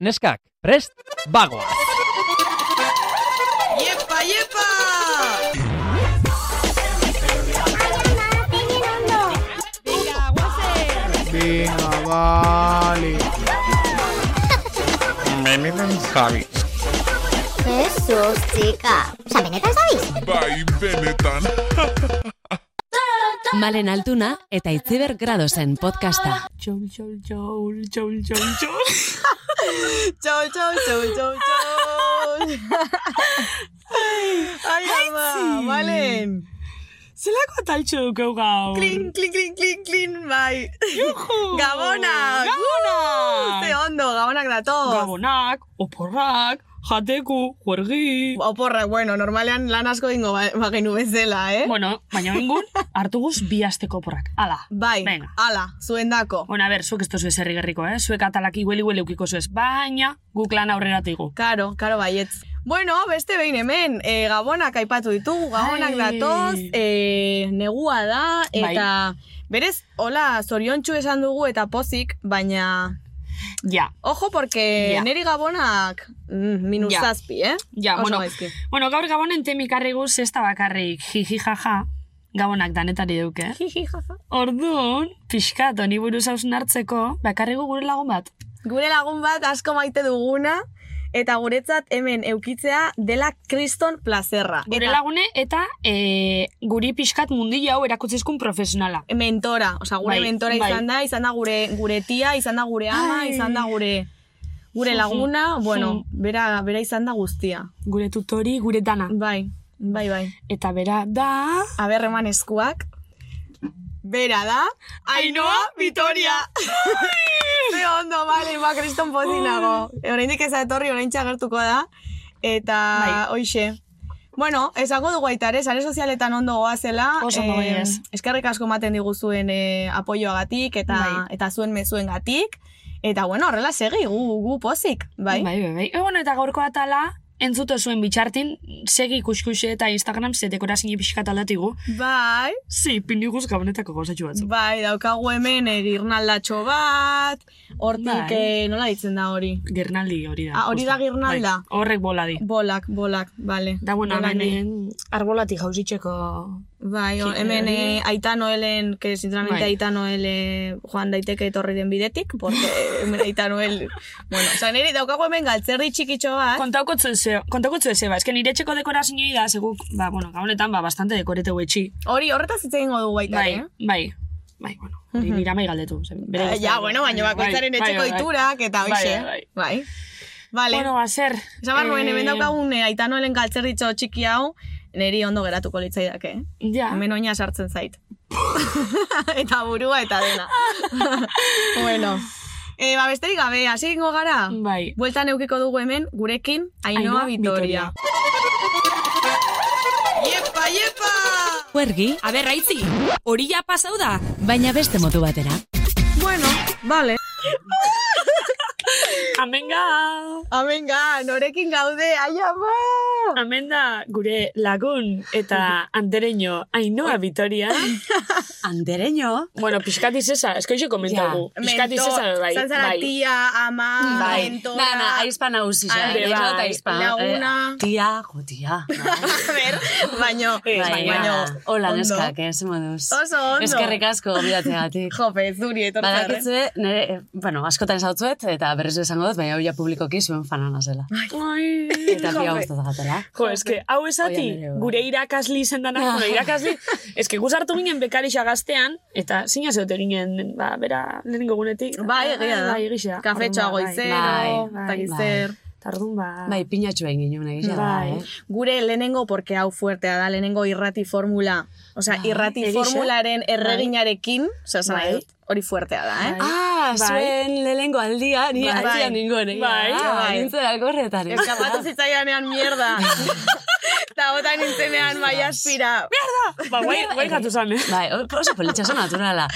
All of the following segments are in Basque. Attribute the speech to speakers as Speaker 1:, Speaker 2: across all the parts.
Speaker 1: neskak, prest, bagoa!
Speaker 2: Iepa, iepa!
Speaker 3: Venga, vale.
Speaker 4: Javi.
Speaker 5: Jesus, chica. O sea, benetan zabiz?
Speaker 4: Bai, benetan.
Speaker 6: Malen Altuna eta Itziber Gradosen podcasta.
Speaker 7: Txol, txol, txol, txol, txol, txol.
Speaker 2: Txau, txau, txau, txau, txau! Ai, ama,
Speaker 7: Aitzi!
Speaker 2: balen!
Speaker 7: Zelako ataltxo dukeu gaur?
Speaker 2: Klin, klin, klin, klin, klin, bai!
Speaker 7: Juhu!
Speaker 2: Gabonak!
Speaker 7: Gabonak!
Speaker 2: Ze ondo, gabonak datoz!
Speaker 7: Gabonak, oporrak, jateku, juergi...
Speaker 2: Oporra, bueno, normalean lan asko ingo bagenu bezala, eh?
Speaker 7: Bueno, baina bengun, hartu guz bi asteko oporrak. Ala.
Speaker 2: Bai,
Speaker 7: Venga.
Speaker 2: ala, zuen dako.
Speaker 7: Bueno, a ber, zuek ez tozu eserri gerriko, eh? Zuek atalak igueli hueli ukiko zuez, baina guk lan aurrera tigu.
Speaker 2: Karo, karo baietz. Bueno, beste behin hemen, e, gabonak aipatu ditugu, gabonak
Speaker 7: Ai.
Speaker 2: datoz, e, negua da,
Speaker 7: Bai.
Speaker 2: eta berez, hola, zoriontsu esan dugu eta pozik, baina...
Speaker 7: Ja,
Speaker 2: Ojo, porque
Speaker 7: Ja.
Speaker 2: neri gabonak mm, minus
Speaker 7: Ja.
Speaker 2: zazpi, eh?
Speaker 7: ja,
Speaker 2: Oso
Speaker 7: bueno.
Speaker 2: gaizki.
Speaker 7: Bueno, gaur gabonen temikarri guz ez da bakarrik, jiji jaja, gabonak danetari duke. Eh?
Speaker 2: Jiji, jaja.
Speaker 7: Orduan, pixkat, honi buruz hausnartzeko, bakarrigu gure lagun bat.
Speaker 2: Gure lagun bat asko maite duguna, eta guretzat hemen eukitzea dela kriston plazerra.
Speaker 7: Gure
Speaker 2: eta
Speaker 7: lagune eta e, guri pixkat mundi hau erakutzizkun profesionala.
Speaker 2: E, mentora, osea, gure
Speaker 7: Bai,
Speaker 2: mentora
Speaker 7: bai.
Speaker 2: izan da, izan da gure, gure tia, izan da gure ama,
Speaker 7: Ai.
Speaker 2: izan da gure
Speaker 7: Zu,
Speaker 2: gure
Speaker 7: zu,
Speaker 2: laguna, bueno,
Speaker 7: zu.
Speaker 2: bera, bera izan da guztia.
Speaker 7: Gure tutori, gure dana.
Speaker 2: Bai, bai, bai.
Speaker 7: Eta bera da...
Speaker 2: Aber eman eskuak. Bera da, Ainoa Vitoria. Ze ondo, bale, ba, kriston pozinago. Oraindik ez da etorri, orain txagertuko da. Eta,
Speaker 7: Bai.
Speaker 2: hoxe. Bueno, esango dugu aita ere, sare sozialetan ondo goazela.
Speaker 7: Oso ondo bai,
Speaker 2: eh,
Speaker 7: goaz.
Speaker 2: Eskerrik asko ematen diguzuen eh, apoioagatik eta,
Speaker 7: Bai.
Speaker 2: eta zuen mezuengatik. Eta, bueno, horrela segi, gu, gu pozik, bai?
Speaker 7: Bai, bai, bai. E, bueno, eta gaurko atala, entzute zuen bitxartin, segi ikuskuxe eta Instagram ze dekorazine pixkat aldatigu.
Speaker 2: Bai,
Speaker 7: Zi, pindiguz gabonetako gauzatxu batzu.
Speaker 2: bai, daukagu hemen eh, girnaldatxo bat, hortik,
Speaker 7: Bai.
Speaker 2: eh, nola ditzen da hori?
Speaker 7: Girnaldi hori da.
Speaker 2: Ah, hori da
Speaker 7: justo.
Speaker 2: girnalda.
Speaker 7: Bai, horrek bola di.
Speaker 2: Bolak, bolak, bale.
Speaker 7: Da, bueno,
Speaker 2: Bola nahi.
Speaker 7: hemen eh, arbolatik jauzitzeko...
Speaker 2: Bai, hor,
Speaker 7: Ki-
Speaker 2: hemen
Speaker 7: hori.
Speaker 2: eh, Aita Noelen, que sinceramente
Speaker 7: Bai.
Speaker 2: Aita Noel eh, joan daiteke etorri den bidetik, porque hemen Aita Noel... bueno, oza, nire daukago hemen galtzerri txikitxo bat,
Speaker 7: Kontauko tzuezeo, kontauko tzuezeo, ba, eske nire txeko dekorazinei da, seguk, ba, bueno, gaunetan, ba, bastante dekorete huetxi.
Speaker 2: hori horretaz hitz egingo dugu baita,
Speaker 7: Bai,
Speaker 2: eh?
Speaker 7: bai, bai, bueno, hori
Speaker 2: Mhm.
Speaker 7: nire amai galdetu. zen, bere
Speaker 2: Ah,
Speaker 7: guztua.
Speaker 2: ja, bueno, baino
Speaker 7: Bai,
Speaker 2: bakoitzaren
Speaker 7: bai,
Speaker 2: etxeko
Speaker 7: bai, bai.
Speaker 2: iturak eta
Speaker 7: Bai,
Speaker 2: hoxe.
Speaker 7: bai, bai.
Speaker 2: Bai. Vale.
Speaker 7: Bueno, ba, azer.
Speaker 2: Esan behar nuen, hemen daukagun eh, Aita Noelen galtzerritxo txiki hau, niri ondo geratuko litzaidake. eh?
Speaker 7: Ja,
Speaker 2: Hemen oina sartzen zait. eta burua eta dena. bueno. E, ba, besterik gabe, hasi egingo gara?
Speaker 7: bai.
Speaker 2: Bueltan eukiko dugu hemen, gurekin, Ainoa,
Speaker 7: Ainhoa
Speaker 2: Vitoria. Iepa, iepa!
Speaker 6: Huergi,
Speaker 8: Aber, raitzi, hori ja pasau da.
Speaker 6: baina beste modu batera.
Speaker 2: Bueno, vale.
Speaker 7: Amenga!
Speaker 2: Amenga, norekin gaude, ba! ai ama!
Speaker 7: Hemen da gure lagun eta andereño Ainhoa Vitoria.
Speaker 8: Andereño.
Speaker 7: bueno, pixkat izesa, esko iso komentagu.
Speaker 2: Mentor,
Speaker 7: Pixkat izesa, bai,
Speaker 2: izan zara
Speaker 7: bai.
Speaker 2: tia, ama, mentora,
Speaker 8: Bai. Na, na, aizpa nauzi, ja.
Speaker 2: Ande,
Speaker 8: Negro eta
Speaker 7: bai.
Speaker 8: aizpa.
Speaker 2: Laguna.
Speaker 8: Eh, Tia, jo, tia.
Speaker 2: A ver, baino,
Speaker 8: Bai,
Speaker 2: baino,
Speaker 8: ja. Hola,
Speaker 2: ondo.
Speaker 8: neskak, eh. ez moduz.
Speaker 2: Oso ondo.
Speaker 8: Eskerrik asko, bidatzeagatik.
Speaker 2: Jope, zuri etortzen.
Speaker 8: Badakitze, nire, eh, bueno, askotan esautzuet, eta berriz esango dut, baina hoia publikoki zuen fanana zela.
Speaker 7: bai. Ai.
Speaker 8: Eta pia guztat gatela.
Speaker 7: Jo, eske, hau esati,
Speaker 8: Oian ere, bai.
Speaker 7: gure irakasli izan dana, bueno, irakasli, eske guz hartu ginen bekarixa gaztean, eta zina zeote ginen, ba, bera, lehenengo gunetik.
Speaker 2: Bai, egia da.
Speaker 7: Bai, egia.
Speaker 2: Kafetxoa oh,
Speaker 7: Orduan, bai.
Speaker 2: goizero,
Speaker 7: bai,
Speaker 2: eta
Speaker 8: bai.
Speaker 2: gizer.
Speaker 7: Tardun ba.
Speaker 8: Bai, pinatxu egin ginen, egia da,
Speaker 7: Bai.
Speaker 8: eh?
Speaker 2: Gure lehenengo, porque hau fuertea da, lehenengo irrati formula. Osea, irrati
Speaker 7: Bai, egixe.
Speaker 2: formularen erreginarekin, osea, esan nahi
Speaker 7: Bai.
Speaker 2: dut, hori fuertea da, eh?
Speaker 7: Bai.
Speaker 8: Ah,
Speaker 7: Bai.
Speaker 8: zuen lehengo aldia, Ah, ni
Speaker 2: Bai.
Speaker 8: aldia ningoen, egia
Speaker 7: Bai,
Speaker 8: da.
Speaker 2: bai.
Speaker 8: Nintzen alkorretan.
Speaker 2: Eskapatu zitzaidanean mierda. Eta bota nintzenean maia aspira.
Speaker 7: Ba, guai, guai gatu zan, eh?
Speaker 8: Bai, oso politxa oso naturala.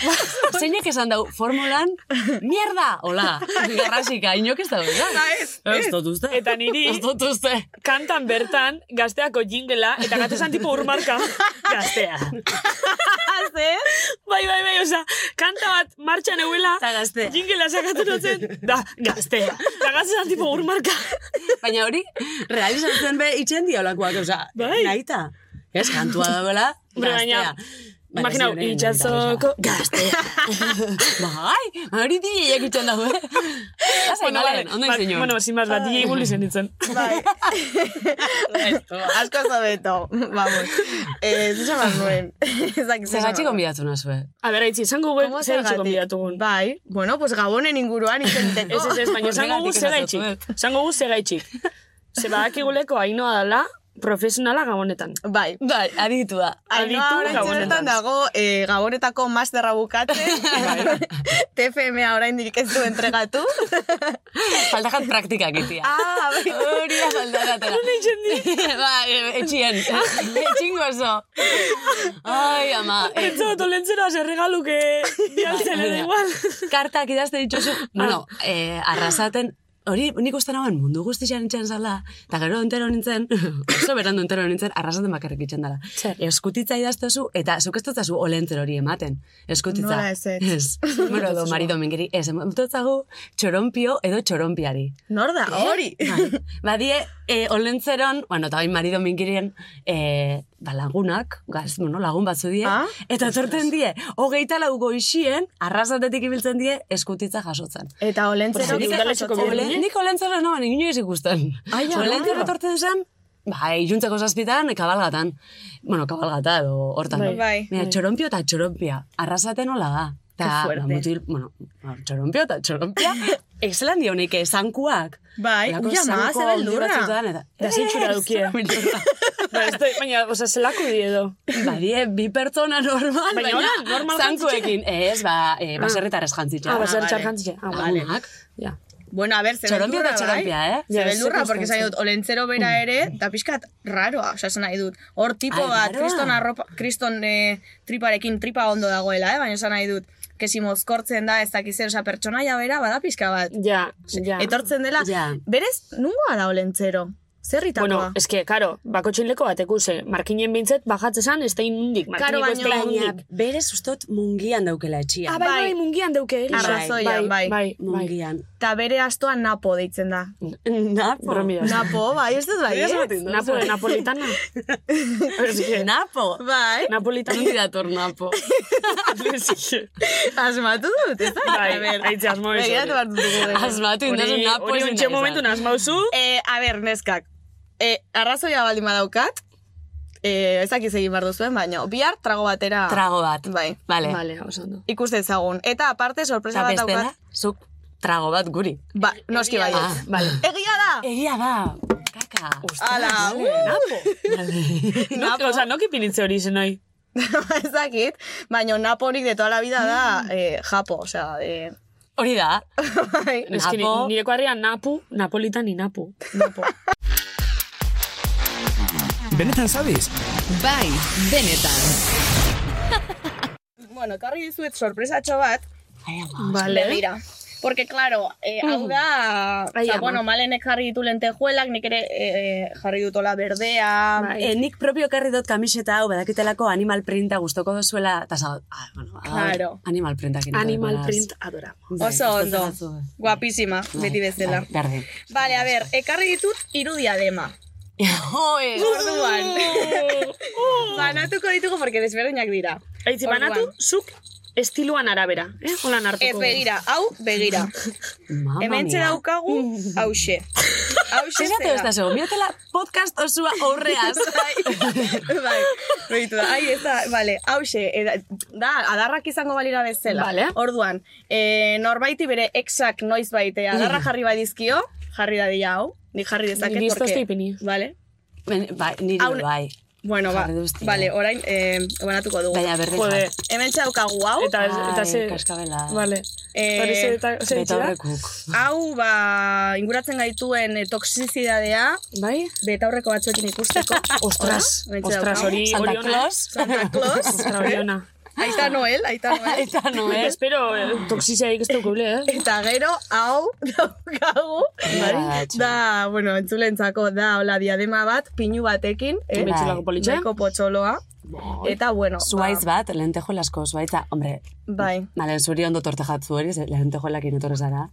Speaker 8: Zeinek esan dau, formulan, mierda, hola,
Speaker 7: Bai.
Speaker 8: garrasika, inok ez da da.
Speaker 2: Ez,
Speaker 8: Ez dut uste.
Speaker 7: Eta niri-
Speaker 8: Ez dut uste.
Speaker 7: Kantan bertan, gazteako jingela, eta gatu zan tipo urmarka. Gaztea.
Speaker 2: ez?
Speaker 7: Bai, bai, bai, oza, kanta bat martxan euela,
Speaker 8: Eta gaztea.
Speaker 7: jingela sakatu notzen, da, gaztea. Eta gazte zan tipo urmarka.
Speaker 8: Baina hori, realizatzen be itxen diolakoak, oza,
Speaker 7: Bai.
Speaker 8: nahita. Ez, kantua dauela,
Speaker 7: Hombre,
Speaker 8: gaztea.
Speaker 7: baina, Imaginau, itxazoko, gaztea.
Speaker 8: Bai, hori DJak itxen dago, eh? Azai, bueno,
Speaker 7: vale,
Speaker 8: galen, ondo
Speaker 7: ba-
Speaker 8: izin
Speaker 7: Bueno, sin más, bat, DJ buli zenitzen.
Speaker 2: Bai.
Speaker 7: Bai.
Speaker 2: Asko zobeto. Vamos. Eh, zuzen bat nuen.
Speaker 7: ba-
Speaker 2: Ezak,
Speaker 8: Zegatxe konbidatu nazue.
Speaker 7: A ber, aitzi, esango guen,
Speaker 2: Como
Speaker 7: zer
Speaker 2: zergatik?
Speaker 7: itxeko bidatugun.
Speaker 2: Bai, bueno, pues gabonen inguruan
Speaker 7: Ez,
Speaker 2: intenteko.
Speaker 7: Ba, ez, ez, baina esango gu
Speaker 8: Horregatik
Speaker 7: zer
Speaker 8: esatu
Speaker 7: gaitxik. Esango gu zer gaitxik. Ze badakiguleko hainoa dala, profesionala gabonetan.
Speaker 2: Bai.
Speaker 8: Bai, aditu da.
Speaker 2: Ainhoa
Speaker 7: Aditu
Speaker 2: orain
Speaker 7: gabonetan.
Speaker 2: bertan dago eh, gabonetako masterra bukatzen.
Speaker 8: Bai.
Speaker 2: TFMA oraindik ez du entregatu.
Speaker 8: Faltajat praktikak itia.
Speaker 2: ah, bai.
Speaker 8: Hori da faltajatera. Nola Ba, e- etxien. Etxingo oso. Ai, ama. eh,
Speaker 7: Pentsa dut, olentzera zer regaluke bialtzen ere igual.
Speaker 8: Kartak idazte dituzu. Bueno, eh, arrasaten, hori nik uste nagoen mundu guztian itxen zala, eta gero entero nintzen, oso berandu entero nintzen, arrasaten bakarrik itxen dela.
Speaker 7: Zer?
Speaker 8: Eskutitza idaztezu, eta zuk ez dutzazu olentzer hori ematen. Eskutitza.
Speaker 2: Nola ezetz?
Speaker 8: Ez. Bueno, edo Mari Domingeri, ez, emototzagu txorompio edo txorompiari.
Speaker 2: Nor da, hori.
Speaker 8: Bai. Badie, e, olentzeron, bueno, eta bain marido minkirien, e, ba, lagunak, gaz, bueno, lagun batzu die,
Speaker 2: Ah?
Speaker 8: eta torten die, hogeita lau goixien, arrasatetik ibiltzen die, eskutitza jasotzen.
Speaker 2: Eta olentzero
Speaker 7: Pues nik udaletxeko
Speaker 2: jasotzen.
Speaker 7: bidea.
Speaker 8: Olen, nik olentzero noan, inoiz ikusten.
Speaker 2: Ai, ja,
Speaker 8: Olentzero
Speaker 2: ba.
Speaker 8: torten zen, ba, iluntzeko zazpitan, kabalgatan. Bueno, kabalgata edo hortan.
Speaker 2: Bai, bai.
Speaker 8: Mira, txorompio eta txorompia. Arrasaten hola da. Ta,
Speaker 2: Qué fuerte.
Speaker 8: ba, mutil, bueno, ba, txorompio eta txorompia. Exelan dionik, zankuak.
Speaker 2: Bai,
Speaker 8: Olako
Speaker 2: ui, ama,
Speaker 8: zanku
Speaker 2: ze
Speaker 8: handi
Speaker 2: beldurra. Eh,
Speaker 8: batzuetan, Eta,
Speaker 7: Da, ze itxura dukie. Ba, ez da- Baina, oza, zelako di edo.
Speaker 8: Badie, Ba, bi pertsona normal,
Speaker 7: Baina
Speaker 8: baina,
Speaker 7: hola, normal
Speaker 8: zankuekin. Ez, ba, eh, baserritarrez jantzitxea.
Speaker 7: Ah, baser
Speaker 2: vale.
Speaker 7: txarkantzia. Ah, vale.
Speaker 8: Lagunak.
Speaker 7: Ja.
Speaker 2: Bueno, a ver, ze
Speaker 8: Txorompia
Speaker 2: beldurra,
Speaker 8: eta
Speaker 2: bai.
Speaker 8: txorompia, eh?
Speaker 2: Ze
Speaker 7: Ja, ez
Speaker 2: beldurra,
Speaker 7: zuk
Speaker 2: porque
Speaker 7: eskatzen.
Speaker 2: zain dut, olentzero bera ere, eta pixkat raroa, osa esan nahi dut. Hor tipo
Speaker 8: Mm. Ai,
Speaker 2: bat,
Speaker 8: raroa.
Speaker 2: kriston, arropa, kriston eh, triparekin tripa ondo dagoela, eh? baina esan nahi dut. Kesi mozkortzen da, ez dakizer, osa pertsonaia bera, bada pixka bat.
Speaker 7: Ja, ja.
Speaker 2: Etortzen dela,
Speaker 8: Ja.
Speaker 2: berez, nungoa da olentzero? Zerritakoa?
Speaker 7: Bueno, eske, karo, bako txinleko bateku ze, markinen bintzet, bajatzezan, ez da inundik,
Speaker 2: Karo,
Speaker 7: markineko ez da
Speaker 2: baina-
Speaker 7: inundik.
Speaker 8: berez ustot mungian daukela etxia.
Speaker 7: Ah, bai, bai, mungian deuke, hori.
Speaker 2: Arrazoian,
Speaker 7: Bai,
Speaker 2: bai.
Speaker 7: bai.
Speaker 8: mungian.
Speaker 2: Eta bere astoa napo deitzen da.
Speaker 8: Napo.
Speaker 7: Bromia.
Speaker 2: Napo, bai, ez dut bai, ez?
Speaker 7: Oh, Napo, napolitana. Eske,
Speaker 8: Napo.
Speaker 2: Bai,
Speaker 7: napolitana.
Speaker 8: Handi dator napo.
Speaker 7: Eske,
Speaker 2: asmatu dut, ez da?
Speaker 7: Bai,
Speaker 2: A ber,
Speaker 7: aitzi, asmo ez,
Speaker 2: Begiratu
Speaker 7: hori.
Speaker 2: behar dut dugu, bai.
Speaker 8: Asmatu indazu
Speaker 7: Hori
Speaker 8: napo.
Speaker 7: Eh, hori
Speaker 8: ezin
Speaker 7: untxe
Speaker 8: da
Speaker 7: momentu
Speaker 8: izan.
Speaker 7: nazmauzu.
Speaker 2: Eh, a ber, neskak. Eh, arrazoia baldin badaukat, eh, ezakiz egin behar duzuen, baina bihar trago batera
Speaker 8: Trago bat.
Speaker 2: Bai.
Speaker 8: Vale.
Speaker 7: Vale, oso ondo.
Speaker 2: ikusten zagun. Eta aparte, sorpresa
Speaker 8: Eta
Speaker 2: bat
Speaker 8: bestela,
Speaker 2: daukat.
Speaker 8: zuk trago bat guri.
Speaker 2: Ba, noski bai.
Speaker 8: Ah, vale.
Speaker 2: Egia da!
Speaker 8: Egia da. Kaka.
Speaker 2: Ala, uh!
Speaker 7: Nok, oza, nok ipinitze hori izen hori.
Speaker 2: Ezakit, baina naporik de toda la vida
Speaker 7: Mm.
Speaker 2: da eh, japo, osea, eh,
Speaker 8: Hori da.
Speaker 2: bai.
Speaker 7: Eske, ni-
Speaker 8: Napo.
Speaker 7: nireko harria napu, napolitan ni napu. Napo.
Speaker 1: Benetan zabiz?
Speaker 6: Bai, benetan.
Speaker 2: Bueno, karri dizuet sorpresatxo bat.
Speaker 7: Vale.
Speaker 2: Begira. Porque, claro, eh, hau da...
Speaker 7: Mm. Ai,
Speaker 2: Osa,
Speaker 7: ama.
Speaker 2: bueno, malenek jarri ditu lentejuelak, nik ere eh, jarri dutola berdea,
Speaker 7: Bai.
Speaker 8: E, nik propio karri dut kamiseta hau badakitelako animal printa gustoko dozuela. Eta zau, ah, bueno, ah,
Speaker 2: Claro.
Speaker 8: animal printakin.
Speaker 7: Animal
Speaker 8: etorri naiz.
Speaker 7: print adoramos.
Speaker 8: Bai,
Speaker 2: Oso
Speaker 8: ez
Speaker 2: ondo.
Speaker 8: dut dazu.
Speaker 2: Guapísima, beti bezala.
Speaker 8: Bai, berdin.
Speaker 2: Vale, a ber, ekarri ditut irudia dema.
Speaker 8: Joe!
Speaker 7: Uh.
Speaker 2: Orduan. Banatuko ditugu porque desberdinak dira.
Speaker 7: Aitzi,
Speaker 2: Orduan.
Speaker 7: Uh. banatu, zuk estiluan arabera. Eh? Holan hartuko.
Speaker 2: Ez begira, hau begira.
Speaker 8: Mamma
Speaker 2: Hemen
Speaker 8: mia.
Speaker 2: daukagu, hause. Hause
Speaker 8: Zerate ez da
Speaker 2: zera.
Speaker 8: zego, biotela podcast osua aurreaz.
Speaker 2: bai, begitu da. Ai, ez da, vale, hause, eda- da, adarrak izango balira bezala.
Speaker 7: Vale.
Speaker 2: Orduan, eh, norbaiti bere exak noiz baite
Speaker 8: Mm.
Speaker 2: adarra jarri badizkio, jarri dadila hau, ni jarri dezaket,
Speaker 7: Ni listo estoy ipini.
Speaker 2: Vale,
Speaker 8: Ben, bai, niri
Speaker 2: Hau-
Speaker 8: bai.
Speaker 2: Bueno, ba,
Speaker 8: Jarri duztia.
Speaker 2: vale, orain, eh, banatuko dugu.
Speaker 8: Baina berde
Speaker 7: Jode.
Speaker 8: jarri.
Speaker 2: Hemen txaukagu hau.
Speaker 7: Eta, eta
Speaker 8: Ai,
Speaker 7: ze...
Speaker 8: kaskabela.
Speaker 7: Vale.
Speaker 2: Eh,
Speaker 7: Hori ze, eta, ze
Speaker 8: Beta
Speaker 7: itxura?
Speaker 8: horrekuk.
Speaker 2: Hau, ba, inguratzen gaituen eh, toksizidadea,
Speaker 7: Bai?
Speaker 2: betaurreko batzuekin ikusteko.
Speaker 7: Ostras,
Speaker 2: Hola, hementxe
Speaker 7: ostras,
Speaker 2: daukagu.
Speaker 7: hori
Speaker 8: Santa
Speaker 7: hori ona.
Speaker 8: Claus.
Speaker 2: Santa Claus.
Speaker 7: Ostra, hori ona.
Speaker 2: Aita Noel, Aita Noel.
Speaker 8: Eta no,
Speaker 7: Nik
Speaker 8: eh?
Speaker 7: espero eh, toxiziadik ez daukule, eh?
Speaker 2: Eta gero, hau, daukagu,
Speaker 8: Bai.
Speaker 2: da, bueno, entzulentzako, da, hola, diadema bat, pinu batekin, eh?
Speaker 8: Bai.
Speaker 7: Betxulako politxe.
Speaker 2: Beko potxoloa.
Speaker 7: Bai.
Speaker 2: Eta, bueno, ba,
Speaker 8: Zuaiz bat, lentejolasko zuaitza. Hombre,
Speaker 2: bai,
Speaker 8: malen zuri ondo torte jatzu hori, ze lentejolakin etorri zara.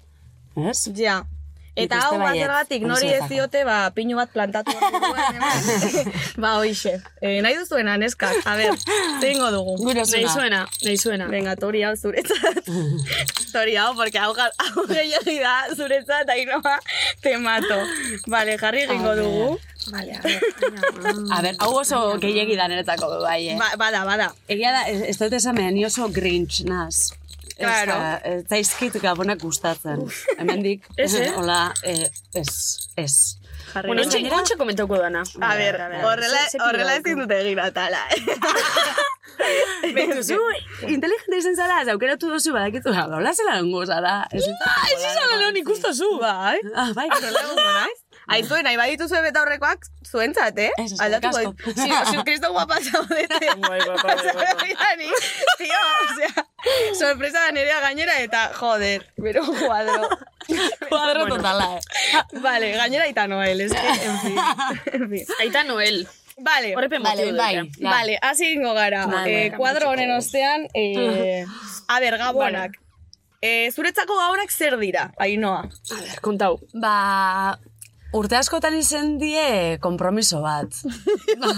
Speaker 8: Ez?
Speaker 2: ja. Eta
Speaker 8: Nik uste
Speaker 2: hau bat
Speaker 8: baietz,
Speaker 2: zergatik, nori ez
Speaker 8: entzuletako.
Speaker 2: diote, ba, pinu bat plantatu behar duguen, hemen. ba, hoxe. Eh, nahi duzuena, neska, a ber, zeingo dugu.
Speaker 8: Gure
Speaker 7: Nahi
Speaker 8: zuna.
Speaker 7: zuena, nahi zuena.
Speaker 2: Venga, tori hau zuretzat. tori hau, porque hau, ga- hau gehiagi da zuretzat, eta inoa te mato. Vale, jarri egingo dugu. Vale, a ver.
Speaker 8: A ber, hau oso gehiagi da niretzako, bai, eh?
Speaker 2: Ba, bada, bada.
Speaker 8: Egia da, ez, ez dut esamen, ni oso grinch naz.
Speaker 2: Claro.
Speaker 8: Ez, da- ez zaizkit gabonak gustatzen. Hemendik,
Speaker 7: Ez, eh?
Speaker 8: hola, eh, ez, ez.
Speaker 2: Jarri
Speaker 7: Bueno,
Speaker 2: egingo
Speaker 7: ontxe, ontxe komentauko dana.
Speaker 2: dugu. A ber, horrela, horrela ezin dute eh. giratala.
Speaker 8: Zu, inteligente izan zara, ez aukeratu dozu badakitu, ba, hola zela ongo zara. Ez zela lehon ikustazu.
Speaker 2: Bai.
Speaker 8: Ah, bai,
Speaker 2: Horrela egongo naiz. Aizue, nahi badituzue beta horrekoak, zuentzat, eh?
Speaker 8: Ez, ez,
Speaker 2: Aldatuko
Speaker 8: asko.
Speaker 2: dit. Si, si kristo guapa zaudete.
Speaker 7: Bai, bai, bai, bai, bai.
Speaker 2: Ni, Tio, osea, sorpresa da nerea gainera eta, joder, bero kuadro.
Speaker 8: kuadro totala, eh.
Speaker 2: Vale, gainera eta Noel, es que, en fin. En fin.
Speaker 7: Aita Noel.
Speaker 2: Vale,
Speaker 7: Horrepe
Speaker 8: Vale,
Speaker 7: motiu
Speaker 8: bai.
Speaker 7: dute.
Speaker 8: Ja.
Speaker 2: vale, hasi ingo gara.
Speaker 8: Vale.
Speaker 2: eh, kuadro honen ostean, eh, a ber, gabonak. Eh, zuretzako gabonak zer dira, Ainoa?
Speaker 7: A ber, kontau.
Speaker 8: Ba, urte askotan izen die kompromiso bat.
Speaker 7: A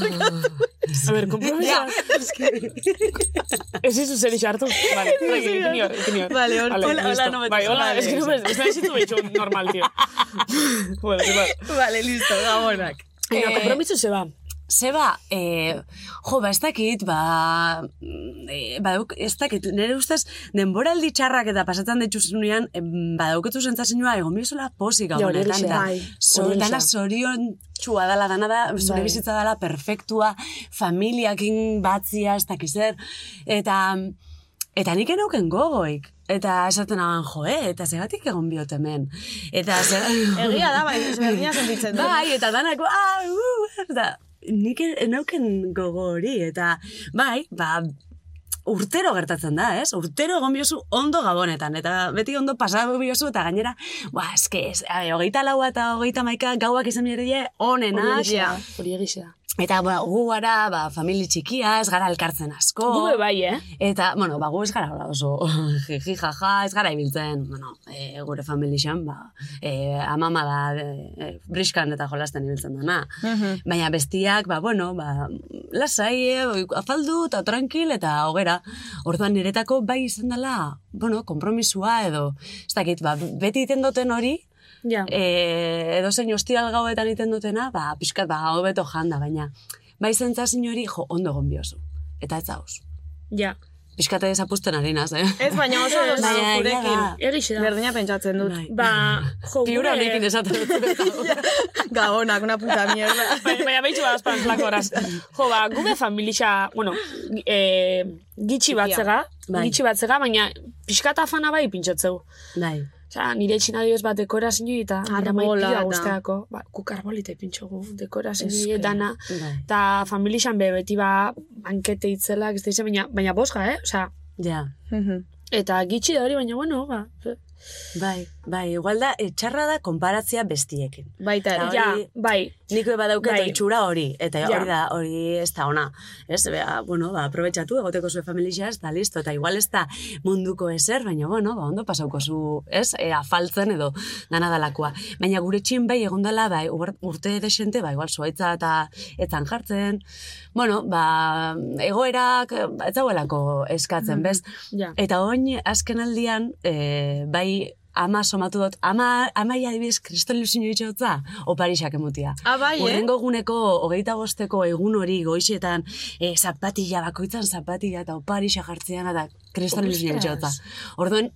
Speaker 7: ber, kompromisa. Ez izu zer isartu. Vale, tranquilo, ingenio, ingenio.
Speaker 2: Vale, hor- hola, hola,
Speaker 7: listo.
Speaker 2: no me-
Speaker 7: Bai, hola,
Speaker 2: vale.
Speaker 7: es que no me... Ez nahi zitu behitxo normal, tío. Bueno, se va.
Speaker 2: Vale, listo, gabonak.
Speaker 7: Venga, kompromiso se va.
Speaker 8: Zeba, eh, jo, ba, ez dakit, ba, mm, eh, ba, dauk- ez dakit, nire ustez, denboraldi txarrak eta pasatzen dituzunean, em, ba, dauketu zentzazinua, egon bizola posik gau
Speaker 7: Ja, hori
Speaker 8: honetan,
Speaker 7: egia.
Speaker 8: eta
Speaker 7: Bai,
Speaker 8: zor-
Speaker 7: hori Bai. egia.
Speaker 8: dana zorion txua dala, dana da, zure bizitza dala, perfektua, familiakin batzia, ez dakizer, eta, eta nik enauken gogoik. Eta esaten aban jo, eh? Eta zegatik egon biot hemen. Eta zer...
Speaker 2: Egia da, bai, ezberdina sentitzen da.
Speaker 8: Bai, eta danako, ah, uh, eta nik e- neuken gogo hori, eta bai, ba, urtero gertatzen da, ez? Urtero egon biozu ondo gabonetan, eta beti ondo pasako biozu, eta gainera, ba, eske, ez, ai, hogeita laua eta hogeita maika gauak izan bierdie, onenak,
Speaker 2: Ja.
Speaker 7: Hori egizea.
Speaker 8: eta ba, gu gara, ba, famili txikia, ez gara elkartzen asko.
Speaker 7: Gube bai, eh?
Speaker 8: Eta, bueno, ba, gu ez gara hola oso jiji jaja, ez gara ibiltzen, bueno, e, gure familixan, ba, e, amama da e, e, briskan eta jolasten ibiltzen dana. Baina bestiak, ba, bueno, ba, lasai, e, afaldu eta tranquil eta hogera. Orduan niretako bai izan dela, bueno, kompromisua edo, ez dakit, ba, beti iten duten hori,
Speaker 7: Ja.
Speaker 8: e, edo zein ostiral gauetan iten dutena, ba, pixkat, ba, hobeto janda, baina, bai zentzazin hori, jo, ondo egon biozu. Eta ez dauz.
Speaker 7: Ja.
Speaker 8: Piskate desapusten ari naz, eh?
Speaker 2: Ez, baina oso dos
Speaker 8: Baina egia
Speaker 2: zurekin.
Speaker 8: da.
Speaker 7: Egixe da.
Speaker 2: Berdina pentsatzen dut.
Speaker 8: Bai.
Speaker 7: Ba, jo, gure...
Speaker 8: Piura honekin esaten dut.
Speaker 2: Gabonak, una puta mierda.
Speaker 7: Bai, Baina behitxo bat azpan flakoraz. Jo, ba, gube familixa, bueno, eh, gitxi batzega,
Speaker 8: Bai.
Speaker 7: gitxi batzega, baina pixkata afana bai pintxatzeu.
Speaker 8: Bai.
Speaker 7: Osa, nire etxina dioz bat dekora zinu eta nire
Speaker 2: Arbola
Speaker 7: maipila
Speaker 2: eta-
Speaker 7: guztiako. Ba, guk arbolita ipintxogu, dekora
Speaker 8: Eske,
Speaker 7: zinu dana.
Speaker 8: bai.
Speaker 7: Eta familixan be, beti ba, bankete itzelak, ez da izan, baina, baina bosga, eh? Osa,
Speaker 8: Ja.
Speaker 7: eta gitxi da hori, baina bueno, ba.
Speaker 8: Bai, bai, igual da, eh, txarra da konparatzea bestiekin.
Speaker 2: Baita ere.
Speaker 8: Hori-
Speaker 7: Ja, bai,
Speaker 8: Nik eba dauket
Speaker 7: Bai.
Speaker 8: itxura hori, eta
Speaker 7: Ja.
Speaker 8: hori da, hori ez da ona. Ez, bea, bueno, ba, aprobetxatu, egoteko zuen familia ez da listo, eta igual ez da munduko ezer, baina, bueno, ba, ondo pasauko zu, ez, e, afaltzen edo dana dalakoa. Baina gure txin bai egon dela, bai, ur- urte desente, bai, igual zuaitza eta etzan jartzen, bueno, ba, egoerak, eh, ez dauelako eskatzen, bez?
Speaker 7: Mm-hmm. ja.
Speaker 8: Eta oin, azken aldian, e, bai, ama somatu dut, ama, ama adibidez kriston lusinio itxotza, oparixak emutia.
Speaker 2: Ah, bai, eh?
Speaker 8: Urrengo guneko, hogeita bosteko egun hori goizetan, e, zapatilla, bakoitzan zapatilla eta oparixa jartzean eta kriston lusinio itxotza. Orduan,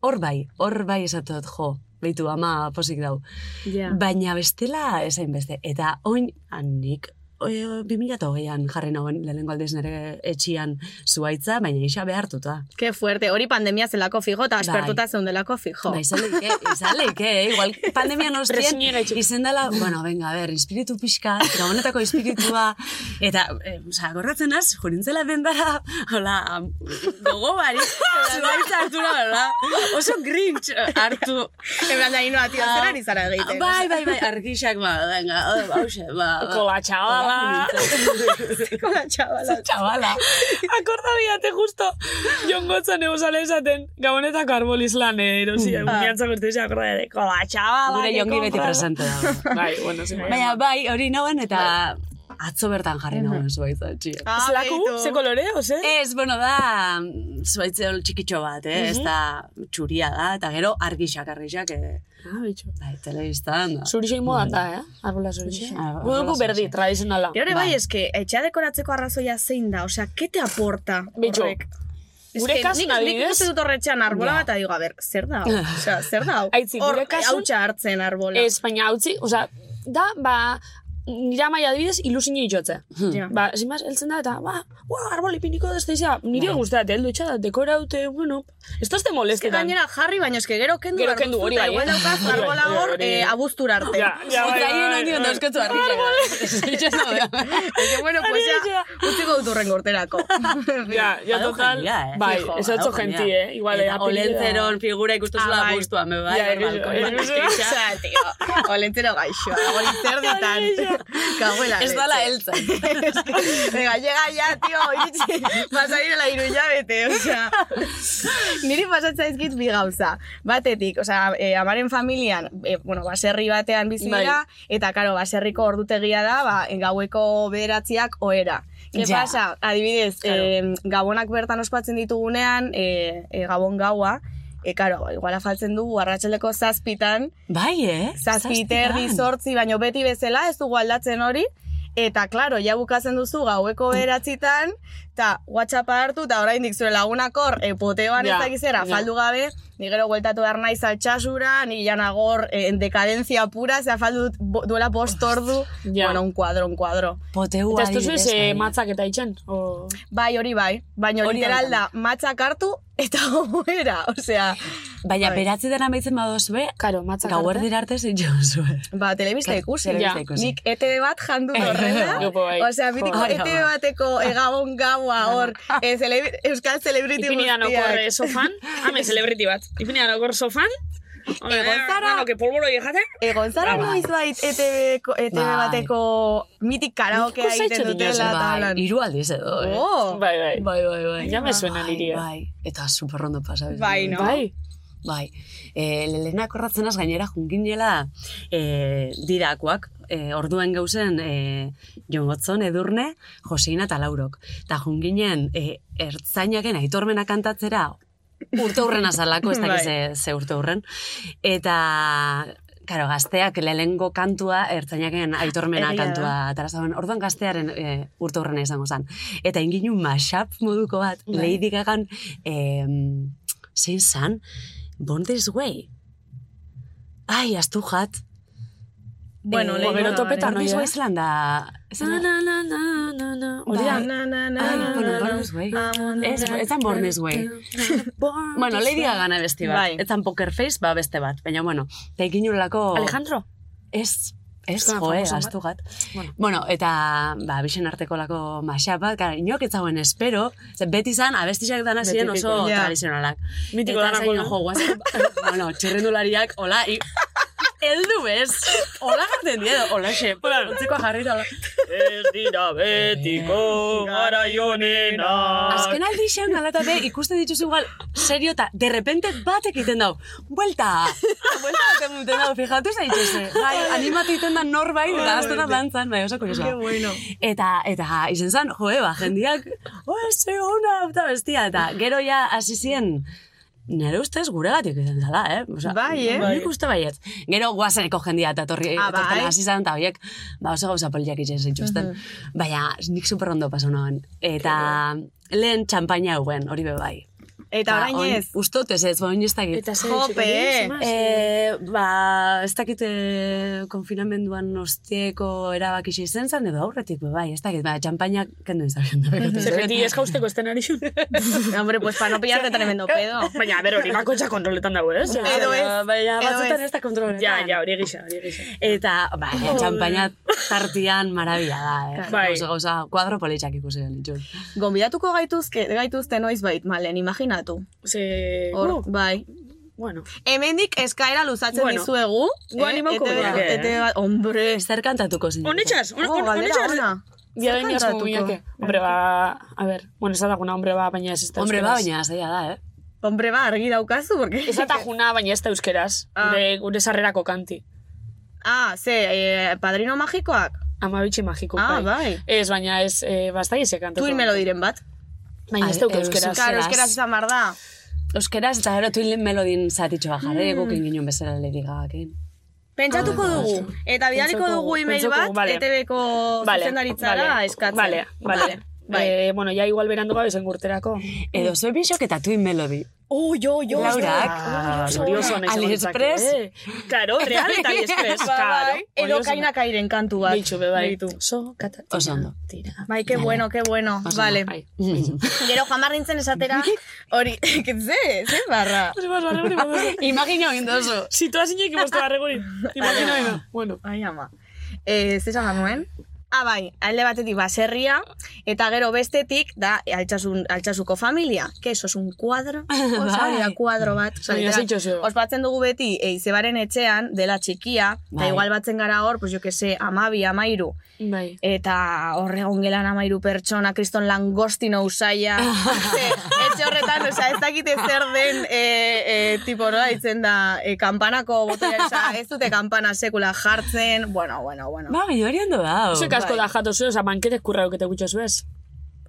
Speaker 8: hor bai, hor bai esatu dut, jo, beitu ama posik dau.
Speaker 7: Ja.
Speaker 8: Baina bestela esain beste. Eta oin, hanik e, 2008an jarri nauen lehenengo aldiz nire etxian zuaitza, baina isa behartuta.
Speaker 2: Ke fuerte, hori pandemia zelako fijo, eta
Speaker 7: Bai.
Speaker 2: aspertuta zeundelako fijo.
Speaker 8: Ba, izan leike, izan leike, eh? igual pandemian ostien,
Speaker 7: Resinera itxu-
Speaker 8: izen dela, bueno, venga, a ber, espiritu pixka, eta honetako espiritua, eta, eh, oza, gorratzen az, jurintzela dendara, hola, am, gogo bari, zuaitza hartura, hola, oso grinch hartu,
Speaker 2: En plan, da, inoa, tio, zer ari zara egiten.
Speaker 7: Ah,
Speaker 8: Bai, bai, bai, argixak, ba, venga, hause, ba. ba.
Speaker 7: Kola txabala. bai.
Speaker 2: Kola txabala.
Speaker 8: Txabala.
Speaker 7: Akorda biate, justo, Jon Gotzan eusale esaten, gabonetako arboliz lan erosi, mm. miantzako urtuzia akorda de, kola txabala.
Speaker 8: Gure
Speaker 7: que
Speaker 8: jongi beti
Speaker 7: compra".
Speaker 8: presente dago. Bai.
Speaker 7: Bai, bueno, zin.
Speaker 8: ba, Baina, bai, hori nauen eta atzo bertan jarri nauen zuaitza, txia.
Speaker 2: Ah,
Speaker 7: Zelaku,
Speaker 2: beitu.
Speaker 7: ze eh? kolore, ose?
Speaker 8: Ez, bueno, da, zuaitze hol txikitxo bat, eh?
Speaker 7: Mhm.
Speaker 8: Ez da, txuria da, eta gero argixak, argixak, eh?
Speaker 7: Ah, bitxo.
Speaker 8: Bai, telebistan, da.
Speaker 7: Zurixo modan da, eh? Arbola zurixo.
Speaker 8: Arbola
Speaker 7: Guduko berdi, tradizionala.
Speaker 2: Gero ere bai, eske, etxea dekoratzeko arrazoia zein da, osea, ke te aporta
Speaker 7: Bitxo.
Speaker 2: horrek?
Speaker 7: Gure
Speaker 2: Eske,
Speaker 7: kasun,
Speaker 2: nik- Nik
Speaker 7: adibidez?
Speaker 2: ikusten dut horretxean arbola bat, eta digo, a ber, zer da? hau? Osea, zer da? hau?
Speaker 7: Aitzi, gure
Speaker 2: Hor,
Speaker 7: kasun-
Speaker 2: hautsa hartzen arbola.
Speaker 7: Ez, baina hautzi, oza, da, ba, nire amaia adibidez ilusine itxotze.
Speaker 2: Ja.
Speaker 7: Ba, sin más, eltzen da, eta, ba, ua, arboli piniko dazte izan, nire guztat, heldu etxada, dekora dute, bueno, ez da ez te
Speaker 2: Eske
Speaker 7: molestetan.
Speaker 2: gainera jarri, baina eske gero kendu
Speaker 7: Gero
Speaker 2: behar
Speaker 7: kendu,
Speaker 2: duzu,
Speaker 7: hori
Speaker 2: eta
Speaker 7: bai, eh?
Speaker 2: Igual daukaz
Speaker 7: Hori bai,
Speaker 2: arbola hor
Speaker 7: hori-
Speaker 2: eh, abuztura arte.
Speaker 7: Ja, ja, bai,
Speaker 8: Eta hien
Speaker 7: bai,
Speaker 8: handi
Speaker 7: bai.
Speaker 8: ondo euskotzu argixak.
Speaker 2: Eske, bueno, pues ya, utziko dut urrengo urterako.
Speaker 7: Ja, ja,
Speaker 8: Badau
Speaker 7: total,
Speaker 8: jendea, eh?
Speaker 7: bai,
Speaker 8: Fijo,
Speaker 7: ez dut
Speaker 8: badau
Speaker 7: genti,
Speaker 8: jendea.
Speaker 7: eh? Igual, eh,
Speaker 8: Eta olentzeron figura
Speaker 2: Ah,
Speaker 8: ikustuzula
Speaker 2: bai.
Speaker 8: guztua, me bai,
Speaker 7: Ja,
Speaker 8: hor
Speaker 7: egizu,
Speaker 8: balkoian,
Speaker 7: egizu.
Speaker 8: argixa.
Speaker 2: Osea, tio, olentzero gaixoa, hori zer ditan. Kaguela
Speaker 8: Ez dala eltzen.
Speaker 2: Venga, llega ya, tío, iritsi, pasari dela iru hilabete, osea. Niri pasatza ezkit bi gauza. Batetik, osea, eh, amaren familian, eh, bueno, baserri batean bizi dira, eta, karo, baserriko ordutegia da, ba, gaueko bederatziak ohera. Ke
Speaker 8: Ja.
Speaker 2: pasa, adibidez, eh, gabonak bertan ospatzen ditugunean, eh, eh, gabon gaua, E, karo, igual afaltzen dugu, arratsaleko zazpitan,
Speaker 8: Bai, eh?
Speaker 2: zazpiter,
Speaker 8: Zazpitan.
Speaker 2: dizortzi, baino beti bezala, ez dugu aldatzen hori, eta, klaro, ja bukazen duzu
Speaker 7: Mm.
Speaker 2: gaueko beratzitan, eta WhatsAppa hartu, eta oraindik zure lagunakor, epoteoan
Speaker 7: Ja,
Speaker 2: ez dakizera,
Speaker 7: ja.
Speaker 2: afaldu gabe, ni gero gueltatu behar naiz altxasura, ni janagor eh, en dekadentzia pura, ze afaldu dut bo- duela bost ordu,
Speaker 7: Ja.
Speaker 2: bueno, un kuadro, un kuadro.
Speaker 8: Poteua.
Speaker 7: Eta ez duzu ez eh,
Speaker 8: adibidez, bai.
Speaker 7: matzak eta itxen? O...
Speaker 2: Bai, hori bai, baina
Speaker 8: Hori
Speaker 2: literal da,
Speaker 8: daukan.
Speaker 2: matzak hartu, eta goera, osea,
Speaker 8: Baina,
Speaker 7: Bai.
Speaker 8: beratzi dara maitzen badozue,
Speaker 7: Karo, matzak
Speaker 8: gauerdir arte zitxozue.
Speaker 2: Ba, telebista ikusi.
Speaker 8: telebista
Speaker 7: Ja.
Speaker 8: ikusi.
Speaker 2: Nik ETV bat jandu horrela.
Speaker 7: Jopo bai.
Speaker 2: Osea, bitiko
Speaker 8: Jo.
Speaker 2: ETV bateko egabon gaua hor, eh, celebri- euskal celebrity
Speaker 7: Ipini dan okor eh,
Speaker 2: guztiak.
Speaker 7: sofan, hame, celebrity bat. Ipini dan okor sofan, Hombre,
Speaker 2: Egontzara-
Speaker 7: bueno, que polvoro jate.
Speaker 2: Egon zara Eh, noiz bait ETV, ko- ETV
Speaker 8: Bai.
Speaker 2: bateko mitik karaokea
Speaker 7: Nik
Speaker 2: egiten
Speaker 7: ikusi etxetik
Speaker 2: dutela. eta
Speaker 8: Bai,
Speaker 2: holan.
Speaker 8: hiru aldiz edo. eh?
Speaker 2: Oh,
Speaker 7: Bai, bai.
Speaker 8: Bai, bai, bai.
Speaker 7: Ja me suena
Speaker 8: Bai,
Speaker 7: niri, eh.
Speaker 8: Bai, eta superrondo pasa.
Speaker 2: Bai, no?
Speaker 7: Bai.
Speaker 8: Bai. E, Lelena korratzenaz gainera junginela e, dirakoak. E, orduen gauzen e, Jongotzon, Edurne, Joseina eta Laurok. Eta junginen e, ertzainaken aitormena kantatzera urte hurren azalako, ez
Speaker 2: Bai.
Speaker 8: dakiz ze, ze urte hurren. Eta Karo, gazteak lehengo kantua, ertzainaken aitormena
Speaker 2: Egia da.
Speaker 8: kantua atarazaban. Orduan gaztearen e, urte hurrena izango zen. Eta inginu mashup moduko bat,
Speaker 2: Bai.
Speaker 8: Lady Gagan, em, zein zan, Born This Way. Ai, astu jat.
Speaker 2: Bueno,
Speaker 8: Eh,
Speaker 2: Lady
Speaker 8: Born
Speaker 2: Gagan,
Speaker 7: eh?
Speaker 8: This Way zelan da... Bai.
Speaker 7: Na, na, na, na, na, na. Hori da.
Speaker 2: Na, na, na, na,
Speaker 8: Ai,
Speaker 2: na,
Speaker 8: bueno,
Speaker 2: na,
Speaker 8: Born
Speaker 2: na.
Speaker 8: This Way.
Speaker 2: Ah, bueno,
Speaker 8: Ez,
Speaker 2: na.
Speaker 8: ez zan Born This Way.
Speaker 7: Born
Speaker 8: Bueno,
Speaker 7: this
Speaker 8: Lady
Speaker 7: way.
Speaker 8: Gagan abesti bat.
Speaker 2: Bai.
Speaker 8: Bai. Etzan Poker Face, ba beste bat. Baina, bueno, eta ikin urlako...
Speaker 7: Alejandro?
Speaker 8: Ez, ez,
Speaker 7: Eskola
Speaker 8: joe,
Speaker 7: famoso
Speaker 8: astu gat. Bueno. eta, ba, bixen arteko lako mashup bat, gara, inok ez dagoen espero, ze beti zan, abestixak dana ziren oso
Speaker 2: Ja.
Speaker 8: tradizionalak.
Speaker 7: Mitiko
Speaker 8: eta
Speaker 7: danak,
Speaker 8: zaino,
Speaker 7: hola.
Speaker 8: jo, guazen, bueno, txirrendulariak, hola, i, eldu bez, hola gaten diedo, hola, xe, utziko jarri da, hola.
Speaker 7: Ez dira betiko garaionena.
Speaker 8: Azken aldi xean galatate ikusten dituzu igual serio eta de repente batek iten dau. Buelta! Buelta batek iten dau, fijatu zaitxese. Bai, animatu iten da norbait eta azten da dantzan, bai, oso kuriosoa.
Speaker 2: bueno.
Speaker 8: Eta, eta izen zan, joe, ba, jendiak, oe, ze hona, eta bestia, eta gero ja hasi ziren, nire ustez gure gatik izan zala, eh? Osa,
Speaker 2: Bai, eh?
Speaker 8: Nik uste baiet. Gero guazeneko jendia eta torri,
Speaker 2: Ah, bai.
Speaker 8: etortzen hasi zan, eta horiek, ba, oso gauza poliak itxen zituzten. Baina, nik superrondo pasu nagoen. Eta lehen txampaina hauen, hori be bai.
Speaker 2: Eta
Speaker 8: Ba,
Speaker 2: orain
Speaker 8: oin-
Speaker 2: ez.
Speaker 8: Ustot ez ez, ba, oin ez dakit.
Speaker 7: Eta zer
Speaker 2: Jope.
Speaker 7: etxeko egin, zema, zer-
Speaker 8: E, ba, ez dakit eh, konfinamenduan ostieko erabaki izen zen, edo aurretik, be bai, ez dakit, ba, txampainak kendu izan.
Speaker 7: Zer beti ez jauzteko esten ari xun.
Speaker 2: Hombre, pues para no pillarte tremendo pedo.
Speaker 7: Baina, bero, hori bakoitza kontroletan dago, ez? Ja,
Speaker 2: Edo ez,
Speaker 8: Baina,
Speaker 2: edo
Speaker 8: batzutan
Speaker 2: ez.
Speaker 8: ez da kontroletan.
Speaker 7: ja, ja, hori gisa, hori gisa.
Speaker 8: Eta, ba, txampaina tartian marabila da, eh?
Speaker 7: Bai.
Speaker 8: Gauza, gauza, kuadro politxak ikusi genitxun.
Speaker 2: Gonbidatuko gaituzke, gaituzte noiz bait, malen, imaginatu.
Speaker 7: Ze,
Speaker 2: Hor,
Speaker 7: uh,
Speaker 2: bai.
Speaker 7: bueno.
Speaker 2: Hemendik eskaera luzatzen
Speaker 7: Bueno.
Speaker 2: dizuegu.
Speaker 7: Gu animauko
Speaker 2: Ete-
Speaker 7: gara.
Speaker 2: ete- hombre.
Speaker 8: Zer kantatuko zindu?
Speaker 7: Honetxas, hon-
Speaker 2: Oh,
Speaker 7: hon-
Speaker 2: galdera
Speaker 7: honetxas.
Speaker 2: ona.
Speaker 7: Dia
Speaker 2: Zer
Speaker 7: gain asko
Speaker 2: kantatuko?
Speaker 7: guiñake. Hombre, ba, a ver, bueno, ez da hombre, ba, baina ez ez da
Speaker 8: Hombre, ba,
Speaker 7: euskeraz.
Speaker 8: baina zaila da, eh?
Speaker 2: Hombre, ba, argi daukazu, porque...
Speaker 7: Ez da juna, baina ez da euskeraz.
Speaker 2: Ah.
Speaker 7: Gure, gure sarrerako kanti.
Speaker 2: Ah, ze, eh, padrino magikoak?
Speaker 7: Amabitxi magiko.
Speaker 2: Ah, bai.
Speaker 7: Ez, baina ez, eh, basta izek kantatu.
Speaker 2: Tuin melodiren bat.
Speaker 7: Baina ez
Speaker 8: Ai,
Speaker 7: dauka
Speaker 8: eh,
Speaker 7: euskeraz.
Speaker 8: euskara.
Speaker 2: Karo,
Speaker 8: Zeraz.
Speaker 2: euskeraz izan behar da.
Speaker 8: Euskeraz eta gero tuin melodin zatitxo jarri, mm. gukin ginen bezala Lady Gagakin.
Speaker 2: Pentsatuko dugu. Eta bidaliko
Speaker 7: Pentsatuko
Speaker 2: dugu
Speaker 7: dugu,
Speaker 2: email
Speaker 7: pentsatuko
Speaker 2: bat,
Speaker 7: dugu, vale.
Speaker 2: ETB-ko zuzendaritzara eskatzen.
Speaker 7: Vale, vale.
Speaker 2: Bai.
Speaker 7: Eh, bueno, ja igual berandu gabe zen urterako.
Speaker 8: Edo zue bisok eta tuin melodi.
Speaker 7: Oh, yo, yo.
Speaker 8: Laurak.
Speaker 7: Zorioso nahi
Speaker 8: AliExpress.
Speaker 7: eh. Claro, real eta AliExpress.
Speaker 2: Ba, bai.
Speaker 7: Claro.
Speaker 2: Edo kainak airen kantu bat.
Speaker 7: Beitxu, be, bai.
Speaker 2: Deitu.
Speaker 7: So, kata, tira,
Speaker 8: Oso ondo.
Speaker 7: Tira.
Speaker 2: Bai, que bueno, que bueno.
Speaker 8: Oso
Speaker 2: vale.
Speaker 8: ondo, bai.
Speaker 2: Gero joan behar nintzen esatera, hori, ketze, ze barra.
Speaker 8: Imagina oin dozu.
Speaker 7: Si todas iñek imozte barregurin. Imagina eno. Bueno.
Speaker 2: Ai, ama. Eh, ze esan nuen? Ah, bai, alde batetik baserria, eta gero bestetik da altxasun, altxasuko familia, que eso es un cuadro, osa Bai. hori da kuadro bat. Osa,
Speaker 7: Baina,
Speaker 2: literal,
Speaker 7: zeintxo zeo.
Speaker 2: Ospatzen dugu beti, eh, izebaren etxean, dela txikia, eta
Speaker 8: Bai.
Speaker 2: igual batzen gara hor, pues jo que se, amabi, amairu,
Speaker 7: Bai.
Speaker 2: eta horregon gelan amairu pertsona, kriston langostino usaia, ze, etxe horretan, osea, ez dakite zer den, e, e, tipo, nola ditzen da, e, kampanako botoia, osea, ez dute kampana sekula jartzen, bueno, bueno, bueno.
Speaker 8: Ba, baina hori ondo da.
Speaker 7: Zek asko da jato zuen, oza, banketek kurra dukete gutxo zuez.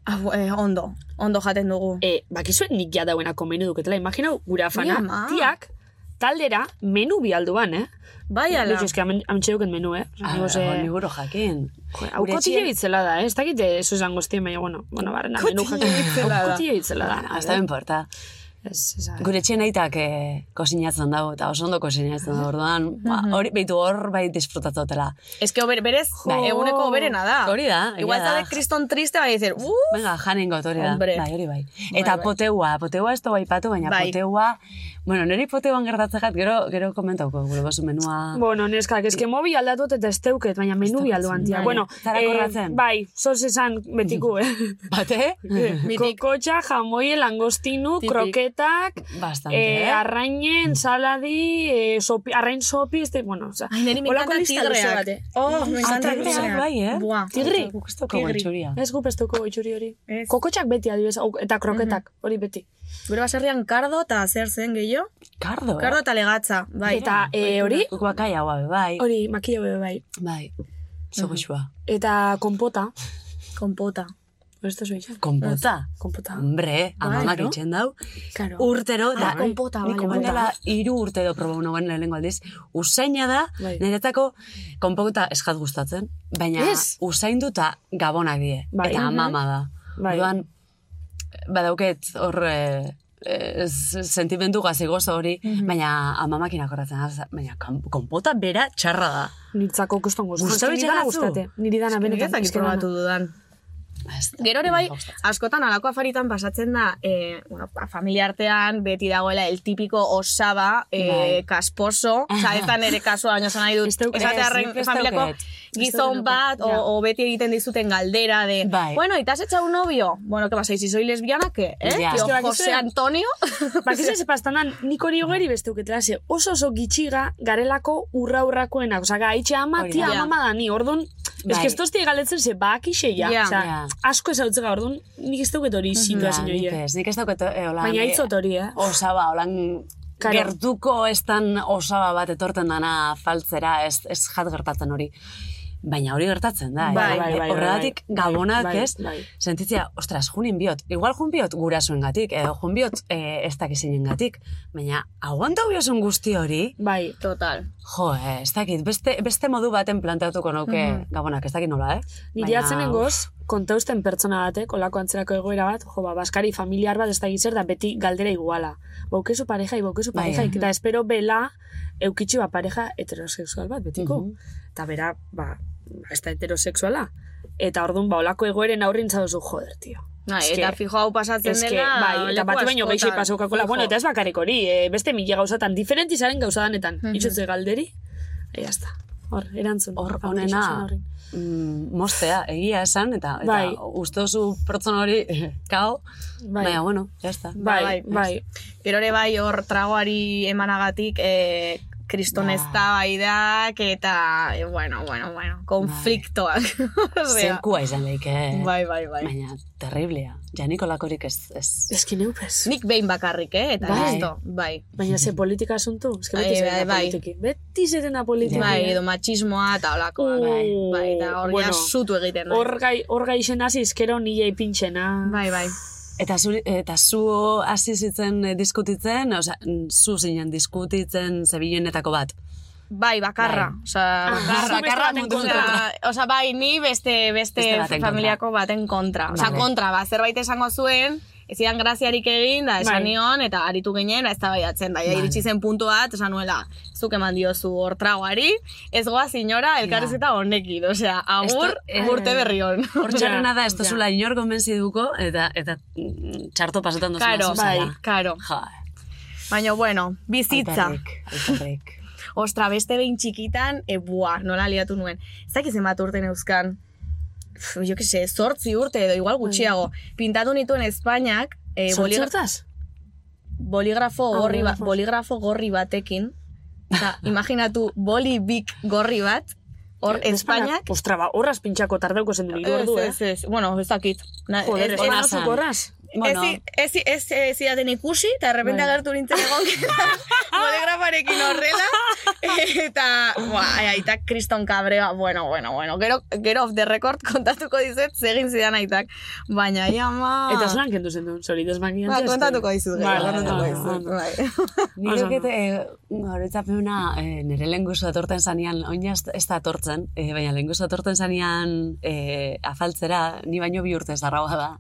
Speaker 2: Ah, bu- eh, ondo, ondo jaten dugu.
Speaker 7: Eh, bakizuen nik ja dauen menu duketela. Imaginau, gure afana,
Speaker 2: Mi ama.
Speaker 7: tiak, taldera menu bialdu ban, eh?
Speaker 2: Bai, ala.
Speaker 7: Bitu, eski, amintxe duken menu, eh? Osa, digo, ze-
Speaker 8: Niguro Ah, jakin.
Speaker 7: Hau
Speaker 8: Gure
Speaker 7: kotile
Speaker 8: etxean-
Speaker 7: bitzela da, eh? ez dakit eso esango goztien, baina, bueno, bueno, barren da, menu jakin.
Speaker 2: bitzela
Speaker 7: Hau
Speaker 2: da.
Speaker 7: kotile bitzela da. a
Speaker 8: Hasta
Speaker 7: ver.
Speaker 8: importa.
Speaker 7: Ez, ez, ez.
Speaker 8: Gure etxean aitak eh, kosinatzen dago, eta oso ondo kosinatzen dago, orduan, ba, hori beitu hor bai disfrutatzotela.
Speaker 2: Ez que ober, berez, ba,
Speaker 8: Bai.
Speaker 2: eguneko oberena da.
Speaker 8: Hori da, Ba-" egia
Speaker 2: Igual
Speaker 8: da.
Speaker 2: zade kriston triste, bai, dizer, uh,
Speaker 8: Venga, janen got, hori da.
Speaker 2: Hombre.
Speaker 8: Bai, hori bai. Eta
Speaker 2: bai.
Speaker 8: poteua, poteua ez dugu aipatu, baina
Speaker 2: Bai.
Speaker 8: poteua... Bueno, niri poteuan gertatzen jat, gero, gero komentauko, gure bozu menua...
Speaker 7: Bueno, neskak, eske mobi aldatuet eta esteuket, baina menu bialdu antia.
Speaker 8: Bai.
Speaker 7: Bueno,
Speaker 8: Zara korratzen.
Speaker 7: bai, zoz esan betiku, eh?
Speaker 8: Bate?
Speaker 7: Kokotxa, jamoi, langostinu,
Speaker 8: Tipik.
Speaker 7: kroketak,
Speaker 8: Bastante,
Speaker 7: eh,
Speaker 8: eh?
Speaker 2: Mm.
Speaker 7: arrainen, saladi, eh, sopi, arrain sopi, este, bueno, oza.
Speaker 2: Ai, niri me
Speaker 7: holako
Speaker 2: encanta
Speaker 7: lista luze
Speaker 2: tigreak.
Speaker 7: bat, eh.
Speaker 2: Oh, me encanta
Speaker 8: tigreak,
Speaker 2: tigreak.
Speaker 8: bai, eh?
Speaker 2: Buah.
Speaker 7: Tigri?
Speaker 8: Guk ez daukagu itxuria.
Speaker 7: Ez gu pestuko itxuri hori.
Speaker 2: Ez. Mhm.
Speaker 7: Kokotxak beti adibidez, hau- eta kroketak, hori beti.
Speaker 2: Gure baserrian kardo eta zer zen gehiago?
Speaker 8: Kardo, eh?
Speaker 2: Kardo eta legatza, bai.
Speaker 7: Eta eh, hori,
Speaker 8: Guk bakai haua, be, bai.
Speaker 7: hori makillo bebe bai.
Speaker 8: Bai. Zogoxua.
Speaker 7: Eta konpota.
Speaker 2: Konpota.
Speaker 7: Esto es bella.
Speaker 8: Konpota.
Speaker 7: Konpota.
Speaker 8: Hombre, amamak
Speaker 7: no?
Speaker 8: itxen dau.
Speaker 7: Claro.
Speaker 8: Urtero, da,
Speaker 7: Ah, konpota,
Speaker 8: nik
Speaker 7: bale,
Speaker 8: orain
Speaker 7: bale.
Speaker 8: dela hiru urte edo proba nuen lehenengo aldiz, usaina da,
Speaker 7: Bai.
Speaker 8: niretzako konpota eskat gustatzen, baina
Speaker 7: Ez?
Speaker 8: usainduta gabonak die,
Speaker 7: Bai.
Speaker 8: eta amama da.
Speaker 7: Bai.
Speaker 8: Orduan, badauket hor eh, eh, s- sentimendu gazigoz hori,
Speaker 7: Mhm.
Speaker 8: baina amamakin akorratzen, naiz, baina kon- konpota bera txarra da.
Speaker 7: Nitzako kuston goztu.
Speaker 8: Gusta
Speaker 7: Niri
Speaker 8: bitxan
Speaker 7: dana
Speaker 8: atzu?
Speaker 7: gustate. Niri dana
Speaker 2: Nik ez
Speaker 7: benetan.
Speaker 2: dakit
Speaker 7: eske dana.
Speaker 2: probatu dudan.
Speaker 8: Ez da-
Speaker 2: Gero ere bai,
Speaker 8: gustatzen.
Speaker 2: askotan alako afaritan pasatzen da, eh, bueno, pa- familia artean beti dagoela el típico osaba, eh,
Speaker 8: Bai.
Speaker 2: kasposo, oza, ez da nere kasua, baina esan nahi dut,
Speaker 8: Ez daukat,
Speaker 2: esate arren
Speaker 8: nik ez
Speaker 2: familiako
Speaker 8: daukat.
Speaker 2: gizon bat, o,
Speaker 7: ja.
Speaker 2: o beti egiten dizuten galdera de,
Speaker 8: Bai.
Speaker 2: bueno, ¿y te has echado un novio? Bueno, ¿qué pasa? ¿Y si soy lesbiana, qué? ¿Eh?
Speaker 8: Ya.
Speaker 2: Tío,
Speaker 7: Es que bakizu-
Speaker 2: José Antonio?
Speaker 7: Bakizu ez pastan dan, nik hori hogeri besteuketela, ze oso oso gitxiga garelako urra urrakoenak. Osa, gaitxe ama,
Speaker 8: Hori da.
Speaker 7: tia
Speaker 2: Ja.
Speaker 7: ama da ni, orduan, ez
Speaker 8: Bai.
Speaker 7: que ez tozti galetzen ze baki xeia.
Speaker 2: Ja.
Speaker 7: Osa,
Speaker 8: Ja.
Speaker 7: asko ez hau orduan, nik ez duket hori
Speaker 8: Ja,
Speaker 7: situazio
Speaker 8: nik
Speaker 7: hori.
Speaker 8: ez, nik ez daukat eh, holan,
Speaker 7: Baina
Speaker 8: eh,
Speaker 7: itzot hori, eh?
Speaker 8: osaba, holan
Speaker 7: Karo.
Speaker 8: gertuko estan osaba bat etorten dana faltzera, ez, ez jat gertatzen hori. Baina hori gertatzen da, eh?
Speaker 7: Bai, bai, bai, bai,
Speaker 8: horregatik
Speaker 7: bai.
Speaker 8: gabonak
Speaker 7: Bai,
Speaker 8: ez,
Speaker 7: bai.
Speaker 8: sentitzea, ostras, junin biot, igual jun biot gurasoen gatik, edo jun biot eh, ez dakizinen gatik, baina aguanta biozun guzti hori,
Speaker 7: Bai,
Speaker 2: Total.
Speaker 8: jo, eh, ez dakit, beste, beste modu baten planteatuko nuke gabonak, ez dakit nola, eh?
Speaker 7: Mhm. Nire
Speaker 8: Baina-
Speaker 7: atzenen goz, kontausten pertsona batek, olako antzerako egoera bat, jo, ba, baskari familiar bat ez da zer da beti galdera iguala. Baukezu pareja, baukezu
Speaker 8: Bai,
Speaker 7: pareja,
Speaker 8: eh.
Speaker 7: eta espero bela, eukitxu ba pareja heterosexual bat betiko. Eta bera, ba, ba, ez da heterosexuala. Eta orduan, ba, olako egoeren aurrin zadozu, joder, tio.
Speaker 2: Nahi,
Speaker 7: Eske-
Speaker 2: eta fijo hau pasatzen
Speaker 7: Eske,
Speaker 2: dela...
Speaker 7: bai, eta
Speaker 2: leku
Speaker 7: bat baino
Speaker 2: askotan.
Speaker 7: gehiago pasaukakola,
Speaker 2: Fijo.
Speaker 7: bueno, eta ez bakarrik hori, eh, beste mila gauzatan, diferentizaren gauzadenetan, mm galderi, eta jazta. Hor, erantzun.
Speaker 8: Hor,
Speaker 7: Aplikazio
Speaker 8: honena,
Speaker 7: horri.
Speaker 8: mm, mostea, egia esan, eta, eta
Speaker 7: Bai.
Speaker 8: uste duzu pertsona hori kao,
Speaker 7: Bai.
Speaker 8: baina, bueno, jazta.
Speaker 7: Bai,
Speaker 2: Bai,
Speaker 7: bai, bai.
Speaker 2: Gero ere bai hor tragoari emanagatik eh, kriston
Speaker 7: Ba.
Speaker 8: Bai.
Speaker 2: eztabaidak eta, eh, bueno, bueno, bueno,
Speaker 7: Bai.
Speaker 2: konfliktoak. Osea,
Speaker 8: Zenkua izan leike, eh?
Speaker 2: Bai, bai, bai.
Speaker 8: baina terriblea. Ja nikolakorik ez... ez.
Speaker 7: Ez ki neupez.
Speaker 2: Nik behin bakarrik, eh? Eta
Speaker 7: Bai.
Speaker 2: listo, bai.
Speaker 7: Baina ze politika asuntu. Ez que beti
Speaker 2: Ai,
Speaker 7: zerena
Speaker 2: bai, bai.
Speaker 7: politiki. Beti zerena politiki.
Speaker 2: Bai, edo machismoa eta olakoa, bai.
Speaker 7: Uh,
Speaker 2: Bai, eta hor
Speaker 7: bueno.
Speaker 2: ja zutu egiten. bai.
Speaker 7: Hor gai, hor gai izen hasi izkero nile ipintxena.
Speaker 2: Bai, bai.
Speaker 8: Eta zu, eta zu hasi zitzen eh, diskutitzen, oza, zu zinen diskutitzen zebilenetako bat.
Speaker 2: Bai, bakarra.
Speaker 8: Bai.
Speaker 2: Osa, bakarra,
Speaker 7: zu beste
Speaker 2: bakarra
Speaker 7: baten
Speaker 2: mundu
Speaker 7: kontra.
Speaker 2: kontra. Osa, bai, ni beste, beste,
Speaker 8: Beste baten
Speaker 2: familiako baten kontra. Osa,
Speaker 8: Vale.
Speaker 2: kontra, ba, zerbait esango zuen, ez zidan graziarik egin, da, esan
Speaker 7: Bai.
Speaker 2: nion, eta aritu ginen, ba, ez da baiatzen, da, ja,
Speaker 8: Vale.
Speaker 2: iritsi zen puntu bat, esan nuela, zuk eman diozu hor tragoari, ez goaz inora, elkarrezeta honekin, osea, agur,
Speaker 8: Esto- eh,
Speaker 2: urte berri hon.
Speaker 8: Hor txarrena da, ez
Speaker 7: Ja, ja.
Speaker 8: duzula inor konbentziduko, eta, eta mm, txarto pasetan duzula
Speaker 2: Karo, bai,
Speaker 8: zuzela.
Speaker 2: karo.
Speaker 8: Ja,
Speaker 2: Baina, bueno, bizitza.
Speaker 8: alperrik, alperrik.
Speaker 2: Ostra, beste behin txikitan, e, bua, nola liatu nuen. Ez dakit zenbat urte neuzkan, Pff, jo que se, zortzi urte edo igual gutxiago. Pintatu nituen Espainiak,
Speaker 7: Bai.
Speaker 2: e,
Speaker 7: Zortzi
Speaker 2: boligra-
Speaker 7: hortaz?
Speaker 2: boligrafo,
Speaker 7: Ah,
Speaker 2: gorri ba-
Speaker 7: boligrafo.
Speaker 2: boligrafo gorri batekin, eta imaginatu boli bik gorri bat, hor
Speaker 7: Eh,
Speaker 2: Espainiak,
Speaker 7: Espainiak- Ostra, ba, horraz pintxako tardeuko zen duen
Speaker 2: Ez,
Speaker 7: ordu, eh?
Speaker 2: ez, ez, bueno, ez dakit. Na,
Speaker 7: Joder,
Speaker 2: ez-
Speaker 7: ez
Speaker 2: ez-
Speaker 8: ona
Speaker 7: da
Speaker 8: zan.
Speaker 7: zuk horraz.
Speaker 8: Bueno,
Speaker 2: Ez, ez, ez, ez zidaten ikusi, eta errepente
Speaker 7: Bai.
Speaker 2: agertu nintzen egon bodegrafarekin horrela, eta, ba, aitak kriston kabrea, bueno, bueno, bueno, gero, gero off the record kontatuko dizet, zegin zidan aitak, baina, ia, ma...
Speaker 7: Eta zelan kendu zen duen, zori desmakinan.
Speaker 2: Ah. Ba, kontatuko dizut,
Speaker 7: Bai,
Speaker 2: gero, kontatuko
Speaker 7: bai,
Speaker 2: dizut,
Speaker 7: bai.
Speaker 2: bai.
Speaker 8: Nire
Speaker 7: Oso.
Speaker 8: kete, e, horretzapena, e, nire lenguzu atorten zanean, oina ez- ez da atortzen, e, baina lenguzu atorten zanean e, afaltzera, ni baino bi urte zarraua da.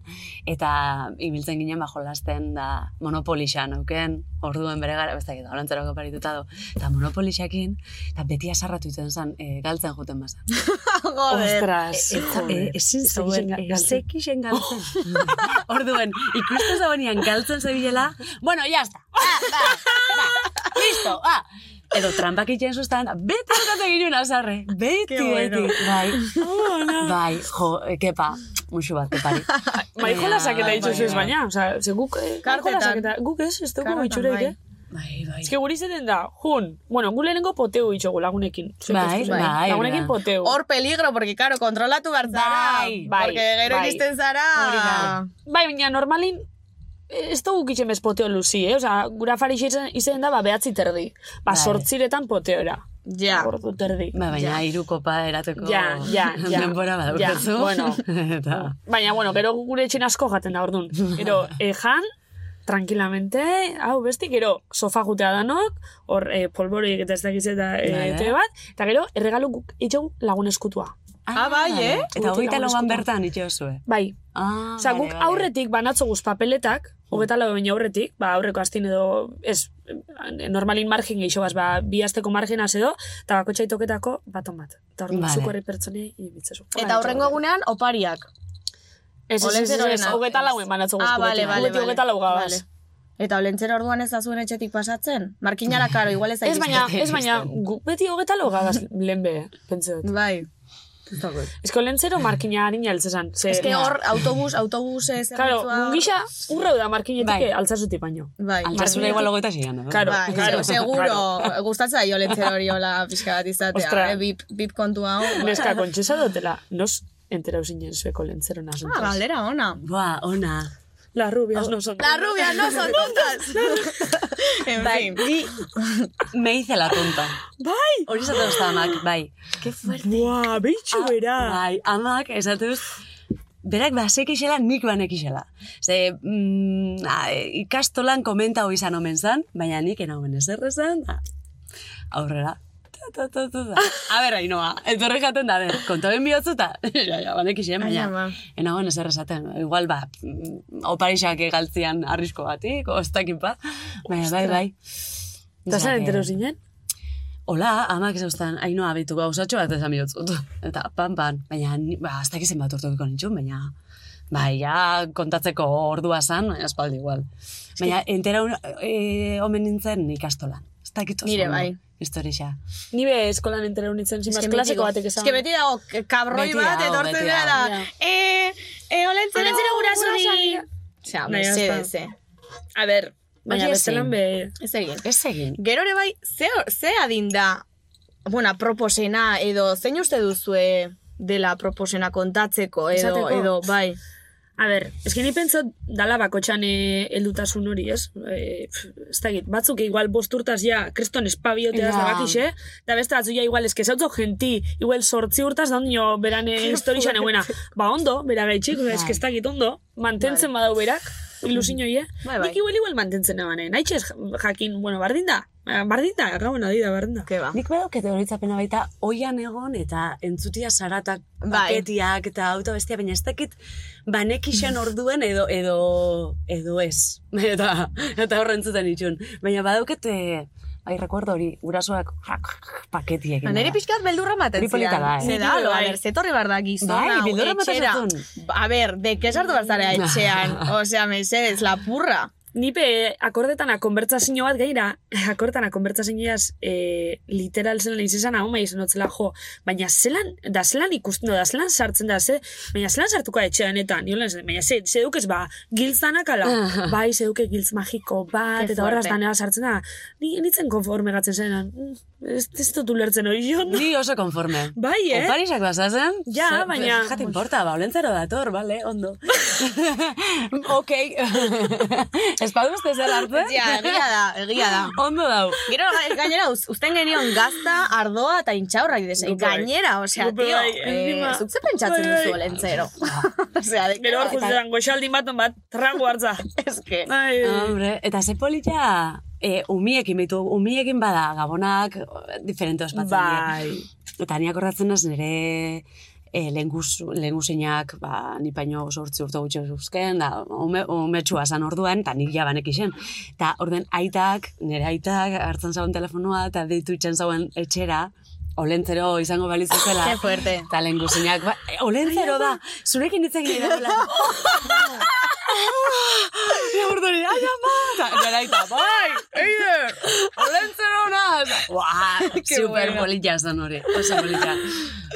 Speaker 8: Eta ibiltzen ginen bajo lasten da monopolixan, auken, orduen bere gara, bestak eta holantzerako parituta do, eta monopolixakin, eta beti asarratu iten zan, e, galtzen juten bazan.
Speaker 2: Joder.
Speaker 7: Ostras,
Speaker 8: E,
Speaker 2: eh,
Speaker 7: joder.
Speaker 8: ezin
Speaker 7: Ez
Speaker 8: zegoen,
Speaker 7: zekixen
Speaker 8: ez
Speaker 7: galtzen.
Speaker 8: zekixen galtzen. Orduen, ikusten zegoenian galtzen zebilela, bueno, jazta, ah, ba, ba, listo, ah. Edo trampak itxen sustan, beti bukatu ginen azarre, beti, beti, bai, bai, jo, kepa, musu bat, kepari.
Speaker 7: Marijolasak eta
Speaker 8: Baina-
Speaker 7: itxuzu ez baina, osea, ze guk, eh, marijolasak
Speaker 2: Bai, Kartetan.
Speaker 7: eta guk ez, ez dugu
Speaker 2: Kartetan,
Speaker 7: itxureik,
Speaker 2: bai.
Speaker 7: eh?
Speaker 8: Bai, bai.
Speaker 7: Ez que guri zeten da, jun, bueno, gu lehenengo poteu itxogu lagunekin. Zuek ez
Speaker 8: Bai,
Speaker 7: duzu.
Speaker 8: bai, bai.
Speaker 7: Lagunekin poteu.
Speaker 2: Hor peligro, porque, claro, kontrolatu behar zara.
Speaker 8: Bai,
Speaker 7: bai,
Speaker 2: porque gero
Speaker 7: bai.
Speaker 2: iristen zara...
Speaker 8: Hori da.
Speaker 7: Bai, baina normalin, eh, ez dugu kitxen bez poteo luzi, eh? Osa, gura fari izen, izen da, ba, behatzi terdi. Ba,
Speaker 8: Bai.
Speaker 7: sortziretan poteora.
Speaker 2: Ja.
Speaker 7: Ordu terdi.
Speaker 8: Ba, baina hiru kopa erateko
Speaker 7: Ja, ja, ja.
Speaker 8: denbora bat
Speaker 7: Ja,
Speaker 8: aurkezu.
Speaker 7: bueno.
Speaker 8: Eta,
Speaker 7: Baina, bueno, gero gure etxin asko jaten da, ordun. Gero, ejan, tranquilamente, hau besti, gero sofa jutea danok, hor eh, polborik eta ez dakiz eta
Speaker 8: Bai,
Speaker 7: eh,
Speaker 8: eh?
Speaker 7: te bat, eta gero erregalu guk itxegu lagun eskutua.
Speaker 2: Ah, bai, eh?
Speaker 8: Eta hogeita
Speaker 7: Lagun
Speaker 8: lauan
Speaker 7: eskutua.
Speaker 8: bertan itxozue.
Speaker 7: Bai,
Speaker 8: Ah,
Speaker 7: Osa,
Speaker 8: bale,
Speaker 7: guk
Speaker 8: bale.
Speaker 7: aurretik banatzo guz papeletak, hogeta lau baina aurretik, ba, aurreko astin edo, ez, normalin margen gehiago baz, ba, bi asteko margenaz edo, eta bako txaitoketako baton bat. Eta horren
Speaker 8: Vale.
Speaker 7: vale. zuko herri pertsonei ibitzezu.
Speaker 2: Eta horrengo egunean, opariak.
Speaker 7: Ez, ez, ez, ez,
Speaker 2: Olentzerorena.
Speaker 7: hogeta lauen banatzo guz.
Speaker 2: Ah, bale, bale,
Speaker 7: Beti
Speaker 2: bale.
Speaker 7: hogeta lau gabaz.
Speaker 2: Bale. Eta olentzera orduan ez da zuen etxetik pasatzen? Markinara karo, igual ez da
Speaker 7: Ez baina,
Speaker 8: Bai,
Speaker 7: ez baina, guk beti hogeta lau gabaz lehen be, pentsa dut.
Speaker 2: Bai.
Speaker 7: Ez que olentzero markina harina altzezan. Ze,
Speaker 2: Ez que hor autobus, autobus ez
Speaker 7: Claro, mungisa urreu da markinetik
Speaker 8: Bai.
Speaker 7: bai. altzazuti baino.
Speaker 2: Bai.
Speaker 8: Altasuna igual hogeita zian, no?
Speaker 7: Claro,
Speaker 2: Bai,
Speaker 7: claro,
Speaker 2: seguro. Gustatzen da jo lentzera hori hola pixka bat izatea.
Speaker 7: Ostra.
Speaker 2: Eh, bip, bip kontu hau.
Speaker 7: Neska, kontxesa dutela, nos enterau zinen zueko lentzero nasuntos.
Speaker 2: Ah, galdera Ah, ona.
Speaker 8: Ba, ona.
Speaker 7: Las rubias no son.
Speaker 2: Las rubias no son tontas. en fin.
Speaker 8: Bai, ni me hice la tonta. Bai! Hori esaten dut amak, bai. Ke fuerte.
Speaker 7: Buah, bitxu bera.
Speaker 8: Bai, amak esaten dut, berak basek isela, nik banek isela. Ze, mm, a, ikastolan komenta hoi izan omen zan, baina nik ena omen ezer esan, da. aurrera. Ta, ta, ta, ta, ta. A ber, hainoa, etorri jaten da, a ber, kontoren bihotzu eta, ja, ja, banek isen,
Speaker 2: Ai, ama.
Speaker 8: baina, ena omen ezer esaten, igual, ba, mm, oparixak galtzian arrisko batik, o ez dakit ba, baina, bai, bai.
Speaker 7: Eta zen
Speaker 8: Osea,
Speaker 7: entero zinen?
Speaker 8: Hola, amak ezauztan, hainoa abitu gauzatxo ba, bat esan bihotzut. Eta pan, pan, baina, ni- ba, ez dakizen bat urtokiko nintxun, baina, bai, ja, kontatzeko ordua zan, espaldi igual. Baina, entera un- e, omen nintzen ikastolan. Ez dakit oso
Speaker 2: Nire
Speaker 8: ondo,
Speaker 2: bai.
Speaker 8: Historixa.
Speaker 7: Ni be eskolan entero nintzen,
Speaker 2: Es
Speaker 7: zimaz,
Speaker 2: que
Speaker 7: klaseko
Speaker 2: beti-
Speaker 7: batek esan.
Speaker 2: Es que beti dago k- kabroi
Speaker 8: Beti
Speaker 2: bat
Speaker 8: dago,
Speaker 2: etortzen
Speaker 8: beti
Speaker 2: dela.
Speaker 8: dago.
Speaker 2: da, Eh, eh, olentzera, olentzera gurasuri. Osea,
Speaker 7: Nahi,
Speaker 2: mesedez, eh. A ber,
Speaker 7: Baina
Speaker 8: Hori
Speaker 7: bestelan
Speaker 8: ezin.
Speaker 7: be...
Speaker 2: ez egin.
Speaker 8: Ez egin.
Speaker 2: Gero ere bai, ze, ze adin da, bueno, proposena edo, zein uste duzue dela proposena kontatzeko edo,
Speaker 7: Esateko?
Speaker 2: edo, bai.
Speaker 7: A ber, eski ni pentsot dala bakotxan eh, heldutasun hori, ez? E, pf, ez dakit, batzuk igual bosturtaz ja, kriston espabioteaz eh?
Speaker 8: Ja.
Speaker 7: da bakixe, eta beste batzu ja igual eske zautzok genti, igual sortzi urtaz da ondino beran eh, historixan eguena. Ba ondo, bera gaitxik, eske ez dakit ondo, mantentzen badau berak, ilusiñoie.
Speaker 2: Bai, bai.
Speaker 7: Nik igual igual mantentzen ebanen, haitxez jakin, bueno, bardin da, Eh, bardin da, gauen adi da, bardin da.
Speaker 2: Ke ba.
Speaker 8: Nik bai badauket horitzapena baita oian egon eta entzutia saratak,
Speaker 2: Bai.
Speaker 8: paketiak eta autobestia, baina ez dakit banek isen orduen edo, edo, edo ez. Eta, eta horren zuten itxun. Baina badauket, e, bai, rekuerdo hori, gurasoak paketiek.
Speaker 2: Ba, Nere pixkat beldurra maten
Speaker 8: Hori polita da, eh?
Speaker 2: Ze da, lo, a ber, ze torri behar da gizona,
Speaker 8: Bai, beldurra ematen
Speaker 2: etxera.
Speaker 8: zaitun.
Speaker 2: A ber, de kesartu behar zara etxean. Osea, mesedez, lapurra.
Speaker 7: Nipe akordetana konbertsazio bat gaira, akordetana konbertsazioaz e, literal zelan nahiz izan hau maiz notzela jo, baina zelan, da zelan ikusten da, da zelan sartzen da, ze, baina zelan sartuko da etxean eta, niolan zen, baina ze, ze dukez ba, giltzanak ala, bai, ze duke giltz magiko bat,
Speaker 2: Ke
Speaker 7: eta horraz
Speaker 2: fuerte.
Speaker 7: danera sartzen da, ni, nitzen konforme gatzen zenan, "Mm, ez, ez dut ulertzen hori jo,
Speaker 8: Ni oso konforme.
Speaker 7: bai, eh?
Speaker 8: Oparisak bazazen?
Speaker 7: Ja,
Speaker 8: ze-
Speaker 7: baina-
Speaker 8: Jate importa, baulentzaro dator, bale, ondo. ok. ez badu beste zer hartzen?
Speaker 2: Ja, egia da, egia da.
Speaker 8: Ondo dau.
Speaker 2: Gero, ga- gainera, uz- uzten genion gazta, ardoa eta intxaurra idez.
Speaker 7: Gupe bai.
Speaker 2: Gainera, osea,
Speaker 7: Gupe
Speaker 2: tio,
Speaker 7: bai,
Speaker 2: eh,
Speaker 7: encima.
Speaker 2: zuk ze pentsatzen
Speaker 7: Bai, bai.
Speaker 2: duzu olentzero. osea, de bai.
Speaker 8: bai,
Speaker 7: Gero hor justetan, goxaldin bat, on bat, trago hartza.
Speaker 2: Eske.
Speaker 7: Ai,
Speaker 8: Hombre, eta ze polita e, umiekin, beitu, umiekin bada, gabonak eh, diferente ospatzen
Speaker 7: Bai.
Speaker 8: dira. Eta ni akordatzen az nire e, lenguzinak, ba, ni paino sortzi urte gutxi zuzken, da, ume, umetxua zan orduan, eta nik jabanek isen. Eta orden aitak, nire aitak, hartzen zauen telefonua, eta deitu itxen zauen etxera, olentzero izango balitzezela.
Speaker 2: Ke fuerte.
Speaker 8: Eta lenguzinak, ba, e, olentzero da, zurekin hitz egin dela. Eta urduri, ai ama! Eta gara eta, bai, eide, olentzero naz! Ua, super polita zen hori, oso polita.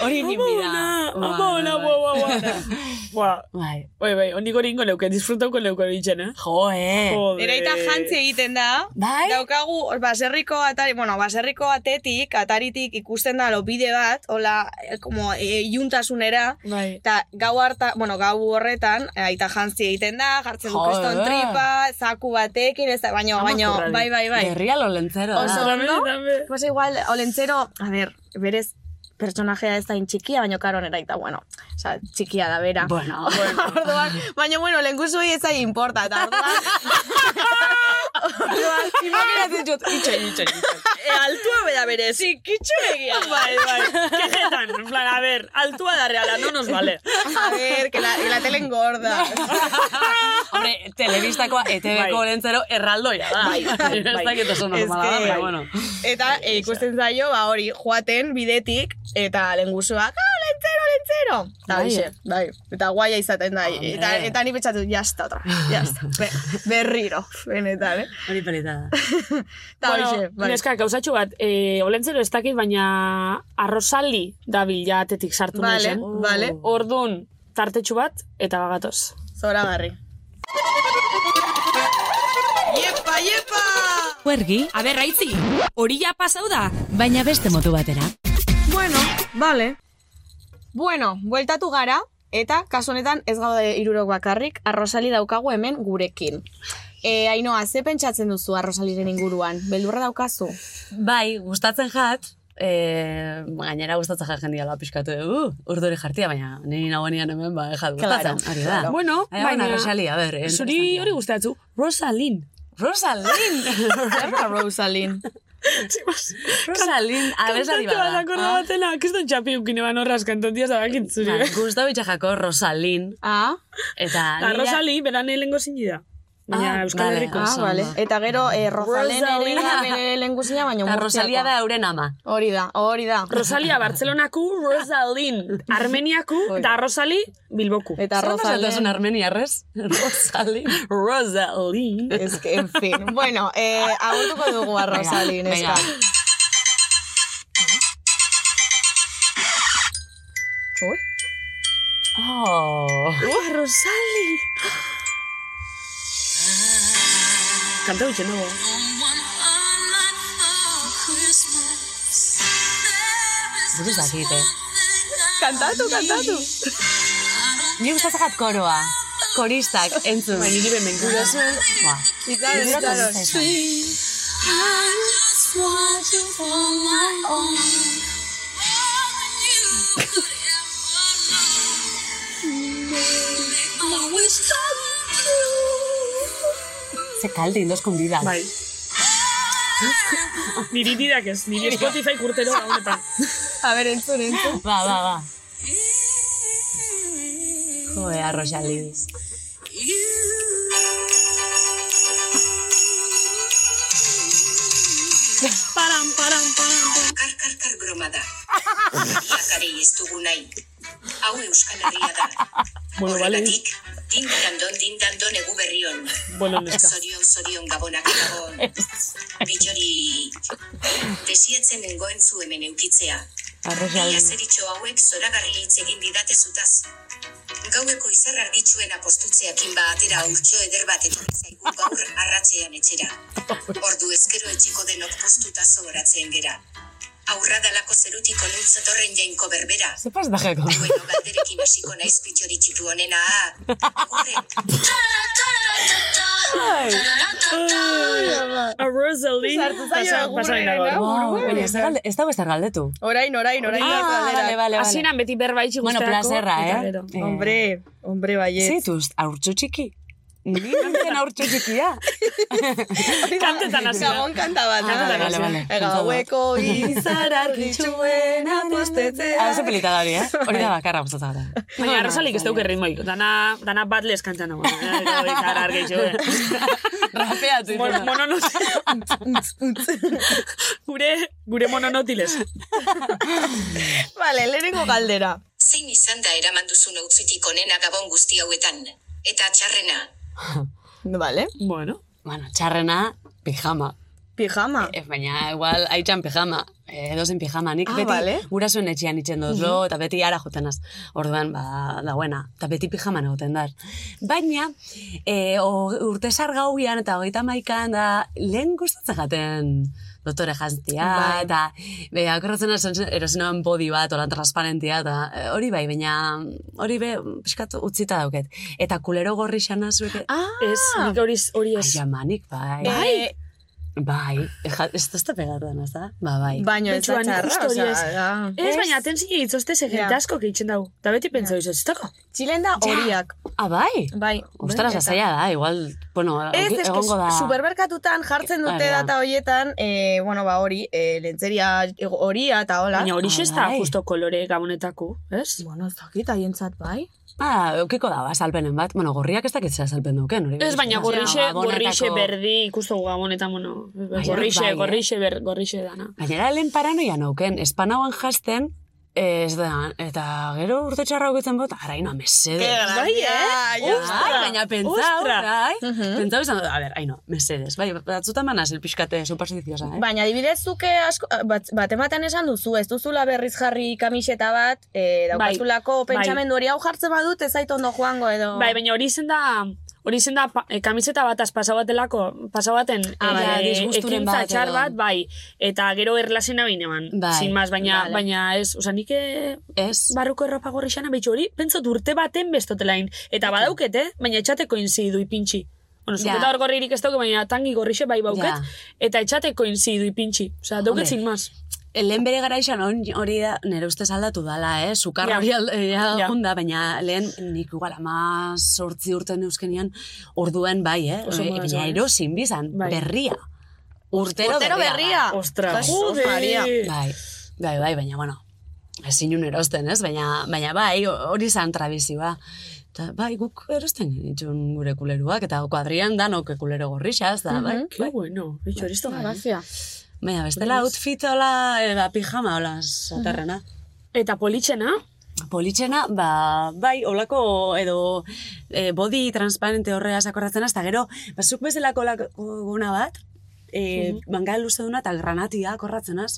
Speaker 8: Hori ni bida. Ua,
Speaker 7: Ama ona,
Speaker 8: bai,
Speaker 7: bua, bua,
Speaker 8: bai.
Speaker 7: bua. Bua,
Speaker 8: Bai,
Speaker 7: Bai, bai, onik hori ingo leuke, disfrutauko leuke hori itxen, eh?
Speaker 8: jo, eh.
Speaker 7: Joder.
Speaker 2: Nire aita jantzi egiten da.
Speaker 8: Bai?
Speaker 2: Daukagu, hor, baserriko atari, bueno, baserriko atetik, ataritik ikusten da lo bide bat, hola, eh, como eh, iuntasunera.
Speaker 7: Bai.
Speaker 2: Eta gau harta, bueno, gau horretan, eh, aita jantzi egiten da, jartzen du
Speaker 8: Joder.
Speaker 2: kriston tripa, zaku batekin, ez da, baino, baino,
Speaker 7: kurrari.
Speaker 2: bai, bai, bai.
Speaker 8: Herrial olentzero da.
Speaker 2: Oso
Speaker 7: Dame,
Speaker 2: ondo.
Speaker 7: dame.
Speaker 2: Pues igual, olentzero, a ber, berez, pertsonajea ez da intxikia, baino karo nera eta, bueno, oza, txikia da bera.
Speaker 8: Bueno,
Speaker 2: Orduan, baina, bueno, lehen guzui ez da importa, eta orduan... orduan, imaginatzen jut, itxo, itxo, itxo. E, altua bera bere, zikitxo egia.
Speaker 7: Bai, bai. Kejetan, en plan, a ver, altua da reala, no nos vale.
Speaker 2: A ver, que la, que la tele engorda.
Speaker 8: hombre, telebistakoa
Speaker 7: Bai.
Speaker 8: E ETV-ko olentzero erraldoia da.
Speaker 7: Bai, bai,
Speaker 8: Ez
Speaker 7: bai.
Speaker 8: dakit oso normala da,
Speaker 2: Eske-
Speaker 8: baina, bueno.
Speaker 2: Eta e, ikusten zaio, ba hori, joaten bidetik, eta lengusuak, ah, lentzero, lentzero! Eta
Speaker 8: Bai,
Speaker 2: hoxe,
Speaker 8: eh?
Speaker 2: bai, eta guaia izaten da,
Speaker 8: Hombre.
Speaker 2: eta, eta ni pentsatu, jazta, otra, vez, jazta, Be, berriro, benetan, eh?
Speaker 8: Hori polita da.
Speaker 2: Eta hoxe,
Speaker 7: bueno,
Speaker 2: bai.
Speaker 7: neska, gauzatxo bat, e, olentzero ez dakit, baina arrozali da bilatetik sartu nahi
Speaker 2: Vale,
Speaker 7: zen.
Speaker 2: vale,
Speaker 7: Orduan, tartetxu bat, eta bagatoz.
Speaker 2: zora garri. Iepa, iepa!
Speaker 6: Huergi. Aber, raitzi. Hori ja pasau da, baina beste motu batera.
Speaker 2: Bueno, vale. Bueno, bueltatu gara, Eta, kasu honetan, ez gaude irurok bakarrik, arrosali daukagu hemen gurekin. E, Ainoa, ze pentsatzen duzu arrosaliren inguruan? Beldurra daukazu?
Speaker 8: Bai, gustatzen jat, e, gainera gustatzen jat jendiala pixkatu, uh, urdore jartia, baina niri nagoenean hemen, ba, jat gustatzen,
Speaker 2: Claro,
Speaker 8: hori da.
Speaker 2: claro.
Speaker 7: Bueno,
Speaker 8: Baina, baina,
Speaker 7: baina-
Speaker 8: Rosali, a
Speaker 2: eh,
Speaker 8: eh, ber,
Speaker 7: Zuri hori gustatzu, Rosalín.
Speaker 8: Rosalín!
Speaker 2: Zerta Rosalín.
Speaker 8: Rosalín,
Speaker 7: Kantante
Speaker 8: abesari
Speaker 7: bat
Speaker 8: bada.
Speaker 7: akorda
Speaker 2: Ah.
Speaker 7: batena, kiston txapi ukin eban horraz kantontia zabakit zuri.
Speaker 8: Ba, Gustavo Itxajako Rosalín,
Speaker 2: Ah,
Speaker 8: eta...
Speaker 7: La Rosali, beran lehengo zinida. Baina
Speaker 8: Ah,
Speaker 7: Euskal
Speaker 8: vale.
Speaker 7: Herriko.
Speaker 2: ah
Speaker 8: oso
Speaker 2: vale.
Speaker 8: ondo.
Speaker 2: Eta gero, eh, Rosalén ere
Speaker 7: Rosalía.
Speaker 2: da bere lenguzina, baina
Speaker 8: Eta
Speaker 2: Murtziakoa.
Speaker 8: Rosalia da euren ama.
Speaker 2: Hori da, hori da.
Speaker 7: Rosalia Bartzelonaku, Rosalín Armeniaku, eta Rosali Bilboku.
Speaker 2: Eta
Speaker 8: Zer pasatasun
Speaker 2: Rosalén...
Speaker 8: armeniarrez? Rosalín.
Speaker 7: Rosalín.
Speaker 2: Es que, en fin. Bueno, eh, agurtuko dugu a Rosalín,
Speaker 8: venga.
Speaker 2: eska. Ui.
Speaker 8: Oh.
Speaker 7: Oh, Rosali! Kanta dutxe nago.
Speaker 8: Buruz dakit, eh?
Speaker 2: Kantatu, kantatu.
Speaker 8: Ni gustatzen jat koroa. Koristak, entzun.
Speaker 2: Bai,
Speaker 8: Ba, niri bemen gurasen. Ba,
Speaker 2: Itzaron, itzaron.
Speaker 8: Ze kalde indoz konbida.
Speaker 7: Bai. Niri didak ez, niri Spotify kurtero gaunetan.
Speaker 2: A ver, entzun, entzun.
Speaker 8: Ba, ba, ba. Joe, arroxali.
Speaker 7: Param, param, param. param.
Speaker 9: Karkarkar broma da. Bakarei ez dugu nahi. Hau Euskal Herria da.
Speaker 7: Bueno, bale,
Speaker 9: Horregatik, din dandon, din dandon egu berri hon.
Speaker 7: bueno, neska.
Speaker 9: Zorion, zorion gabonak gabon. Bitxori, desietzen nengoen zu hemen eukitzea. Ia
Speaker 8: Arroxali.
Speaker 9: zeritxo hauek zoragarri hitz egin didate zutaz. Gaueko izar argitsuen apostutzeakin ba atera urtxo eder bat etorri zaigu gaur arratxean etxera. Ordu ezkero etxiko denok postuta zoratzen gera. Aurra dalako zerutik onun zetorren jainko berbera.
Speaker 8: Ze pas dajako?
Speaker 9: Bueno, galderekin hasiko naiz pitxori txitu honena. ah. Gure,
Speaker 7: A Rosalie.
Speaker 2: Sartu zaio
Speaker 7: Pasain
Speaker 2: egurrera,
Speaker 7: dago.
Speaker 8: Wow,
Speaker 2: Buruan,
Speaker 8: baina ez da galde- ez dago ez da galdetu.
Speaker 2: Orain, orain, orain.
Speaker 8: Ah,
Speaker 2: galdera.
Speaker 8: vale, vale, vale.
Speaker 7: Hasieran beti berba itxi
Speaker 8: Bueno,
Speaker 7: guztiako,
Speaker 8: plazerra,
Speaker 7: eta
Speaker 8: eh?
Speaker 7: gero.
Speaker 8: Eh,
Speaker 2: Hombre, hombre, baiet.
Speaker 8: Zituz, aurtsu txiki. Ni nintzen aurtsu txikia.
Speaker 7: Kantetan hasi da.
Speaker 2: Gabon kanta bat.
Speaker 8: Ah, vale, vale, vale.
Speaker 2: Eh, Gaueko izar argitsuen apostetzea.
Speaker 8: Ah, ze pelita da hori, eh? Hori da bakarra gustatzen gara.
Speaker 7: Baina Rosalik ez dauk erritmoik. Dana, dana bat lez kantzen dago. Zara
Speaker 8: Rapeatu.
Speaker 7: Mon- mononot... gure, gure mononotiles.
Speaker 2: Vale, lehenengo galdera.
Speaker 9: zein izan da eraman duzun outfitik onena gabon guzti hauetan. Eta txarrena,
Speaker 2: Vale.
Speaker 7: Bueno.
Speaker 8: Bueno, txarrena, pijama.
Speaker 2: Pijama.
Speaker 8: Ez, baina, igual, haitxan pijama. Eh, Edozen pijama. Nik
Speaker 2: Ah,
Speaker 8: beti
Speaker 2: bale.
Speaker 8: gurasoen etxean itxen dozlo, eta beti ara jotenaz. Orduan, ba, dagoena. Eta beti pijama nagoten dar. Baina, e, o, urte sargauian eta hogeita maikan da, lehen gustatzen jaten dotore jantzia,
Speaker 2: Bai.
Speaker 8: eta be, akorratzen erosenoan bodi bat, holan transparentia, eta eh, hori bai, baina hori be, pixkat utzita dauket. Eta kulero gorri xana zuek,
Speaker 2: Ah,
Speaker 7: Ez, nik hori hori ez.
Speaker 8: jamanik, bai.
Speaker 2: bai.
Speaker 8: Bai, ja, ez da ez pegatzen, ez da? Ba, bai.
Speaker 2: Baina ez da
Speaker 7: Betxuan
Speaker 2: txarra,
Speaker 7: historia
Speaker 2: osea,
Speaker 7: ez.
Speaker 2: da.
Speaker 7: Ez, baina aten zine itzoste ze
Speaker 2: Ja.
Speaker 7: jente asko keitzen dago. Da beti pentsa yeah. ez dago.
Speaker 2: Txilen da horiak.
Speaker 8: Ah, bai?
Speaker 2: Bai.
Speaker 8: Ostras, azaia da, igual, bueno,
Speaker 2: Ez,
Speaker 8: egongo
Speaker 2: ez, que
Speaker 8: da.
Speaker 2: supermerkatutan jartzen dute
Speaker 8: Hori da.
Speaker 2: data horietan, eh, bueno, ba, hori, eh, lentzeria ego- horia eta hola.
Speaker 7: Baina hori
Speaker 8: Ah,
Speaker 7: ez da
Speaker 8: bai.
Speaker 7: justo kolore gabonetako, ez?
Speaker 2: Bueno, ez dakit, haientzat bai.
Speaker 8: Ah, eukiko da, ba, salpenen bat. Bueno, gorriak ez dakit zera salpen duken, hori. ba,
Speaker 7: Ez, baina gorrixe,
Speaker 8: Ja,
Speaker 7: gorrixe
Speaker 8: gabonetako-
Speaker 7: berdi ikustu gabonetan, bueno,
Speaker 8: bai,
Speaker 7: gorrixe,
Speaker 8: eh?
Speaker 7: gorrixe, ber, gorrixe dana.
Speaker 8: Gainera, lehen paranoia nauken, espanauan jasten, ez da, eta gero urte txarra aukitzen bot, araino, mesedes.
Speaker 2: Bai, eh?
Speaker 8: Bai, baina pentsau,
Speaker 7: Ostra!
Speaker 8: bai. Pentsau izan, dut, a ber, aino, mesedes. Bai, batzutan manaz, el pixkate, superstiziosa,
Speaker 7: Ba-
Speaker 8: eh?
Speaker 2: Baina adibidez zuke asko, ah, bat, bat ematen esan duzu, ez duzula berriz jarri kamiseta bat, e, daukazulako
Speaker 7: Bai, bai.
Speaker 2: pentsamendu hori hau jartzen badut, ez zait ondo joango edo...
Speaker 7: Bai, baina Bai, hori zen da Hori zen da, pa, e, kamiseta bataz pasa batelako, pasa baten
Speaker 8: Ah,
Speaker 7: e,
Speaker 8: bai,
Speaker 7: e,
Speaker 8: disgusturen
Speaker 7: ekintza
Speaker 8: bat edo.
Speaker 7: txar bat, bai, eta gero erlazina bain eman.
Speaker 8: Bai,
Speaker 7: Sin más, baina,
Speaker 8: vale.
Speaker 7: baina ez, oza, nik eh,
Speaker 8: Ez?
Speaker 7: barruko erropa gorri xana, behitxo hori, pentsot urte baten bestotelain. Eta badauket, eh? baina etxateko inzidu ipintxi. Bueno,
Speaker 8: Ja.
Speaker 7: zuketa hor gorririk ez dauke, baina tangi gorrixe bai bauket,
Speaker 8: Ja.
Speaker 7: eta etxateko inzidu ipintxi. Osa, dauket
Speaker 8: Hombre.
Speaker 7: sin más.
Speaker 8: Lehen bere garaixan on- hori da, nire ustez aldatu dala, eh? Sukar
Speaker 7: Ja.
Speaker 8: hori ald- eh,
Speaker 7: Ja.
Speaker 8: jonda, baina lehen nik igual ama sortzi urten euskenian orduen bai, eh?
Speaker 7: Oso
Speaker 8: E,
Speaker 7: modan,
Speaker 8: Baina
Speaker 7: eh?
Speaker 8: erosin bizan,
Speaker 7: Bai.
Speaker 8: berria. Urtero,
Speaker 2: Urtero berria. Ah,
Speaker 7: Ostras,
Speaker 2: Jesus Maria.
Speaker 8: bai. Bai, bai, bai, baina, bueno, ezin nun erosten, ez? Baina, baina bai, hori zan trabizioa. Eta, bai, guk erosten genitxun gure kuleruak, eta kuadrian danok kulero gorrixaz, da, bai.
Speaker 7: Ke bueno, behitxo hori ez da bai. gai.
Speaker 2: Grazia.
Speaker 8: Baina, bestela outfit hola, e, ba, pijama hola, zatarrena.
Speaker 7: Eta politxena,
Speaker 8: Politxena, ba, bai, olako edo e, body transparente horrea sakorratzen hasta gero, bazuk bezalako olako guna bat, e, bangal luze duna eta granatia korratzen az,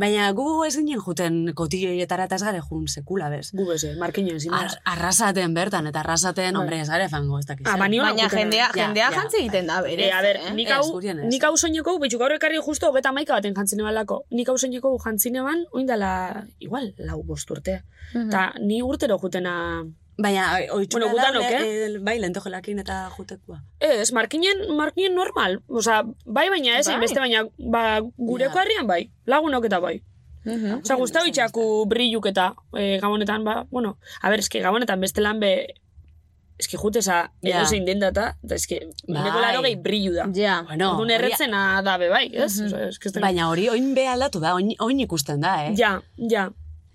Speaker 8: baina gu ez ginen juten kotiloietara eta ez gare jun sekula bez.
Speaker 7: gu beze, markinen, sin más.
Speaker 8: Ar, arrasaten bertan, eta arrasaten,
Speaker 7: Bai.
Speaker 8: hombre, ez gare fango, ez dakiz.
Speaker 7: Ah, ba, ni hola
Speaker 2: Baina
Speaker 7: gukena.
Speaker 2: jendea,
Speaker 8: Ja,
Speaker 2: jendea
Speaker 8: ja.
Speaker 2: jantzi egiten da, berez.
Speaker 7: E, a ber,
Speaker 2: eh?
Speaker 7: nik
Speaker 8: Ez,
Speaker 7: hau,
Speaker 8: gurien ez.
Speaker 7: nik hau soineko, betxu gaur ekarri justu hogeta maika baten jantzine balako. Nik hau soineko jantzine ban, oindala, igual, lau bost urte.
Speaker 2: Mhm.
Speaker 7: Ta, ni urtero jutena...
Speaker 8: Baina, oitxura
Speaker 7: Bueno, gutanok,
Speaker 8: da,
Speaker 7: eh?
Speaker 8: le- e, bai, lentojelakin eta jutekua.
Speaker 7: Ez, markinen, markinen normal. Osa, bai baina ez,
Speaker 2: Bai.
Speaker 7: beste baina, ba, gureko
Speaker 8: Ja.
Speaker 7: herrian bai, lagunok eta bai.
Speaker 2: Mhm.
Speaker 7: Osa, guztau itxaku brilluk eta e, gabonetan, ba, bueno, a ber, eski gabonetan beste lan be, eski juteza,
Speaker 8: Ja.
Speaker 7: yeah. edozein dendata, eta eski,
Speaker 8: Bai.
Speaker 7: bai. laro gehi brillu da.
Speaker 2: Ja.
Speaker 8: Bueno,
Speaker 7: Orduan
Speaker 8: hori-
Speaker 7: erretzena da be bai, ez?
Speaker 2: Mhm.
Speaker 7: Mm
Speaker 8: baina hori oin be aldatu da, oin, oin ikusten da, eh?
Speaker 7: Ja, ja.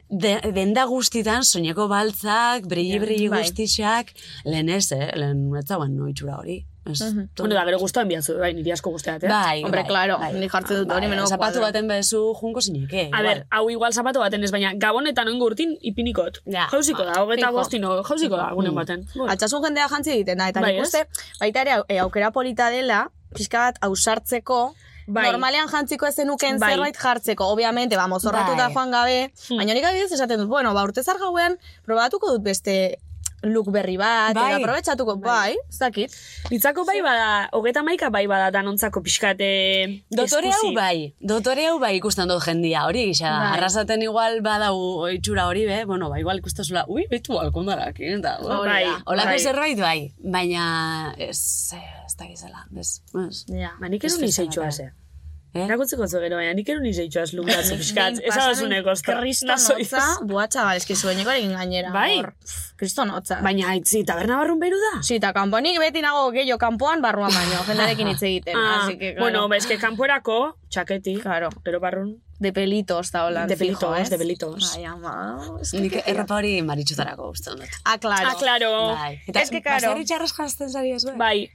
Speaker 8: De, denda guztitan, soineko baltzak, brilli brilli
Speaker 2: bai.
Speaker 8: guztixak, lehen ez, eh? Lehen ez dagoen no itxura hori. Ez,
Speaker 7: Bueno, da, gero guztua enbiatzu, bai, niri asko guztiat, eh?
Speaker 8: Bai,
Speaker 2: Hombre,
Speaker 8: bai,
Speaker 2: claro,
Speaker 8: bai.
Speaker 2: nik jartzen dut hori
Speaker 8: Bai,
Speaker 2: menoko
Speaker 8: Zapatu
Speaker 2: kuadro.
Speaker 8: baten bezu junko zineke.
Speaker 7: A ber, hau igual zapatu baten ez, baina gabonetan oingo urtin ipinikot.
Speaker 8: Ja.
Speaker 7: Jauziko da, hogeta
Speaker 2: Fijo.
Speaker 7: bostino, jauziko da, gunen baten. Bueno,
Speaker 2: Altsasun jendea jantzi egiten da, eta
Speaker 7: Bai,
Speaker 2: nik
Speaker 7: ez?
Speaker 2: uste, baita ere au- e, aukera polita dela, pixka bat ausartzeko,
Speaker 7: Bai.
Speaker 2: normalean jantziko ez zenuken
Speaker 7: Bai. Hmm.
Speaker 2: zerbait jartzeko, obviamente, ba, mozorratuta
Speaker 8: Bai.
Speaker 2: joan gabe, baina nik adibidez esaten dut, bueno, ba, urtezar gauean, probatuko dut beste look berri bat,
Speaker 8: Bai.
Speaker 2: edo aprobetsatuko, bai, ez dakit.
Speaker 7: Nitzako bai bada, hogeta maika bai bada danontzako pixkate...
Speaker 8: Dotore hau bai, dotore hau bai ikusten dut jendia, hori gisa da.
Speaker 2: Bai.
Speaker 8: Arrasaten igual badau itxura hori, be, bueno, ba, igual ikustazula, ui, betu alkondarak, eta, bueno,
Speaker 7: Bai,
Speaker 8: Olako
Speaker 7: bai.
Speaker 8: zerbait bai, baina ez, eh, ez da gizela, ez, ez.
Speaker 2: Ja.
Speaker 7: Ba, nik erun
Speaker 8: Ez
Speaker 7: izaitxoa
Speaker 8: bezala
Speaker 7: ze.
Speaker 8: Eh?
Speaker 7: Erakutziko zu gero, baina nik erun izaitxoa ez lugatzu pixkat. Ez adosuneko, ez da.
Speaker 2: Kriston hotza, buatxa, ba, eski zuenikoarekin gainera.
Speaker 7: Bai.
Speaker 2: hor. Pff, Kriston hotza.
Speaker 7: Baina, haitzi, taberna barrun beru da?
Speaker 2: Sí, eta kanponik beti nago gehiago kanpoan barruan baino, jendarekin hitz egiten.
Speaker 7: Ah,
Speaker 2: así que, claro.
Speaker 7: bueno, ba, eske kanporako, txaketi,
Speaker 2: Claro.
Speaker 7: gero barrun,
Speaker 2: De pelitos, eta holan.
Speaker 7: De pelitos,
Speaker 2: fijo, ez?
Speaker 7: de pelitos.
Speaker 2: Ai, ama. es que-
Speaker 8: Nik erropa hori maritxutarako gusten dut.
Speaker 2: Ah, claro.
Speaker 7: Ah, claro.
Speaker 8: Bai. Eta,
Speaker 2: Es que, claro.
Speaker 8: baserri txarras jazten zari ez, bai?
Speaker 7: Bai.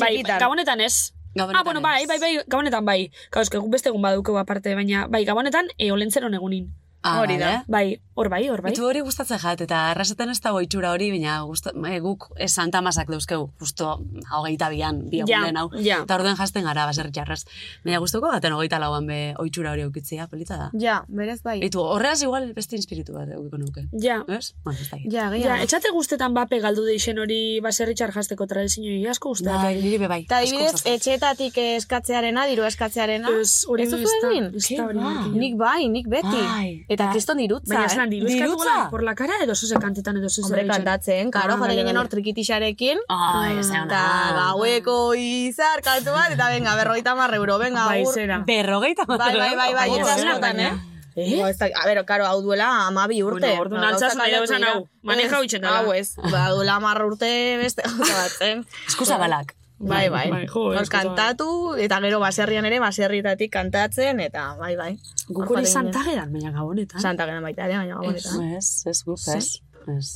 Speaker 7: Bai,
Speaker 2: Txikitan.
Speaker 7: gabonetan ez.
Speaker 8: Gabonetan
Speaker 7: ah, bueno,
Speaker 8: ez.
Speaker 7: bai, bai, bai, gabonetan bai. Gauz, egun beste egun baduko aparte, baina, bai, gabonetan e, olentzeron egunin.
Speaker 8: Ah,
Speaker 2: hori
Speaker 8: bai,
Speaker 2: da.
Speaker 8: eh?
Speaker 7: Bai, hor bai, hor bai.
Speaker 8: Betu hori gustatzen jat, eta arrasaten ez dago itxura hori, baina gusta, e, guk e, Santa Masak dauzkeu, justo hogeita bian, bi
Speaker 7: Ja,
Speaker 8: egunen hau,
Speaker 7: ja.
Speaker 8: eta orduen jazten gara baserri txarraz. Baina gustuko gaten hogeita lauan be oitxura hori aukitzea, polita da.
Speaker 2: Ja, berez bai.
Speaker 8: Betu, horreaz igual beste inspiritu bat eukiko nuke.
Speaker 7: Ja.
Speaker 8: Ez? Bueno, ez da.
Speaker 2: Ja,
Speaker 7: Ja,
Speaker 2: gehiago.
Speaker 7: etxate guztetan bape galdu deixen hori baserritxar jasteko tradizio asko
Speaker 8: Bai,
Speaker 7: guztetan.
Speaker 8: niri be bai.
Speaker 2: Eta adibidez,
Speaker 8: asko
Speaker 2: eh,
Speaker 8: gustatzen.
Speaker 2: etxeetatik eskatzearena, diru eskatzearena.
Speaker 7: Ez, hori
Speaker 2: Ez duzu
Speaker 7: ez da-
Speaker 2: egin?
Speaker 7: ez da
Speaker 2: Ke
Speaker 7: hori
Speaker 2: ba?
Speaker 7: egin.
Speaker 2: Nik bai, nik beti.
Speaker 8: Bai.
Speaker 2: Eta kriston dirutza, eh?
Speaker 7: Baina eslan diru eskatu
Speaker 8: Dirutza?
Speaker 7: gola, por la cara edo zuze kantetan edo zuze.
Speaker 2: Hombre, kantatzen, karo,
Speaker 7: Ah,
Speaker 2: jote
Speaker 7: bale,
Speaker 2: ginen hor
Speaker 7: bale.
Speaker 2: trikitixarekin.
Speaker 8: Ai, ez
Speaker 2: Eta gaueko izar kantu bat, eta venga, berroita marre euro, venga,
Speaker 7: Bai,
Speaker 2: agur.
Speaker 7: zera.
Speaker 8: Berrogeita bat.
Speaker 2: Bai, bai, bai, bai,
Speaker 7: Baina
Speaker 2: urte
Speaker 7: zela,
Speaker 2: askotan,
Speaker 7: baina.
Speaker 2: eh?
Speaker 7: Eh?
Speaker 2: Digo, ez da, a ber, karo, hau duela amabi urte.
Speaker 7: Bueno, orduan
Speaker 2: Ba, gauzak
Speaker 7: altsasun nahi
Speaker 2: aldatu
Speaker 7: dauzan
Speaker 2: dira.
Speaker 7: hau. Maneja
Speaker 2: Ez,
Speaker 7: huitxen dela.
Speaker 2: Hau ez, ba, duela hamar urte beste gauza bat, zen.
Speaker 8: Eskusa balak.
Speaker 2: Bai, bai.
Speaker 7: Bai, jo,
Speaker 2: Hor
Speaker 7: eskusa bat.
Speaker 2: kantatu, eta gero baserrian ere, baserrietatik kantatzen, eta bai, bai.
Speaker 7: Guk
Speaker 2: Hor
Speaker 7: hori
Speaker 2: joaten ginen.
Speaker 7: santageran, baina gabonetan.
Speaker 2: Santa gena baita ere, baina gabonetan.
Speaker 8: Ez, ez guk, ez. Ez.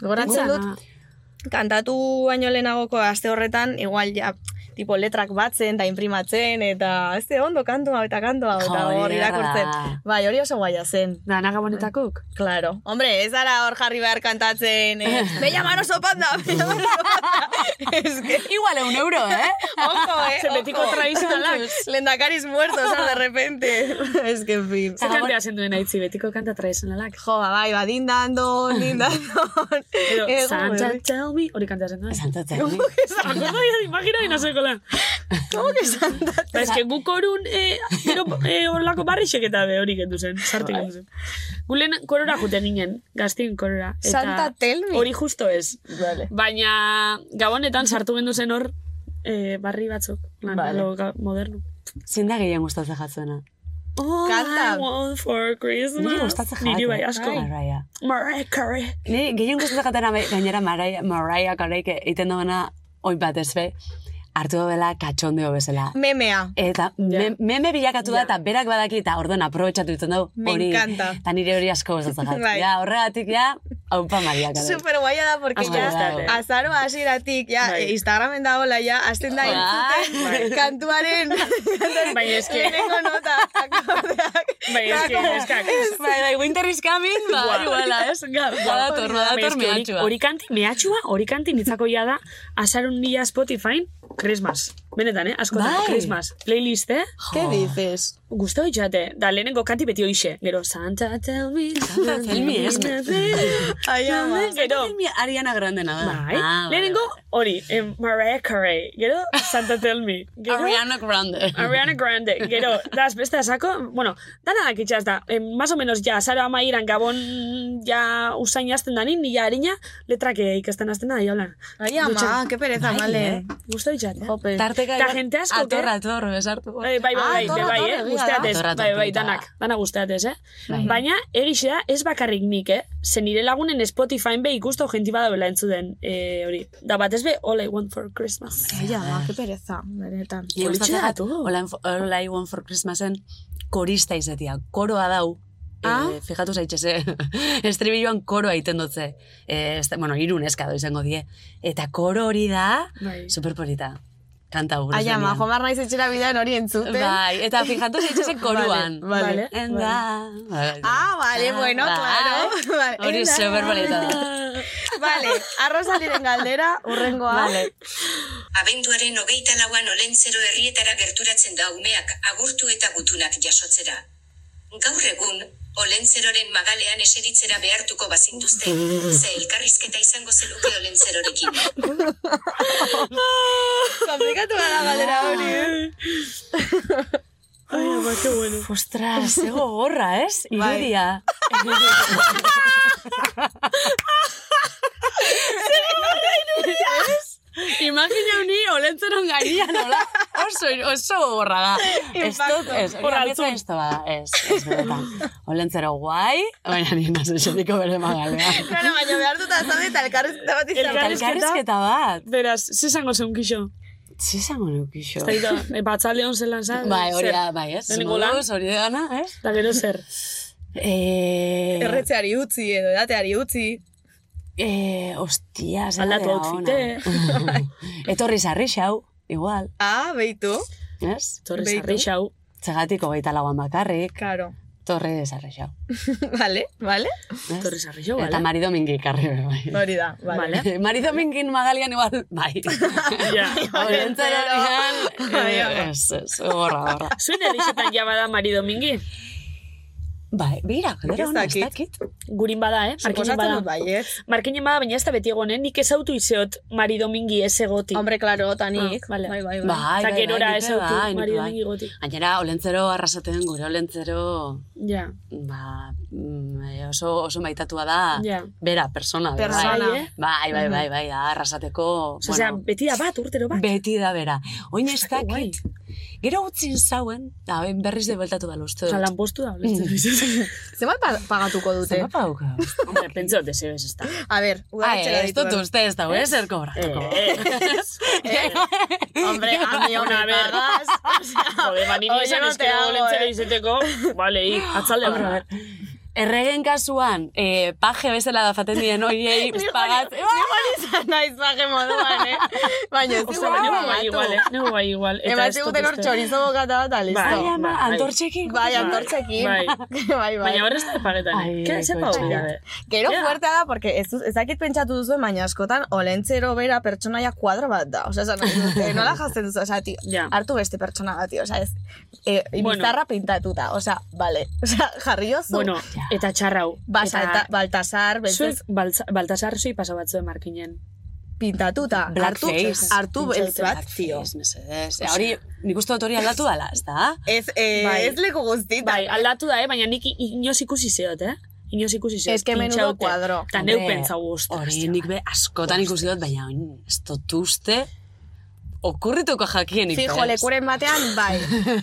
Speaker 2: Gogoratzen dut,
Speaker 7: Gutana.
Speaker 2: kantatu baino lehenagoko aste horretan, igual ja, tipo letrak batzen, da imprimatzen, eta ez de ondo kantua eta kantua, eta hor
Speaker 8: Joder.
Speaker 2: irakurtzen. Bai, hori oso guaia zen.
Speaker 7: Da, nagabonetakok.
Speaker 2: Claro. Hombre, ez ara hor jarri behar kantatzen, eh? me llamaron sopanda, me llamaron sopanda. es que,
Speaker 10: Igual un euro, eh?
Speaker 2: ojo, eh?
Speaker 7: Se betiko
Speaker 2: ojo.
Speaker 7: tradizionalak.
Speaker 2: Lehendakariz muerto, o sea, de repente. es que, en fin.
Speaker 7: Ze kantea zen duen aitzi, betiko kanta tradizionalak.
Speaker 2: Jo, ba, bai, ba, dindandon, dindandon.
Speaker 7: Edo,
Speaker 2: Eh, jo,
Speaker 7: Santa
Speaker 2: berri.
Speaker 7: tell me, hori kantea zen duen.
Speaker 8: Zantatzen.
Speaker 7: Akorda dira imagina dina zekola.
Speaker 2: ¿Cómo que Santa
Speaker 7: Ba, ez que guk orun, eh, gero, eh, horlako barrixek eta be hori gendu zen, sartu gendu zen. Gulen korora juten ginen, gaztin korora. Eta
Speaker 2: Santa tell me.
Speaker 7: Hori justo ez.
Speaker 2: Vale.
Speaker 7: Baina gabonetan sartu gendu zen hor, eh, barri batzuk, lan,
Speaker 2: Vale.
Speaker 7: lo ga- moderno.
Speaker 8: Zein da gehien gustatzen jatzena?
Speaker 7: All
Speaker 2: Kanta.
Speaker 7: I want for
Speaker 8: Niri
Speaker 7: Christmas.
Speaker 8: gustatzen jatzen.
Speaker 7: Niri bai, asko.
Speaker 8: Mariah.
Speaker 7: Mariah Carey.
Speaker 8: Niri gehien gustatzen jatzena bai- gainera Mariah, Mariah Careyk egiten duena oin batez be, hartu dela katxondeo bezala.
Speaker 2: Memea.
Speaker 8: Eta me- meme bilakatu da eta berak badaki eta orduan aprobetxatu ditzen dugu
Speaker 2: Me
Speaker 8: hori.
Speaker 2: encanta.
Speaker 8: Eta nire hori asko gustatzen jatzen.
Speaker 2: Bai.
Speaker 8: Ja, horregatik ja, haupa Mariah Carey.
Speaker 2: Super guaia da, porque
Speaker 8: Asko gustatzen.
Speaker 2: ja, azaro hasieratik, ja,
Speaker 7: Bai.
Speaker 2: e, Instagramen dagoela, ja, azten da
Speaker 8: Ah.
Speaker 2: entzuten, kantuaren,
Speaker 7: Baina Bai, eske-
Speaker 2: lehenengo nota, akordeak.
Speaker 7: Baina eske,
Speaker 2: Eta-
Speaker 7: eskak.
Speaker 8: Bai, bai, winter is coming, ba, iguala, ez? Badator, badator
Speaker 7: Eske hori-
Speaker 8: mehatxua.
Speaker 7: Hori kanti mehatxua, hori kanti nitzako ia da, azarun nila Spotify, Christmas. Benetan, eh? Asko
Speaker 8: Bai.
Speaker 7: Christmas. Playlist, eh?
Speaker 2: ¿Qué dices?
Speaker 7: Gusto itxate. Da, lehenengo kanti beti oixe. Gero, Santa tell me, Santa
Speaker 8: tell me, eh? ez?
Speaker 2: Ai, ama.
Speaker 7: Gero,
Speaker 8: Ariana Grande nada.
Speaker 7: Bai, lehenengo hori, em, Mariah Carey, gero Santa Tell Me, gero
Speaker 8: Ariana Grande.
Speaker 7: Ariana Grande, gero, das beste asako, bueno, dana da kitxaz da, em, más o menos ja, zaro amairan gabon ja usain azten danin, nila harina, letrak eh, ikasten azten da, jaulan.
Speaker 2: Ai, ama, Ah, qué pereza, male.
Speaker 7: Gusto ditxat, eh?
Speaker 2: Jope.
Speaker 8: Tarteka
Speaker 7: Ta jente asko,
Speaker 8: ator,
Speaker 7: eh?
Speaker 8: ator, besartu.
Speaker 7: Eh, bai,
Speaker 2: Ah,
Speaker 7: bai, bai,
Speaker 2: torra,
Speaker 7: bai, eh?
Speaker 2: torra, egia da. Bai.
Speaker 7: Gusteatez,
Speaker 8: Torra,
Speaker 7: bai, bai,
Speaker 8: torrita.
Speaker 7: danak, dana gusteatez, eh? Baina, egixe da, ez bakarrik nik, eh? Ze nire lagunen Spotifyn be ikusto jenti badagoela entzuden, eh, hori. Da batez be, All I Want For Christmas.
Speaker 2: Ai, ama, qué pereza, benetan.
Speaker 8: Ni
Speaker 7: politxea
Speaker 8: gustatzen jat, All I- All I Want For Christmasen korista izatea, koroa dau.
Speaker 2: Ah.
Speaker 8: Eh, fijatu zaitxeze, estribilloan koroa egiten dutze. Eh, ez da- bueno, irun eska do izango die. Eta koro hori da,
Speaker 7: Bai.
Speaker 8: superpolita. Kanta gure
Speaker 2: Ai, ama,
Speaker 8: zenean.
Speaker 2: jomar naiz etxera bidean hori entzuten.
Speaker 8: Bai, eta fijatu zaitxeze koruan.
Speaker 2: Vale,
Speaker 8: And da- Bai,
Speaker 2: Ah, vale, bueno,
Speaker 8: bai.
Speaker 2: claro. Vale,
Speaker 8: Hori
Speaker 2: and da-
Speaker 8: superpolita da.
Speaker 7: Bai.
Speaker 2: Vale, arrozaliren galdera, urrengoa. Vale.
Speaker 9: Abenduaren hogeita lauan olentzero herrietara gerturatzen da umeak agurtu eta gutunak jasotzera. Gaur egun, olentzeroren magalean eseritzera behartuko bazintuzte, ze elkarrizketa izango zeluke olentzerorekin.
Speaker 2: Komplikatu gara galdera hori, eh?
Speaker 7: Ai, ama, que bueno.
Speaker 8: Ostras, ze gogorra, ez?
Speaker 2: Bai.
Speaker 8: Irudia. Imagina uni olentzeron gainean, hola? Oso, oso gogorra da. Ez dut, ez, hori ametza ez da, ez, ez benetan. Olentzero guai, baina nina zeseliko bere magalean.
Speaker 2: Claro, baina behar dut azalde eta elkarrezketa bat izan.
Speaker 7: Elkarrezketa.
Speaker 8: Elkarrizketa bat.
Speaker 7: Beraz, ze zango zeun kixo?
Speaker 8: Zizango neukixo.
Speaker 7: Eta dira, e, batzalde hon zelan zan.
Speaker 8: Bai, hori da,
Speaker 7: zer.
Speaker 8: bai, ez?
Speaker 7: Lehenengo lan,
Speaker 8: Moduz, hori dana, ez?
Speaker 7: eta gero zer.
Speaker 8: Eh,
Speaker 2: Erretzeari utzi edo edateari utzi.
Speaker 8: Eh, ostia, zer
Speaker 7: Aldatu
Speaker 8: galdera
Speaker 7: outfite.
Speaker 8: ona. Etorri sarri xau, igual,
Speaker 2: Ah, beitu.
Speaker 8: ez?
Speaker 7: Torri
Speaker 2: Beitu.
Speaker 7: zarri xau.
Speaker 8: Zegatik hogeita lauan bakarrik,
Speaker 2: Claro.
Speaker 8: torre sarri xau.
Speaker 2: vale, vale.
Speaker 8: ez?
Speaker 7: Torri sarri xau,
Speaker 8: Eta
Speaker 7: bale?
Speaker 8: Mari Domingi karri, bai.
Speaker 2: Hori da, vale.
Speaker 8: Mari Domingin magalian igual, bai.
Speaker 7: Ja.
Speaker 8: Horentzarean, eh, ez, ez, horra, horra.
Speaker 7: Zuen erixetan ja bada Mari Domingi.
Speaker 8: Bai, bira, galdera hona, ez
Speaker 2: dakit.
Speaker 8: dakit.
Speaker 7: Gurin bada, eh? Markinen
Speaker 2: Suposatzen dut bai,
Speaker 8: bai.
Speaker 7: bada.
Speaker 2: baiet.
Speaker 7: Markinen bada, baina ez da beti egonen, nik ezautu izeot Mari Domingi ez egoti.
Speaker 2: Hombre, claro, tanik.
Speaker 7: Ah, vale.
Speaker 2: Bai, bai, bai.
Speaker 8: Bai,
Speaker 7: Eta
Speaker 8: bai,
Speaker 7: gerora
Speaker 8: bai,
Speaker 7: ez
Speaker 8: nik be
Speaker 7: autu,
Speaker 8: bai, nik
Speaker 7: Mari
Speaker 8: be bai.
Speaker 7: Domingi gotik.
Speaker 8: Gainera, olentzero arrasaten gure, olentzero
Speaker 7: Ja.
Speaker 8: ba, mm, oso, oso maitatua da,
Speaker 7: Ja.
Speaker 8: bera, persona. bera,
Speaker 2: Persona.
Speaker 8: Bai, bai, bai, bai, bai, da, arrasateko,
Speaker 7: Osea, beti da bat, urtero
Speaker 2: Bai.
Speaker 7: bat.
Speaker 8: beti da bera. Oin ez
Speaker 7: Guai.
Speaker 8: dakit, gero utzin zauen, da, ben berriz de beltatu da, uste
Speaker 7: Osea,
Speaker 8: dut.
Speaker 7: lan postu da,
Speaker 8: Mm.
Speaker 7: ulertzen dut.
Speaker 2: Zenbat pa- pagatuko dute?
Speaker 8: Zer mapa
Speaker 7: Hombre, pentsot, ez ez ez da.
Speaker 2: A ber,
Speaker 7: Ah,
Speaker 2: udaletxera
Speaker 8: Ai, Bai, ez dut uste ez da, ez er
Speaker 7: Eh,
Speaker 8: kobratuko.
Speaker 2: Hombre, a mi hona
Speaker 7: Ona, ber.
Speaker 2: bergaz.
Speaker 7: Jode, ba, niri
Speaker 2: Oye,
Speaker 7: esan
Speaker 2: no te
Speaker 7: eskero
Speaker 2: hago,
Speaker 7: olentzera
Speaker 2: eh.
Speaker 7: izeteko, bale, ik, atzalde
Speaker 8: Hombre, a
Speaker 7: bat.
Speaker 8: ver, erregen kasuan, eh, paje bezala da faten diren horiei
Speaker 2: Bai,
Speaker 8: pagat...
Speaker 2: izan naiz baje moduan, eh? Baina ez
Speaker 7: Osa,
Speaker 2: dugu
Speaker 7: nego
Speaker 2: mamatu.
Speaker 7: bai igual, eh? Nego bai igual. Eta
Speaker 2: Eman
Speaker 7: ez dut
Speaker 2: ziguten hor
Speaker 7: uste.
Speaker 2: txorizo bokata bat, eta listo.
Speaker 8: Ai, ama,
Speaker 7: Bai.
Speaker 8: antortxekin.
Speaker 2: Bai, antortxekin.
Speaker 7: Bai.
Speaker 2: Bai, bai.
Speaker 7: Baina horrez da pagetan.
Speaker 8: Ai,
Speaker 7: Ke, zepa
Speaker 8: koitxa.
Speaker 7: hori da, eh?
Speaker 2: Gero
Speaker 7: Ja.
Speaker 2: fuertea da, porque ez, duz- ez dakit pentsatu duzuen, baina askotan olentzero bera pertsonaia kuadro bat da. Osa, esan, nahi dut, eh, nola jazten duzu, osa, tio,
Speaker 7: Ja.
Speaker 2: hartu beste pertsona bat, tio, osa, ez, e,
Speaker 7: Bueno.
Speaker 2: bizarra pintatuta, osa, vale, osa, jarriozu.
Speaker 7: Bueno, eta txarrau.
Speaker 2: Basa, eta, Baltasar,
Speaker 7: Zuek
Speaker 2: bezez,
Speaker 7: Baltza- Baltasar zui pasa batzuen markinen.
Speaker 2: pintatuta. Hartu,
Speaker 8: Blackface.
Speaker 2: hartu ez bat, tio.
Speaker 8: Ez, mesedez. Eh, Hori, nik uste dut hori aldatu dala, ez da?
Speaker 2: Ez, eh,
Speaker 7: Bai.
Speaker 2: ez leku guztita.
Speaker 7: Bai, aldatu da, eh? Baina nik i- inoz ikusi zeot, eh? Inoz ikusi zeot.
Speaker 2: Es que menudo
Speaker 7: pintxaute.
Speaker 2: kuadro.
Speaker 7: Eta neu
Speaker 8: Hombre,
Speaker 7: pentsau guztu.
Speaker 8: Hori nik be askotan ikusi dut, baina oin, ez dut uste okurrituko jakienik.
Speaker 2: Bai. Fijo, lekuren batean, bai.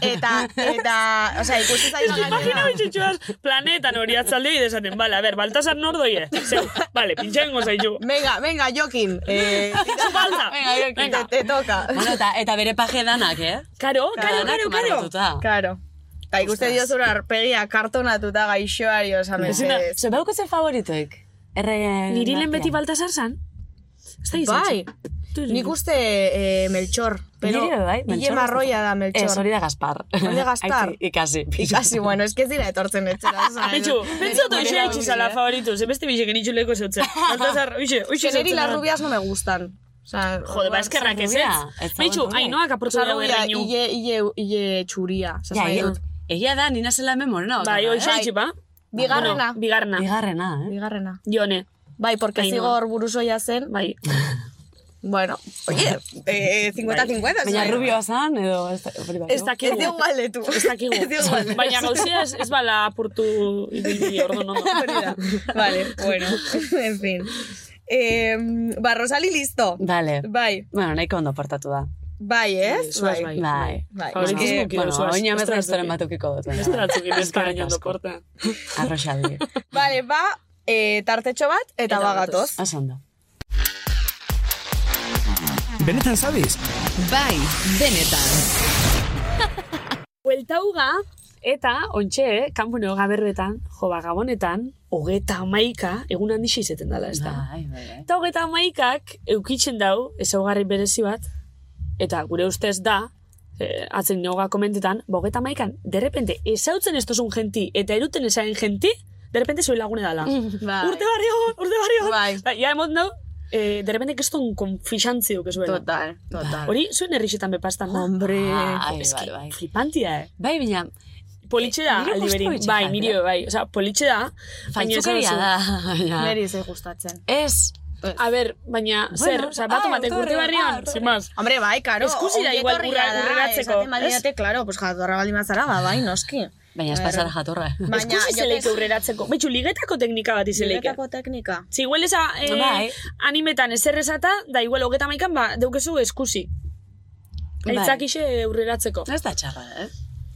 Speaker 2: Eta, eta, osea, ikusi zaio
Speaker 7: Imagina
Speaker 2: gainera.
Speaker 7: bitxutxuaz planetan hori atzalde izaten, bale, a ber, Baltasar nordoie. Zeu, bale, pintxengo zaitu.
Speaker 2: Venga, venga, Jokin. Eh,
Speaker 7: Zu falta.
Speaker 2: te, te toca.
Speaker 8: Bueno, eta, eta bere paje danak, eh?
Speaker 7: Karo, karo,
Speaker 8: Danak
Speaker 7: karo, karo.
Speaker 8: marrotuta.
Speaker 2: Claro. Eta ikuste diozura arpegia kartonatuta gaixoari osan mesedez.
Speaker 8: Ze bauko ze favoritoek? Erregen
Speaker 7: Niri lehen beti
Speaker 8: artean.
Speaker 7: Baltasar zan? Ez da izan
Speaker 2: Bai,
Speaker 7: zen.
Speaker 2: nik uste eh, Melchor. Pero
Speaker 8: Niri be bai,
Speaker 2: Ile
Speaker 8: Melchor
Speaker 2: marroia da
Speaker 8: Ez,
Speaker 2: Melchor.
Speaker 8: hori da Gaspar.
Speaker 2: Hori da Gaspar.
Speaker 8: Aitzi, ikasi.
Speaker 2: Ikasi, bueno, ez que ez dira etortzen etxera. osan.
Speaker 7: Bitxu, pentsatu
Speaker 2: Nire
Speaker 7: ixe itxi zala
Speaker 2: eh.
Speaker 7: favoritu, ze beste bixek nitxuleko zeutzen. Baltasar, ixe, ixe
Speaker 2: Que neri las rubias no me gustan. O sea,
Speaker 7: Jode, ba, eskerrak ez
Speaker 8: Rubia,
Speaker 7: ez.
Speaker 8: ez dago
Speaker 7: Bitxu,
Speaker 8: rubia.
Speaker 7: hainoak apurtu
Speaker 2: Osa,
Speaker 7: da
Speaker 2: rubia,
Speaker 7: berreinu.
Speaker 2: ile, ile, ile txuria. osa, esan
Speaker 8: Ja,
Speaker 2: nahi
Speaker 8: egia,
Speaker 2: dut.
Speaker 8: egia da, nina zela hemen morena. bakarra,
Speaker 7: Bai,
Speaker 8: eh?
Speaker 7: oixe itxi, ba?
Speaker 2: Bigarrena.
Speaker 7: Bueno, Bigarna.
Speaker 8: Bigarrena, eh?
Speaker 2: Bigarrena.
Speaker 7: Jone.
Speaker 2: Bai, porque
Speaker 7: Ainhoa.
Speaker 2: zigor burusoia zen.
Speaker 7: Bai.
Speaker 2: Bueno, oye, eh, 50-50.
Speaker 8: Baina
Speaker 2: zuen.
Speaker 8: rubioa zan, edo... Ez, da- hori bai,
Speaker 7: Ez
Speaker 2: Ez
Speaker 7: dakigu.
Speaker 2: dugu galdetu.
Speaker 7: Ez dakigu.
Speaker 2: Ez dugu galdetu.
Speaker 7: Baina gauzea ez, ez bala apurtu ibilbi ordu nondo.
Speaker 2: vale, bueno, en fin. Eh, ba, Rosali listo.
Speaker 8: Vale.
Speaker 2: Bai,
Speaker 8: Bueno, nahiko ondo portatu da.
Speaker 2: bai, ez?
Speaker 7: Zuaz bai.
Speaker 8: Bai.
Speaker 2: Bai,
Speaker 7: Hori
Speaker 2: eske,
Speaker 7: kizuki,
Speaker 8: bueno,
Speaker 7: zuaz.
Speaker 8: oin
Speaker 7: Ostras,
Speaker 8: ametra historien
Speaker 7: zuki.
Speaker 8: batukiko dut. baina
Speaker 7: Ez da atzukin ez da
Speaker 8: Eskerrik
Speaker 7: gainondo
Speaker 8: asko.
Speaker 7: porta.
Speaker 8: Arroxaldi.
Speaker 2: Vale, ba, eh, tartetxo bat eta,
Speaker 7: Eta
Speaker 2: bagatoz.
Speaker 8: Oso ondo.
Speaker 1: Benetan zabiz?
Speaker 10: Bai, benetan.
Speaker 7: Buelta uga, eta ontxe, kanpone hoga berbetan, jo ba, gabonetan, hogeta amaika, egun handi izeten dela, ez da?
Speaker 8: Bai, bai, bai.
Speaker 7: Eta hogeta amaikak, eukitzen dau, ezaugarri berezi bat, eta gure ustez da, eh, atzen noga komentetan, ba, hogeta amaikan, derrepente, ezautzen ez tozun genti, eta eruten ezaren genti, derrepente zuen lagune dala.
Speaker 8: Mm.
Speaker 2: Bai.
Speaker 7: Urte barri hon, urte barri hon.
Speaker 2: Bai.
Speaker 7: Eta, Ja, emot nau, eh, derrepente keston konfixantzi duk ezuela.
Speaker 2: Total, total.
Speaker 7: Hori, zuen errixetan bepastan da.
Speaker 2: Bai. Hombre.
Speaker 8: Ai,
Speaker 7: Ez
Speaker 8: bai,
Speaker 7: que
Speaker 8: bai.
Speaker 7: Flipantia, eh?
Speaker 8: Bai, baina,
Speaker 7: Politxe da,
Speaker 8: Nire
Speaker 7: aldi
Speaker 8: gustu
Speaker 7: berin.
Speaker 8: bitxia
Speaker 7: Bai,
Speaker 8: da,
Speaker 7: nire, bai. Osa, politxe da. baina ez
Speaker 8: faintzukeria
Speaker 7: oso-
Speaker 8: da. baina-
Speaker 2: Neri ze gustatzen.
Speaker 8: Ez,
Speaker 7: A ber, baina, zer, osa,
Speaker 8: ah,
Speaker 7: batu batek
Speaker 8: etorri,
Speaker 7: urte
Speaker 8: ah,
Speaker 7: barrian,
Speaker 8: etorri.
Speaker 7: sin más.
Speaker 2: Hombre, bai, karo.
Speaker 7: Eskusi da
Speaker 2: ongi
Speaker 7: igual
Speaker 2: etorria
Speaker 7: urra-
Speaker 2: da,
Speaker 7: urreratzeko,
Speaker 2: Esaten
Speaker 7: ez?
Speaker 2: badidate, claro, pues jatorra baldin bazara, ba, bai, noski.
Speaker 8: baina ez pasara jatorra.
Speaker 2: Baina,
Speaker 7: Eskusi
Speaker 2: jo
Speaker 7: zeleik
Speaker 2: que-
Speaker 7: aurreratzeko. Betxu, ligetako teknika bat izeleik.
Speaker 2: Niretako teknika.
Speaker 7: Si igual esa eh,
Speaker 8: Bai.
Speaker 7: animetan ezer esata, da igual hogeta maikan, ba, deukezu eskusi.
Speaker 8: Bai.
Speaker 7: Aitzakixe aurreratzeko.
Speaker 8: Ez da txarra, eh?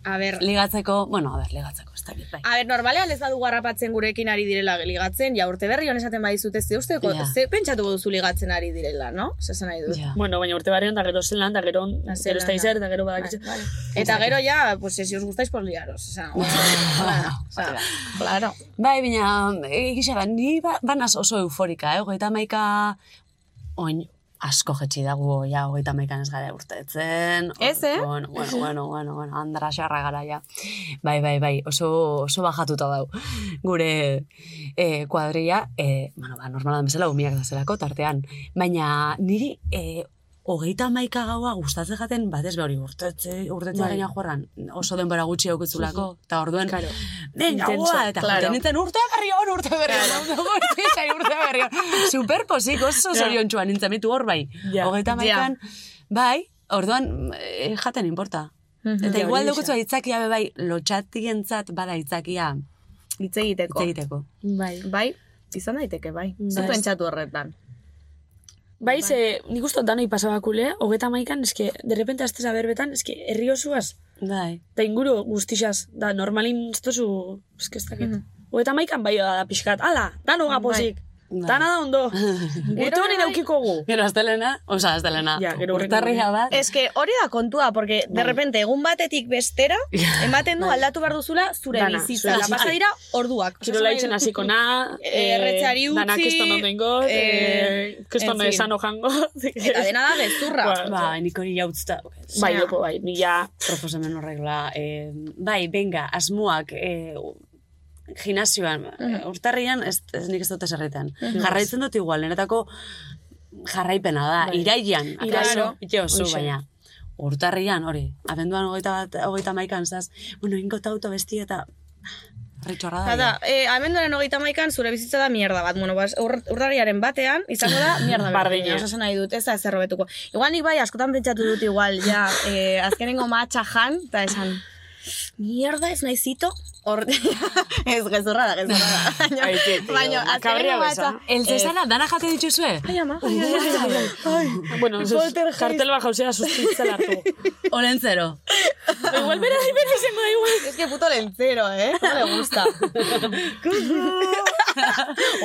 Speaker 2: A ber,
Speaker 8: Ligatzeko, bueno, a ber, ligatzeko, ez dakit, bai.
Speaker 2: A ber, normalean ez badu garrapatzen gurekin ari direla ligatzen, ja urte berri hon esaten badizute ze usteko,
Speaker 8: Ja.
Speaker 2: ze pentsatuko duzu ligatzen ari direla, no? Zesan nahi dut.
Speaker 8: Ja.
Speaker 7: Bueno, baina urte barrian, da gero zelan, da gero,
Speaker 2: Da
Speaker 7: gero ez da
Speaker 2: zelan,
Speaker 7: izar,
Speaker 2: da.
Speaker 7: da gero
Speaker 2: Vale,
Speaker 7: badakitxe.
Speaker 2: vale. Bai, Eta gero ja, pues si os gustáis, pues liaros. O sea, o sea, claro.
Speaker 8: Bai, baina, egisa da, ni ba, banaz oso euforika, eh? Hogeita maika, oin, asko jetxi dago, ja, hogeita maikan ez gara urtetzen.
Speaker 2: Ez, eh?
Speaker 8: Bueno, bueno, bueno, bueno, bueno, andara xarra gara, ja. Bai, bai, bai, oso, oso bajatuta dau. Gure eh, kuadrilla, eh, bueno, ba, normalan bezala umiak da zelako, tartean. Baina, niri, eh, hogeita maika gaua gustatzen jaten, batez behori urtetze, urtetze
Speaker 7: Bai.
Speaker 8: gaina joarran, oso denbora gutxi aukitzulako, eta orduen,
Speaker 7: Claro.
Speaker 8: Venga,
Speaker 7: Intenso,
Speaker 8: gua, eta
Speaker 2: claro.
Speaker 8: claro. nintzen urte berri hon, urte berri hon, urte berri hon, urte berri hon. Superposik, oso
Speaker 7: Ja.
Speaker 8: zorion txuan nintzen, mitu hor bai.
Speaker 7: Ja.
Speaker 8: Hogeita maikan, bai, orduan, eh, jaten importa. Eta
Speaker 7: Ja,
Speaker 8: igual
Speaker 7: hori
Speaker 8: dukutu aitzakia be bai, lotxati entzat bada aitzakia
Speaker 2: Hitz
Speaker 8: hitz
Speaker 2: egiteko.
Speaker 8: egiteko.
Speaker 7: Bai.
Speaker 2: Bai, izan daiteke, bai. Zu
Speaker 7: Bai.
Speaker 2: pentsatu horretan.
Speaker 7: Bai, ze, nik uste dut danoi pasabakule, hogeta maikan, eske, derrepente astez aberbetan, eske, herri osoaz,
Speaker 8: Bai.
Speaker 7: da inguru guztixaz, da normalin ez duzu, eske ez dakit. Hogeta maikan bai da pixkat, ala, dano gapozik. Dana da ondo. Urte honen aukiko gu.
Speaker 8: Gero, astelena, oza, astelena,
Speaker 7: Ja, gero horren
Speaker 8: urtarria bat.
Speaker 2: Ez que hori da kontua, porque de
Speaker 7: Bai.
Speaker 2: repente egun batetik bestera, ematen du aldatu behar duzula zure
Speaker 7: Dana,
Speaker 2: bizitza.
Speaker 7: zure
Speaker 2: La pasa
Speaker 7: bizitza.
Speaker 2: dira orduak.
Speaker 7: Kirola itzen hasiko na,
Speaker 2: Eh, erretzeari utzi,
Speaker 7: dana keston ondo ingo,
Speaker 2: eh,
Speaker 7: eh, keston
Speaker 2: en fin. Eh,
Speaker 7: esan ojango.
Speaker 2: Eta dena da gezurra.
Speaker 7: Ba,
Speaker 8: Ba, nik hori jautzuta.
Speaker 7: Bai,
Speaker 2: Ja.
Speaker 7: lopo, bai, mila...
Speaker 8: Proposamen horregla. Eh, bai, benga, asmoak, eh, gimnasioan,
Speaker 7: Mm-hmm.
Speaker 8: eh, urtarrian, ez, ez nik ez dut eserritan. Jarraitzen dut igual, niretako jarraipena da,
Speaker 7: Bai.
Speaker 8: iraian, akaso,
Speaker 7: Iraro.
Speaker 8: ite oso,
Speaker 7: Hoxe.
Speaker 8: baina urtarrian, hori, abenduan hogeita bat, hogeita maikan, zaz, bueno, ingo tauto besti eta ritxorra da.
Speaker 2: Eta, eh, amenduaren hogeita maikan zure bizitza da mierda bat. Bueno, bas, ur, urrariaren batean, izango da mierda bat.
Speaker 7: Bardina.
Speaker 2: Osasun nahi dut, ez da ezer hobetuko. Igual nik bai, askotan pentsatu dut igual, ja, eh, azkenengo matxa jan, eta esan, mierda ez naizito? Hor, ez, gezurra da, gezurra da. Baina,
Speaker 7: Aite, tío,
Speaker 2: baina,
Speaker 7: makabrea
Speaker 2: azkenengo matxa...
Speaker 7: bezala.
Speaker 8: El Cesara, dana jate dituzue?
Speaker 2: Ai, ama, ai, ai, ai, ai, ai.
Speaker 7: Bueno, ez-
Speaker 2: Poltergeist.
Speaker 7: kartel bat jauzea sustitzen hartu.
Speaker 8: Olentzero.
Speaker 7: Igual bera, bera izango da igual.
Speaker 2: Es que puto lencero, ¿eh? No le gusta.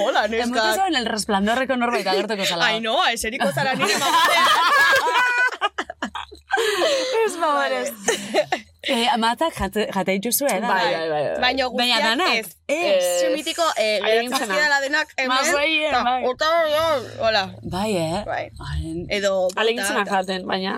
Speaker 2: Hola,
Speaker 8: Emotu
Speaker 2: neska.
Speaker 8: zuen el resplandorreko norbait agertuko zala.
Speaker 2: Ai, no, eseriko zara nire mamarean. Ez mamares.
Speaker 8: Eh, amatak jate, jate dituzue, da?
Speaker 7: Bai, bai, bai. bai.
Speaker 2: Baino
Speaker 8: Baina
Speaker 2: guztiak
Speaker 8: danak,
Speaker 2: ez. Ez. Mitiko, eh,
Speaker 7: Haien zena.
Speaker 2: beratzen denak
Speaker 7: Mas
Speaker 2: hemen.
Speaker 7: bai, eh,
Speaker 2: ta,
Speaker 7: bai.
Speaker 2: Ota, ota, hola.
Speaker 8: Bai, eh?
Speaker 2: Bai.
Speaker 8: Ai,
Speaker 2: Edo...
Speaker 7: Alegintzena
Speaker 2: bota, Hmm.
Speaker 7: jaten, baina...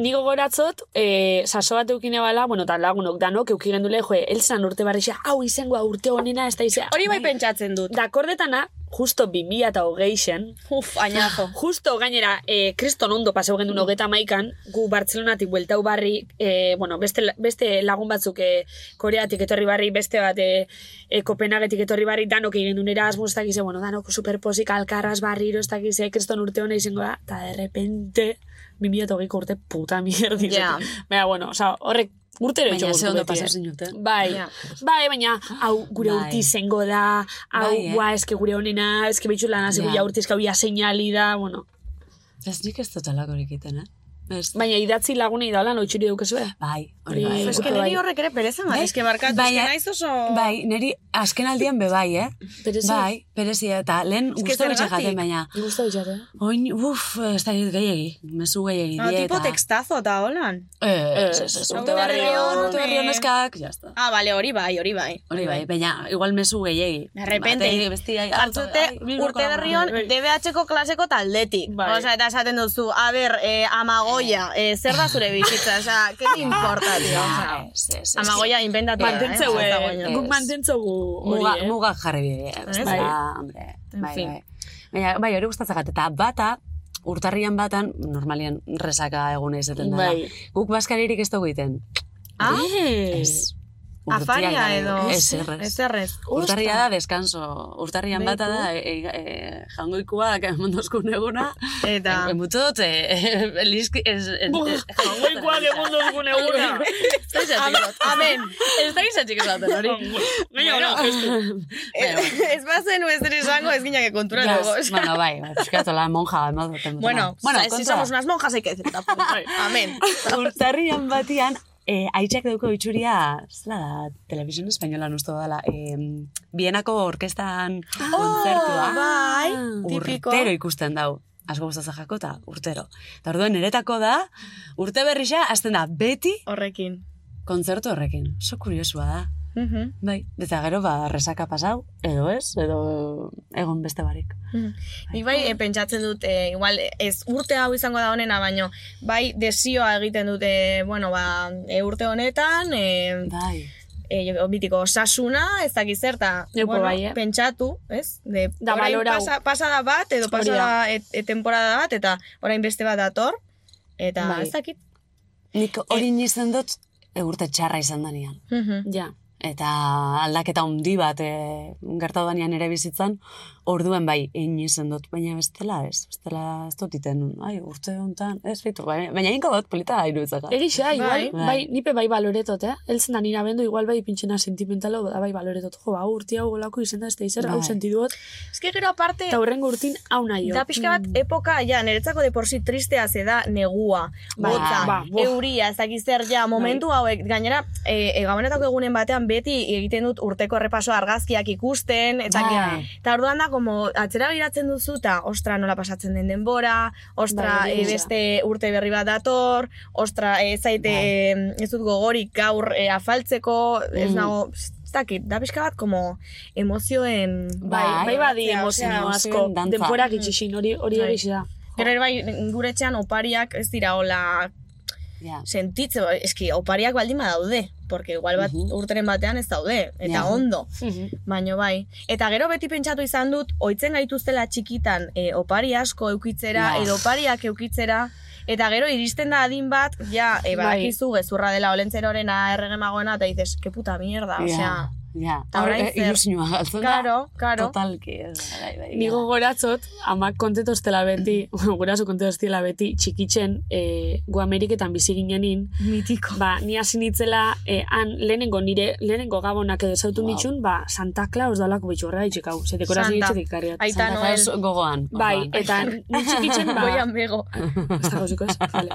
Speaker 7: Nigo goratzot, eh, saso bat eukine bala, bueno, eta lagunok danok eukiren dule, joe, elzan urte barrixa, hau izangoa urte honena, ez da izea.
Speaker 2: ta. Hori bai pentsatzen dut.
Speaker 7: Dakordetana, justo 2000 eta hogei zen,
Speaker 2: Uf, añazo.
Speaker 7: Justo gainera, eh, kriston ondo paseu gendun hogeta maikan, gu Bartzelonatik bueltau barri, eh, bueno, beste, la- beste lagun batzuk eh, Koreatik etorri barri, beste bat eh, eh, Kopenhagetik etorri barri, danok egin duen Erasmus, eta gize, bueno, danok superposik, alkarraz barriro, ez dakize, kriston urte hona izango da, eta de repente, 2008ko urte puta mierdi.
Speaker 2: Ja.
Speaker 7: Baina, bueno, oza, horrek urtero
Speaker 8: Baina
Speaker 7: itxogu
Speaker 8: ze
Speaker 7: du
Speaker 8: ondo
Speaker 7: beti,
Speaker 8: pasau
Speaker 7: eh.
Speaker 8: zinuten.
Speaker 7: Bai,
Speaker 2: Ja.
Speaker 7: bai, baina, hau, gure
Speaker 8: Bai.
Speaker 7: urti zengo da, hau,
Speaker 8: Bai, eh.
Speaker 7: guau, eske gure honena, eske behitxu lan hasi
Speaker 8: Ja.
Speaker 7: ja. urtiz gauia seinali da, bueno.
Speaker 8: Ez nik ez dut alakorik iten, eh? Ez.
Speaker 7: Baina idatzi lagunei da lan oitxuri daukezue.
Speaker 8: Bai,
Speaker 7: Hori-
Speaker 8: hori bai.
Speaker 2: Es que
Speaker 7: bai.
Speaker 2: niri horrek ere pereza, ma.
Speaker 8: Bai.
Speaker 2: Es que barkatu, es que
Speaker 8: Baina-
Speaker 2: naiz oso...
Speaker 8: Bai, niri askenaldian be bai, eh?
Speaker 7: Perezia?
Speaker 8: Bai, perezia eta lehen
Speaker 2: que
Speaker 8: gustu bitxe
Speaker 2: zergatik.
Speaker 8: jaten, baina
Speaker 7: Gusta bitxate.
Speaker 8: oin, uff, ez da gehiagi, mesu gehiagi
Speaker 2: No,
Speaker 8: die
Speaker 2: Ah, tipo
Speaker 8: eta...
Speaker 2: textazo eta holan.
Speaker 8: Eh, ez, ez, ez, urte barri hon, urte
Speaker 2: eh.
Speaker 8: barri hon eskak, jazta.
Speaker 2: Ah, bale, hori bai, hori bai.
Speaker 8: Hori bai, baina igual mesu gehiagi.
Speaker 2: De repente,
Speaker 8: Batei, bestiai, alto,
Speaker 2: Hartzute
Speaker 8: ai, bilboko
Speaker 2: urte
Speaker 8: lagunak.
Speaker 2: berri hon DBH-ko klaseko taldetik.
Speaker 7: Bai.
Speaker 2: Osa, eta esaten duzu, a ber, eh, amagoia, eh, zer da zure bizitza, osea, que te importa, tío.
Speaker 8: Ah,
Speaker 2: Osea,
Speaker 8: ez, ez, ez.
Speaker 2: amagoia inventatua. da, eh?
Speaker 7: Mantentzeu,
Speaker 2: Osea,
Speaker 7: eh,
Speaker 2: dagoena.
Speaker 7: guk mantentzegu
Speaker 8: Muga,
Speaker 7: hori, eh?
Speaker 8: mugak jarri bide, ez
Speaker 2: Ez?
Speaker 8: da,
Speaker 7: Bai.
Speaker 8: hombre,
Speaker 2: En
Speaker 8: bai,
Speaker 2: fin.
Speaker 8: bai. Baina, bai, hori gustatzagat, eta bata, urtarrian batan, normalian resaka egune izaten da.
Speaker 7: Bai.
Speaker 8: Guk baskaririk ez dugu egiten.
Speaker 2: Ah,
Speaker 8: Ez. Urtiak
Speaker 2: afaria
Speaker 8: da,
Speaker 2: edo.
Speaker 8: Ez, errez.
Speaker 2: Ez eh, errez.
Speaker 8: Urtarria da, deskanso. Urtarrian
Speaker 2: Beitu.
Speaker 8: bata da, e, e, e, jangoikoak mondozkun eguna.
Speaker 2: Eta-
Speaker 8: En- Enbutu dut, e, e, liski... Ez, ez, ez,
Speaker 7: Hauekoak egun dozgun eguna.
Speaker 2: Amen.
Speaker 8: Ez da izatxik esaten hori.
Speaker 7: Baina, bueno,
Speaker 2: Ez bazen, ez ere esango, ez gineak
Speaker 8: Ja,
Speaker 2: konturatuko. osea.
Speaker 8: bueno, bai, bai, piskatola monja, ematen dutena.
Speaker 2: Bueno,
Speaker 8: bueno,
Speaker 2: bueno si
Speaker 8: kontua.
Speaker 2: somos unas monjas, hay que decir. tampoco. Amen.
Speaker 8: Urtarrian batian, eh, aitzak dauko itxuria, zela da, Televisión Espainolan uste dela, eh, Bienako orkestan
Speaker 2: Ah,
Speaker 8: kontzertua.
Speaker 2: Bai, tipiko.
Speaker 8: urtero ikusten dau. Asko gustatzen jako eta urtero. Eta orduan niretako da, urte berrixa, azten da, beti
Speaker 2: Horrekin.
Speaker 8: kontzertu horrekin. Oso kuriosua da.
Speaker 2: Mhm.
Speaker 8: Bai, eta gero ba, resaka pasau, edo ez, edo egon beste barik.
Speaker 2: Nik bai, eh, pentsatzen dut, eh, igual, ez urte hau izango da honena, baino, bai, desioa egiten dute, bueno, ba, eh, urte honetan, eh,
Speaker 8: Bai.
Speaker 2: eh, jo- bitiko, sasuna, ez dakiz zer, eta,
Speaker 7: Joko
Speaker 2: bueno,
Speaker 7: bai, eh.
Speaker 2: pentsatu, ez? De,
Speaker 7: Da
Speaker 2: orain
Speaker 7: balorau.
Speaker 2: pasa, pasada bat, edo
Speaker 7: Hori da.
Speaker 2: pasada et, et temporada bat, eta orain beste bat dator, eta
Speaker 7: Bai.
Speaker 2: ez dakit.
Speaker 8: Nik
Speaker 2: Eh,
Speaker 8: hori nizten dut, e, urte txarra izan danean.
Speaker 2: Mhm.
Speaker 7: ja.
Speaker 8: eta aldaketa handi bat e, gertatu danean ere bizitzan, orduen bai, egin izen dut, baina bestela ez, bestela ez dut iten, ai, urte honetan, ez fitu, baina, baina inko dut polita iruditzaka.
Speaker 7: Egixa, igual,
Speaker 2: Bai.
Speaker 7: bai, nipe bai baloretot, eh? Elzen da nira bendu, igual bai pintxena sentimentalo, da bai baloretot. Jo, ba, urti hau golako izenda ez da izera, hau
Speaker 8: Bai.
Speaker 7: sentiduot,
Speaker 2: Ez que gero aparte,
Speaker 7: eta horrengo urtin hau nahi jo.
Speaker 2: Da pixka bat,
Speaker 7: mm.
Speaker 2: epoka, ja, niretzako deporsi tristea ze da negua,
Speaker 8: Ba,
Speaker 2: botza,
Speaker 7: ba, bo. Bai.
Speaker 2: euria, ez dakiz zer, ja, momentu hauek, gainera, e, e, gabonetako egunen batean beti egiten dut urteko errepaso argazkiak ikusten, eta,
Speaker 7: Ba.
Speaker 8: Ah.
Speaker 2: eta orduan da, como, atzera giratzen duzu, eta ostra nola pasatzen den denbora, ostra
Speaker 7: Bai,
Speaker 2: eh,
Speaker 7: hori da.
Speaker 2: beste urte berri bat dator, ostra ez zaite
Speaker 7: Bai.
Speaker 2: eh, ez dut gogorik gaur eh, afaltzeko, ez
Speaker 8: Mm.
Speaker 2: nago, ez dakit, da pixka bat, como, emozioen...
Speaker 7: Bai, bai badi
Speaker 2: osea,
Speaker 7: emozio
Speaker 2: osea,
Speaker 7: asko.
Speaker 8: emozioen dantza.
Speaker 7: Denporak itxixin, hori hori
Speaker 2: Bai.
Speaker 7: egixe da.
Speaker 2: Gero ere bai, gure etxean opariak ez dira hola
Speaker 8: Ja.
Speaker 2: sentitze, eski opariak baldin badaude, porque igual bat
Speaker 8: Mhm.
Speaker 2: urteren batean ez daude, eta
Speaker 8: Ja.
Speaker 2: ondo, baino bai. Eta gero beti pentsatu izan dut, oitzen gaituztela txikitan e, opari asko eukitzera,
Speaker 8: Ja.
Speaker 2: edo opariak eukitzera, eta gero iristen da adin bat, ja, e,
Speaker 7: Bai.
Speaker 2: badakizu gezurra dela olentzerorena erregemagoena, eta dices, que puta mierda, osea.
Speaker 8: ja.
Speaker 2: Eta orain
Speaker 8: Hor, eh,
Speaker 2: zer?
Speaker 8: ilusioa galtzen da.
Speaker 2: Claro, claro.
Speaker 8: Totalki, ez da, bai, bai.
Speaker 7: Ni gogoratzot, amak kontetostela beti, guraso kontetostela beti, txikitzen, e, gu Ameriketan bizi ginenin,
Speaker 2: Mitiko.
Speaker 7: ba, ni hasi nitzela, eh, han lehenengo nire, lehenengo gabonak edo zautu
Speaker 8: Wow.
Speaker 7: nitxun, ba, Santa Claus dalako bitxorra itxek hau, ze dekorazio
Speaker 2: Santa.
Speaker 7: itxek ikarriat.
Speaker 2: Aita
Speaker 8: Santa
Speaker 2: Noel.
Speaker 8: Claus gogoan.
Speaker 7: Bai,
Speaker 8: orduan.
Speaker 7: eta ni txikitzen, ba,
Speaker 2: Goian bego.
Speaker 7: ez dago ziko ez? Vale.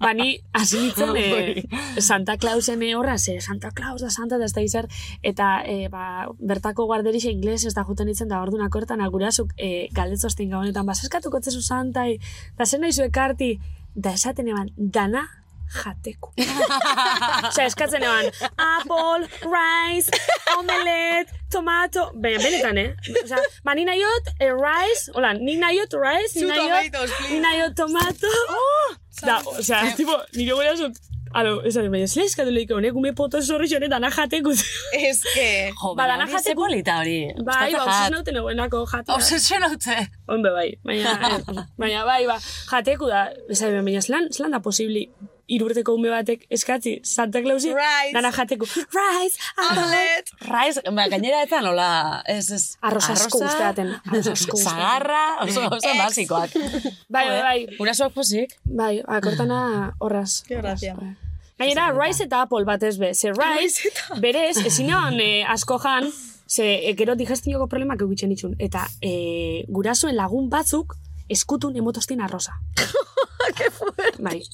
Speaker 7: Ba, ni hasi nintzen eh, Santa Clausen eh, horra, ze Santa Claus da Santa da ez da izar, eta eh, ba, bertako guarderixe ingles ez da juten nintzen da orduan hortan agurasuk eh, galdetzozten gabonetan, ba, zeskatuko etzezu Santa, eh, da zen nahizu ekarti, da esaten eban, dana jateko. Osea, eskatzen eban, apple, rice, omelet, tomato, baina benetan, eh? Osea, ba, ni nahiot, eh, rice, hola, ni nahiot rice, ni
Speaker 10: Two
Speaker 7: nahiot,
Speaker 10: tomatoes, please.
Speaker 7: ni nahiot tomato. da, osea, tipo, nire gure azut, alo, esaten, baina, zela eskatu lehiko, honek ume poto zorri jone dana jateko.
Speaker 2: Ez que...
Speaker 8: Jo,
Speaker 7: ba,
Speaker 8: baina
Speaker 7: dana
Speaker 8: hori ze
Speaker 7: jateko-
Speaker 8: polita hori.
Speaker 7: Bai, ba, obses nauten egoenako jatea.
Speaker 8: Obsesion haute.
Speaker 7: Ondo bai, baina, baina bai, ba, jateku da, esan, baina zelan, zelan da posibli irurteko ume batek eskatzi, Santa Clausi,
Speaker 2: Rice.
Speaker 7: dana jateku, rice, apple,
Speaker 2: Hamlet!
Speaker 8: Raiz, ba, gainera eta nola, ez, ez.
Speaker 7: Arroz asko
Speaker 8: arroza,
Speaker 7: gustaten, arroz asko gustaten.
Speaker 8: Zagarra, oso, oso basikoak.
Speaker 7: Bai, bai, bai.
Speaker 8: Gurasoak pozik.
Speaker 7: bai, akortana horraz.
Speaker 2: Qué gracia.
Speaker 7: Horraz, bai. Gainera, rice eta apple batez be, ze rice, berez, ezin egon eh, asko jan, ze eh, gero digestioko problemak egitzen itxun, eta eh, gurasoen lagun batzuk, eskutun emotostin arroza. bai,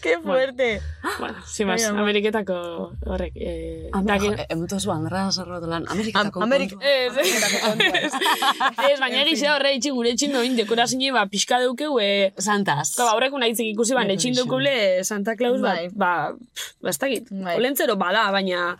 Speaker 2: Qué fuerte.
Speaker 7: Bueno, sin más,
Speaker 2: Mira, ma.
Speaker 7: Ameriketako horrek. Eh, daki-
Speaker 8: Emutu zu, angarra zorrotu lan. ba, Ameriketako.
Speaker 2: Amerik-
Speaker 8: kontua.
Speaker 7: Ez, ez, baina egitea horre itxi gure etxin doin dekorazine ba, pixka deukeu, e,
Speaker 8: Santaz.
Speaker 7: ba, horrek naitzik ikusi ban, etxin deukule Santa Claus, ba,
Speaker 2: Bai.
Speaker 7: ba, pff, ba, ez dakit,
Speaker 2: Bai.
Speaker 7: olentzero bada, baina,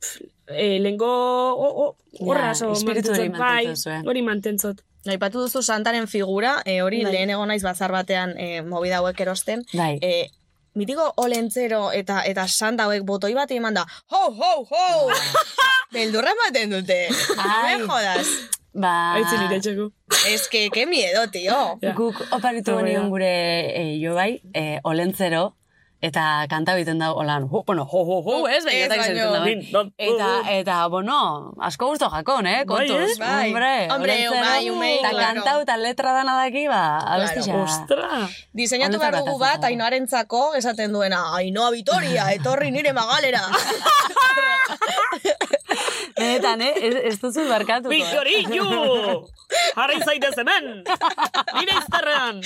Speaker 7: pff, eh, lengo, o, o, horra,
Speaker 8: Ja,
Speaker 7: so,
Speaker 8: espiritu hori
Speaker 7: mantentzot, bai,
Speaker 8: mantentzen zuen.
Speaker 7: hori mantentzot.
Speaker 2: Aipatu duzu santaren figura, eh, hori lehen egon naiz bazar batean eh, movida hauek erosten.
Speaker 8: Bai.
Speaker 2: Eh, mitiko olentzero eta eta santa hauek botoi bat eman da, ho, ho, ho! Beldurra ematen dute.
Speaker 8: Ai.
Speaker 2: Ai. No me jodas.
Speaker 8: Ba,
Speaker 7: Aitzi nire txeko.
Speaker 2: Es que, qué miedo, tío.
Speaker 7: Ja.
Speaker 8: guk oparitu
Speaker 7: Hori da.
Speaker 8: genion gure eh, jo bai, eh, olentzero, eta kanta egiten da holan, ho, bueno, ho, ho, ho, ez, baina
Speaker 2: Ez,
Speaker 8: eta egiten
Speaker 2: baino. Uh,
Speaker 8: da,
Speaker 7: Din, don,
Speaker 8: bai. Eta, eta, bueno, asko gusto jakon, eh,
Speaker 7: Bai,
Speaker 8: kontuz,
Speaker 7: ez?
Speaker 2: Bai.
Speaker 8: hombre,
Speaker 2: Hombre,
Speaker 8: olentzero,
Speaker 2: bai, umei,
Speaker 8: eta
Speaker 2: claro.
Speaker 8: kantau eta letra dana daki, ba, abestixa.
Speaker 7: Ostra!
Speaker 2: Diseinatu
Speaker 8: Honetan
Speaker 2: behar dugu
Speaker 8: gatazka
Speaker 2: bat,
Speaker 8: dago.
Speaker 2: ainoarentzako, esaten duena, ainoa Vitoria, etorri nire magalera.
Speaker 8: Benetan, eh, ez, ez duzu barkatuko. eh?
Speaker 7: Bitorillo! Harri zaitez hemen! Nire izterrean!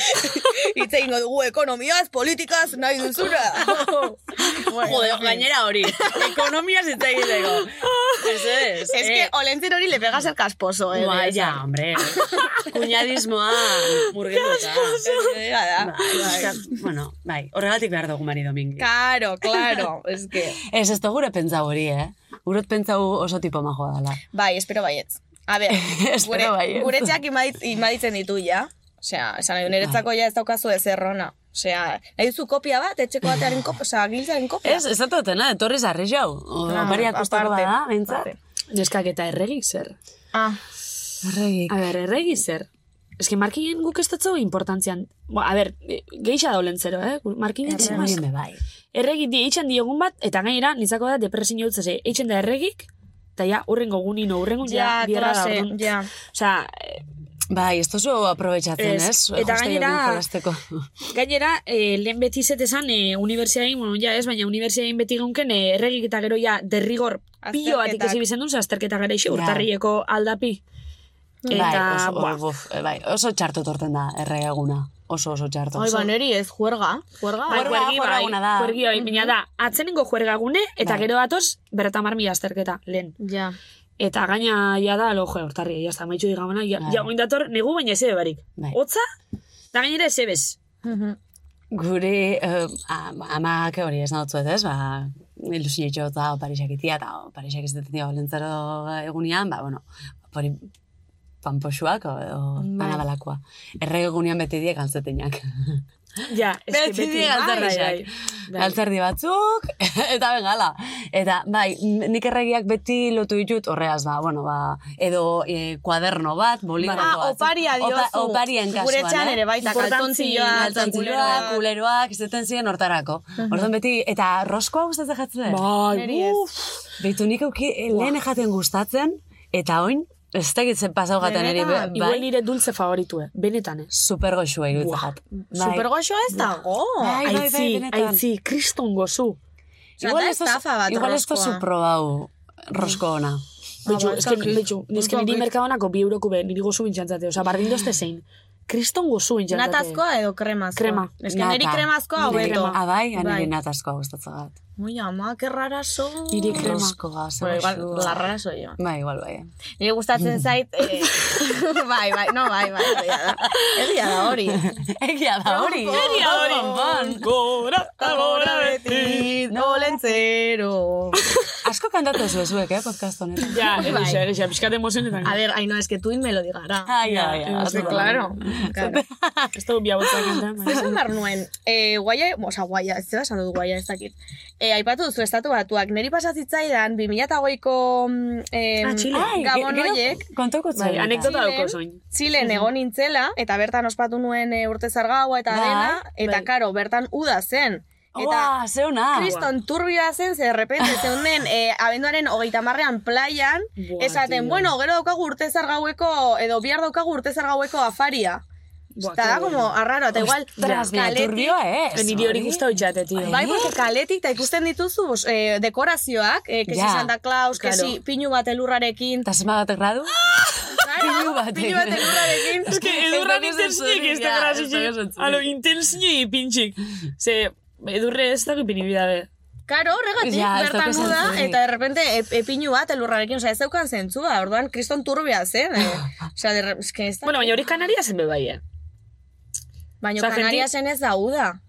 Speaker 2: Hitz egingo dugu ekonomiaz, politikaz, nahi duzuna.
Speaker 8: Joder, gainera hori. Ekonomia zitza egiteko. Ez ez. eh.
Speaker 2: Es que olentzen hori le pegas el casposo, eh.
Speaker 8: Ba, ja, hombre. Kuñadismoa murgilduta.
Speaker 2: da.
Speaker 8: Ba, bueno, bai, horregatik behar dugu Mari Domingi.
Speaker 2: Claro, claro, es que...
Speaker 8: Ez, ez da gure pentsau hori, eh? Gurot pentsau oso tipo majoa dela.
Speaker 2: Bai, espero baietz. A ber,
Speaker 8: Espero
Speaker 2: gure,
Speaker 8: baietz.
Speaker 2: gure txak imadi- imaditzen ditu ja. Osea, esan nahi, niretzako ja ez daukazu ez errona. Osea, nahi duzu kopia bat, etxeko batearen kopia, osea, giltzaren kopia.
Speaker 8: Ez, ez da totena, etorri zarri jau. O,
Speaker 2: Ah,
Speaker 8: Opariak kostako
Speaker 2: aparte,
Speaker 8: bada, bintzat.
Speaker 2: aparte.
Speaker 7: Neskak eta erregik zer.
Speaker 2: Ah,
Speaker 8: Horregik.
Speaker 7: A ber, erregi zer. Ez que markinen guk ez dutzu importantzian. Bo, a ber, e, geisha da olentzero, eh? Gu- Markinen
Speaker 8: Etxe
Speaker 7: txemaz.
Speaker 8: marien be bai.
Speaker 7: Erregi di eitzen diogun bat, eta gainera, nitzako da depresin joutze ze. Eitzen da erregik, eta ja, urrengo gunin, urrengo ja,
Speaker 2: ja,
Speaker 7: bierra da.
Speaker 2: tolase,
Speaker 7: orduan.
Speaker 2: ja.
Speaker 7: Osea, e,
Speaker 8: Bai, ez tozu aprobetsatzen,
Speaker 7: Ez,
Speaker 8: ez?
Speaker 7: eta
Speaker 8: Jostailuekin
Speaker 7: gainera-
Speaker 8: jolasteko.
Speaker 7: gainera, e, lehen beti zet esan e, unibertsiain, bueno, ja ez, baina unibertsiain beti gunken e, erregik eta gero ja derrigor pilo bat
Speaker 2: Azterketak.
Speaker 7: ikasi bizen duen, ze azterketa gara isi,
Speaker 8: Ja.
Speaker 7: urtarrieko aldapi.
Speaker 8: bai,
Speaker 7: Eta,
Speaker 8: oso,
Speaker 7: buah.
Speaker 8: buf, bai, oso txarto torten da, erregeguna. oso oso txarto.
Speaker 2: Ai, ba, neri ez, juerga. Juerga.
Speaker 7: Bai,
Speaker 8: Juerga,
Speaker 7: juergi bai,
Speaker 8: juergaguna da.
Speaker 7: juergi bai, baina da, atzenengo juergagune, eta
Speaker 8: Bai.
Speaker 7: gero datoz, berretamar mila azterketa, lehen.
Speaker 2: Ja.
Speaker 7: Eta gaina, ja da, lojo, hortarri, ja, está, maitxu digamana, ja,
Speaker 8: Bai.
Speaker 7: ja, oin dator, negu baina ez barik.
Speaker 8: Bai.
Speaker 7: Otza, da gainera ez ebez.
Speaker 8: Gure eh, am- amak hori esan dutzuet ez, ba, ilusinetxo eta Parisak itia, eta o, Parisak ez dut dira lentzaro egunean, ba, bueno, hori pamposuak o, o
Speaker 2: Bai.
Speaker 8: panadalakoa. Erre egunean beti diek galtzetinak.
Speaker 7: Ja, ez que
Speaker 8: Beti die
Speaker 7: bai,
Speaker 8: galtzarrixak.
Speaker 7: bai, bai.
Speaker 8: Galtzerdi batzuk, eta bengala. Eta, bai, nik erregiak beti lotu ditut horreaz, ba, bueno, ba, edo eh, kuaderno bat,
Speaker 2: Ah,
Speaker 8: boligrafo bat.
Speaker 2: oparia diozu.
Speaker 8: Opa, oparien kasuan,
Speaker 2: Gure etxean
Speaker 8: eh?
Speaker 2: ere bai, baita, kaltontzioa,
Speaker 8: Kaltzantziloak, kuleroak, ez duten ziren hortarako. Orduan beti, eta roskoa gustatzen jatzen?
Speaker 2: Neri
Speaker 7: Bai,
Speaker 2: ez.
Speaker 7: uf,
Speaker 8: Beitu nik auki, eh, lehen jaten gustatzen, eta oin, ez dakit zen pasau gaten eri,
Speaker 2: Benetan,
Speaker 8: be-
Speaker 7: igual
Speaker 8: bai,
Speaker 7: nire dulce favoritue, benetan eh. ez.
Speaker 8: super goxua iruditza jat. Bai.
Speaker 2: Supergoxoa ez dago.
Speaker 8: Bai, bai, bai,
Speaker 7: Aitzi,
Speaker 8: benetan.
Speaker 7: aitzi, kriston gozu.
Speaker 2: Osea,
Speaker 8: Igual
Speaker 2: da
Speaker 8: ez da
Speaker 2: estafa bat
Speaker 8: igual ez
Speaker 2: roskoa.
Speaker 8: duzu probau rosko ona.
Speaker 7: Betxu,
Speaker 2: ba,
Speaker 8: bai,
Speaker 7: ez
Speaker 2: ez
Speaker 7: que,
Speaker 2: dakit.
Speaker 7: betxu,
Speaker 2: Ez
Speaker 7: nizke niri
Speaker 2: dakit.
Speaker 7: merkadonako bi euroko be, niri gozu bintxantzate, oza, bardin dozte zein. Kriston gozu bintxantzate.
Speaker 2: Natazkoa edo kremazkoa?
Speaker 7: Krema.
Speaker 2: Ez que neri
Speaker 8: Nata.
Speaker 2: kremazkoa
Speaker 8: Niri
Speaker 2: hobeto.
Speaker 8: krema. Ah, bai,
Speaker 2: Bai.
Speaker 8: aniri natazkoa gustatzen gat.
Speaker 2: Ui, ama, que rara so.
Speaker 7: Niri krema.
Speaker 8: Roskoa,
Speaker 2: Bueno, igual,
Speaker 8: zebasua.
Speaker 2: la rara soy yo.
Speaker 8: Bai, igual, bai.
Speaker 2: Nire gustatzen zait, eh, bai, bai, no, bai, bai, egia da. Egia da hori.
Speaker 8: Egia da hori. Egia hori.
Speaker 7: Gora,
Speaker 2: Agora beti, nolentzero.
Speaker 8: Asko kantatu ez bezuek, eh, podcast honetan.
Speaker 7: Ja,
Speaker 2: Bai.
Speaker 7: erixa, erixa, pixkat emozionetan.
Speaker 2: A ver, ay, no, es que tuin me lo digara.
Speaker 8: Ai, ai, ai.
Speaker 7: Ez
Speaker 2: Sí,
Speaker 8: asko.
Speaker 2: claro. claro.
Speaker 7: Ez da bia botzak
Speaker 8: Bai,
Speaker 2: Esan behar nuen, eh, guaia, oza, guaia, ez zeba esan dut guaia, ez dakit. Eh, aipatu duzu estatu batuak, neri pasazitzaidan 2008ko eh,
Speaker 7: Ah, Txile.
Speaker 8: Ai, ge-
Speaker 2: gabon
Speaker 8: gero
Speaker 2: hoiek,
Speaker 8: Kontoko
Speaker 7: Bai,
Speaker 8: zen.
Speaker 7: anekdota
Speaker 2: Ziren.
Speaker 7: dauko zoin.
Speaker 2: Txilen egon nintzela, eta bertan ospatu nuen e, urte zargaua eta
Speaker 8: Bai,
Speaker 2: dena, eta
Speaker 8: bai.
Speaker 2: karo, bertan uda zen. Eta
Speaker 8: Ua, ze ona.
Speaker 2: kriston turbioa zen, ze repente zeunden e, abenduaren hogeita marrean playan,
Speaker 7: Buah,
Speaker 2: esaten,
Speaker 7: tío.
Speaker 2: bueno, gero daukagu urte zargaueko, edo bihar daukagu urte zargaueko afaria.
Speaker 7: Buah,
Speaker 2: Eta da,
Speaker 7: qué
Speaker 2: como, arraro, eta igual,
Speaker 8: Ostras, mira, turbioa eh. ez.
Speaker 7: Niri hori guztau jate, tio.
Speaker 2: Bai, porque kaletik eta ikusten dituzu eh, dekorazioak, eh, kesi
Speaker 8: Ja.
Speaker 2: Santa Claus,
Speaker 7: Claro.
Speaker 2: kesi pinu bat elurrarekin,
Speaker 8: Eta zema bat gradu? Pinu bat.
Speaker 2: pinu bat elurrarekin,
Speaker 7: Ez que edurra intensnik ez da grasitxik. Alo, intensnik pintxik. Ze, edurre ez dago pinibida be.
Speaker 2: Karo, horregatik,
Speaker 8: Ja, ez
Speaker 2: bertan
Speaker 8: dauka
Speaker 2: da,
Speaker 8: zentzurik.
Speaker 2: eta de repente e- epinu bat elurrarekin, osea, ez zeukan zentzua, orduan kriston turbia zen, eh? osea, de re- eske ez da.
Speaker 7: Bueno, baina hori kanaria zen be bai, eh.
Speaker 2: Baina
Speaker 7: osea,
Speaker 2: Kanaria
Speaker 7: jendi-
Speaker 2: zen ez da uda.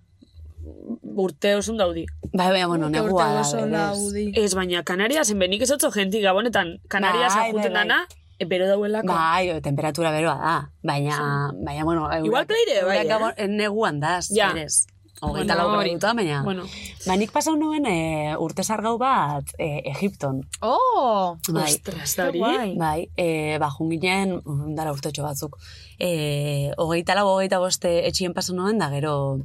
Speaker 7: Urte osun daudi.
Speaker 8: Bai, bai, bueno, negua da. berez.
Speaker 2: udi.
Speaker 7: Ez, baina kanaria zen benik ez otzo jenti gabonetan. Kanaria
Speaker 8: Bai,
Speaker 7: zen juten
Speaker 8: bai, bai.
Speaker 7: dana, e, bero dauelako.
Speaker 8: Bai, temperatura beroa da, baina, baina, bueno, eurak,
Speaker 7: Igual pleire, bai,
Speaker 8: eurak
Speaker 7: eh?
Speaker 8: gabon- neguan da,
Speaker 7: Ja.
Speaker 8: ja. berez. Hogeita
Speaker 7: Bueno,
Speaker 8: lau
Speaker 7: hori.
Speaker 8: graduta, baina.
Speaker 7: Bueno.
Speaker 8: Ba, nik pasau nuen e, urte sargau bat e, Egipton.
Speaker 2: Oh!
Speaker 8: Bai,
Speaker 7: Ostras, da hori.
Speaker 2: guai.
Speaker 8: bai, e, ba, junginen, mm, dala urtetxo batzuk. E, hogeita lau, hogeita boste etxien pasau nuen, da gero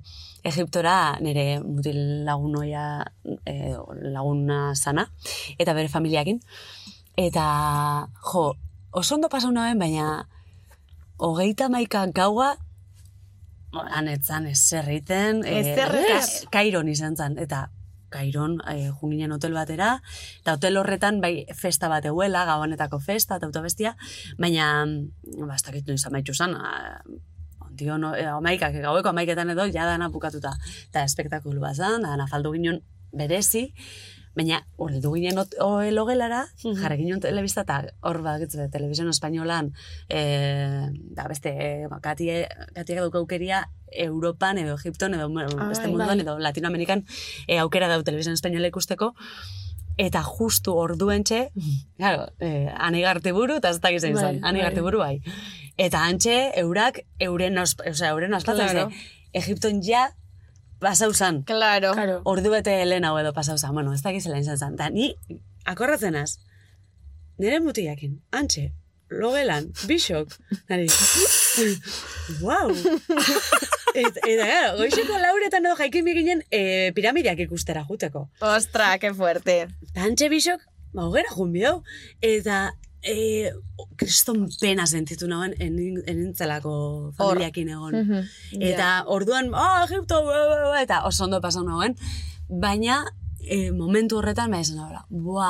Speaker 8: Egiptora nire mutil lagunoia e, laguna sana, eta bere familiakin. Eta, jo, oso ondo pasau nuen, baina hogeita maika gaua anetzan ez zerriten.
Speaker 2: Ezer ez.
Speaker 8: eh, Kairon izan zen, eta Kairon e, junginen hotel batera, eta hotel horretan bai festa bat euela, gabonetako festa, eta autobestia, baina, mm, ba, ez dakit noiz amaitxu zen, ah, ondio, no, e, amaikak, gaueko amaiketan edo, ja dana bukatuta. Eta espektakulu bat zen, dana faldu ginen berezi, Baina, horretu ginen ot- o- logelara, jarri ginen telebista, eta hor bat, Televisión Espainolan, e, da beste, e, ba, katie, katiak dauka aukeria, Europan edo Egipton edo bueno, beste munduan edo Latinoamerikan e, aukera dau Televisión Espainola ikusteko, eta justu orduentxe, claro, eh, anegarte buru, eta ez da gizan
Speaker 7: Bai,
Speaker 8: izan, anegarte buru bai. Eta antxe, eurak, euren, osp, osea, euren ospatzen,
Speaker 7: Claro.
Speaker 8: ze, Egipton ja, pasau zan.
Speaker 2: Claro.
Speaker 7: Claro.
Speaker 8: Ordu bete helen hau edo pasau zan, bueno, ez da gizela izan zan. Da, ni, akorratzen az, nire mutiakin, antxe, logelan, bisok, nari, wow! eta, eta, gara, goizeko lauretan edo jaikin biginen e, piramideak ikustera juteko.
Speaker 2: Ostra, que fuerte.
Speaker 8: Eta antxe bisok, ba, hogera jun bidau. Eta, e, kriston pena sentitu nagoen enin- enintzelako familiakin egon.
Speaker 2: Mhm.
Speaker 8: Eta orduan, ah, Egipto, bua, bua, bua, eta oso ondo pasau nagoen. Baina, e, momentu horretan, ba, esan nagoela, bua,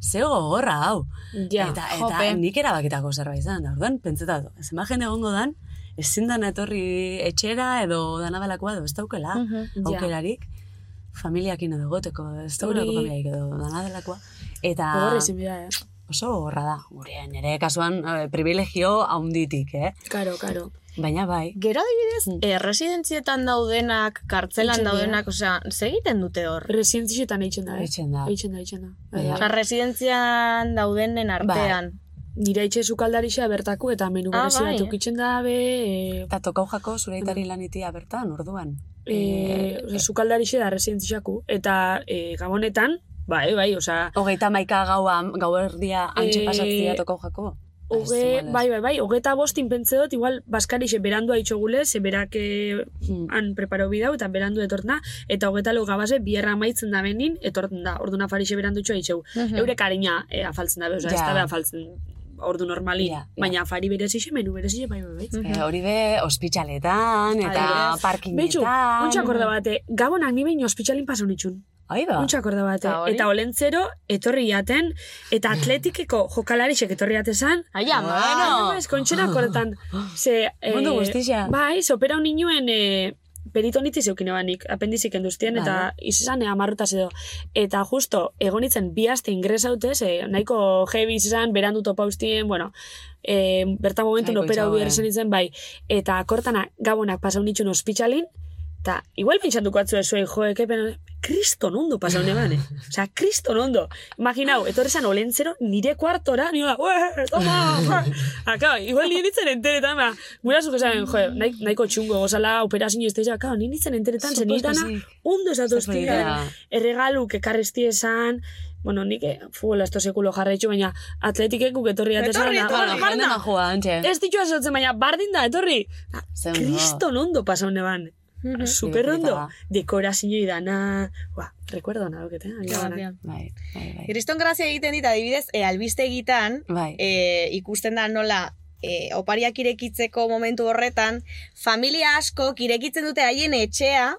Speaker 8: ze gogorra hau.
Speaker 7: Ja,
Speaker 8: eta, eta
Speaker 2: jope.
Speaker 8: nik erabakitako zerbait zen, da, orduan, pentseta, zenba jende egongo dan, ezin dana etorri etxera edo danabalakoa edo ez daukela,
Speaker 7: Mhm, ja.
Speaker 8: aukerarik, familiakin edo goteko, ez daukelako
Speaker 7: Hori-
Speaker 8: familiarik edo danabalakoa. Eta
Speaker 7: Gogorra izin bida, eh?
Speaker 8: oso gogorra da, gure nire kasuan eh, privilegio haunditik, eh?
Speaker 7: Karo, karo.
Speaker 8: Baina bai,
Speaker 2: Gero adibidez, eh, residentzietan daudenak, kartzelan
Speaker 7: Itxaron dira.
Speaker 2: daudenak, osea, ze egiten dute hor?
Speaker 7: Residentzietan eitzen da, eh?
Speaker 8: Eitzen da.
Speaker 7: Eitzen da, eitzen da. Bai,
Speaker 8: Ja.
Speaker 7: bai.
Speaker 2: Osea, residentzian daudenen
Speaker 8: Bai.
Speaker 2: artean.
Speaker 7: Nire itxe sukaldarixa bertako eta menu
Speaker 2: Ah,
Speaker 7: berezi
Speaker 2: bai,
Speaker 7: bat
Speaker 2: eh?
Speaker 7: ukitzen da, be... E,
Speaker 8: eta tokau jako zureitari
Speaker 7: Bai.
Speaker 8: lanitia bertan, orduan. Eh,
Speaker 7: e, oza, sukaldarixe da residentzixaku. Eta e, gabonetan, bai, bai, oza,
Speaker 8: Hogeita maika gaua, gauerdia antxe
Speaker 7: Eh,
Speaker 8: pasatzea tokau jako.
Speaker 7: Oge, bai, bai, bai, hogeta bostin pentze dut, igual, Baskarixe berandua itxogule, ze berak eh,
Speaker 8: Hmm.
Speaker 7: han preparo bidau, eta berandu etortna, eta hogeta lo gabaze, bierra maitzen da benin, etorten da, orduna farixe berandu itxoa itxegu. Eure karina eh, afaltzen da, oza,
Speaker 8: Mhm. Ja.
Speaker 7: ez da afaltzen, ordu normali,
Speaker 8: Ja, ja.
Speaker 7: baina afari berezixe, menu berezixe, bai, bai, bai.
Speaker 8: Eh, hori be, ospitaletan, eta
Speaker 2: Adibidez.
Speaker 8: parkinetan.
Speaker 7: Beitxu, untxak orda bate, eh, gabonak ni behin ospitalin pasan itxun.
Speaker 8: Hoi ba.
Speaker 7: Untxak orda bate.
Speaker 2: Eta hori?
Speaker 7: Eta olentzero, etorri jaten, eta atletikeko jokalarixek etorri Ah, jatezan,
Speaker 2: Ai,
Speaker 8: Ah,
Speaker 2: ama!
Speaker 7: Bueno, ez kontxera kortan. Ze, eh,
Speaker 8: Mundu guztia.
Speaker 7: Bai, sopera ninuen eh, peritonitiz eukin ebanik, apendizik enduztien, eta
Speaker 8: Vale.
Speaker 7: izan eh, amarrutaz edo. Eta justo, egonitzen bi aste ingresaute, ze nahiko heavy izan, berandu topa ustien, bueno, eh, bertan momentu
Speaker 8: Nahiko
Speaker 7: opera hau
Speaker 8: itxaron, eh.
Speaker 7: izan nintzen, bai. Eta kortana, gabonak pasau nitxun ospitalin, eta igual pentsatuko atzu ezuei, joek, epen, kriston ondo pasau neban, eh? Osea, kriston ondo. Imaginau, etorri zan olentzero, nire kuartora, nioa, ue, toma, ua." Ah, claro, igual nire nintzen enteretan, ba, gura zuke zaren, jo, nahi, nahiko txungo, gozala, operazio ez teiza, claro, nire nintzen enteretan, zen nire dana,
Speaker 8: Superespezik.
Speaker 7: ondo esatoztia,
Speaker 8: Superidea.
Speaker 7: erregaluk ekarrezti esan, bueno, nik eh, futbola esto sekulo jarraitxu, baina atletikekuk etorri atezan, ah,
Speaker 2: Etorri,
Speaker 7: da,
Speaker 2: etorri.
Speaker 7: bueno, barna,
Speaker 8: Barna joa, antxe.
Speaker 7: Ez ditu azotzen, baina bardin da, etorri. Ah,
Speaker 8: Zer ondo.
Speaker 7: Kriston ondo pasau neban.
Speaker 2: Mhm.
Speaker 7: Super ondo. Dekorazio idana. Ba, recuerdo na, oket, eh? Aia bana.
Speaker 8: Bai, bai,
Speaker 7: eh,
Speaker 8: bai.
Speaker 2: Kriston grazia egiten dit, adibidez, e, albistegitan,
Speaker 8: Bai.
Speaker 2: e, ikusten da nola e, opariak irekitzeko momentu horretan, familia asko irekitzen dute haien etxea,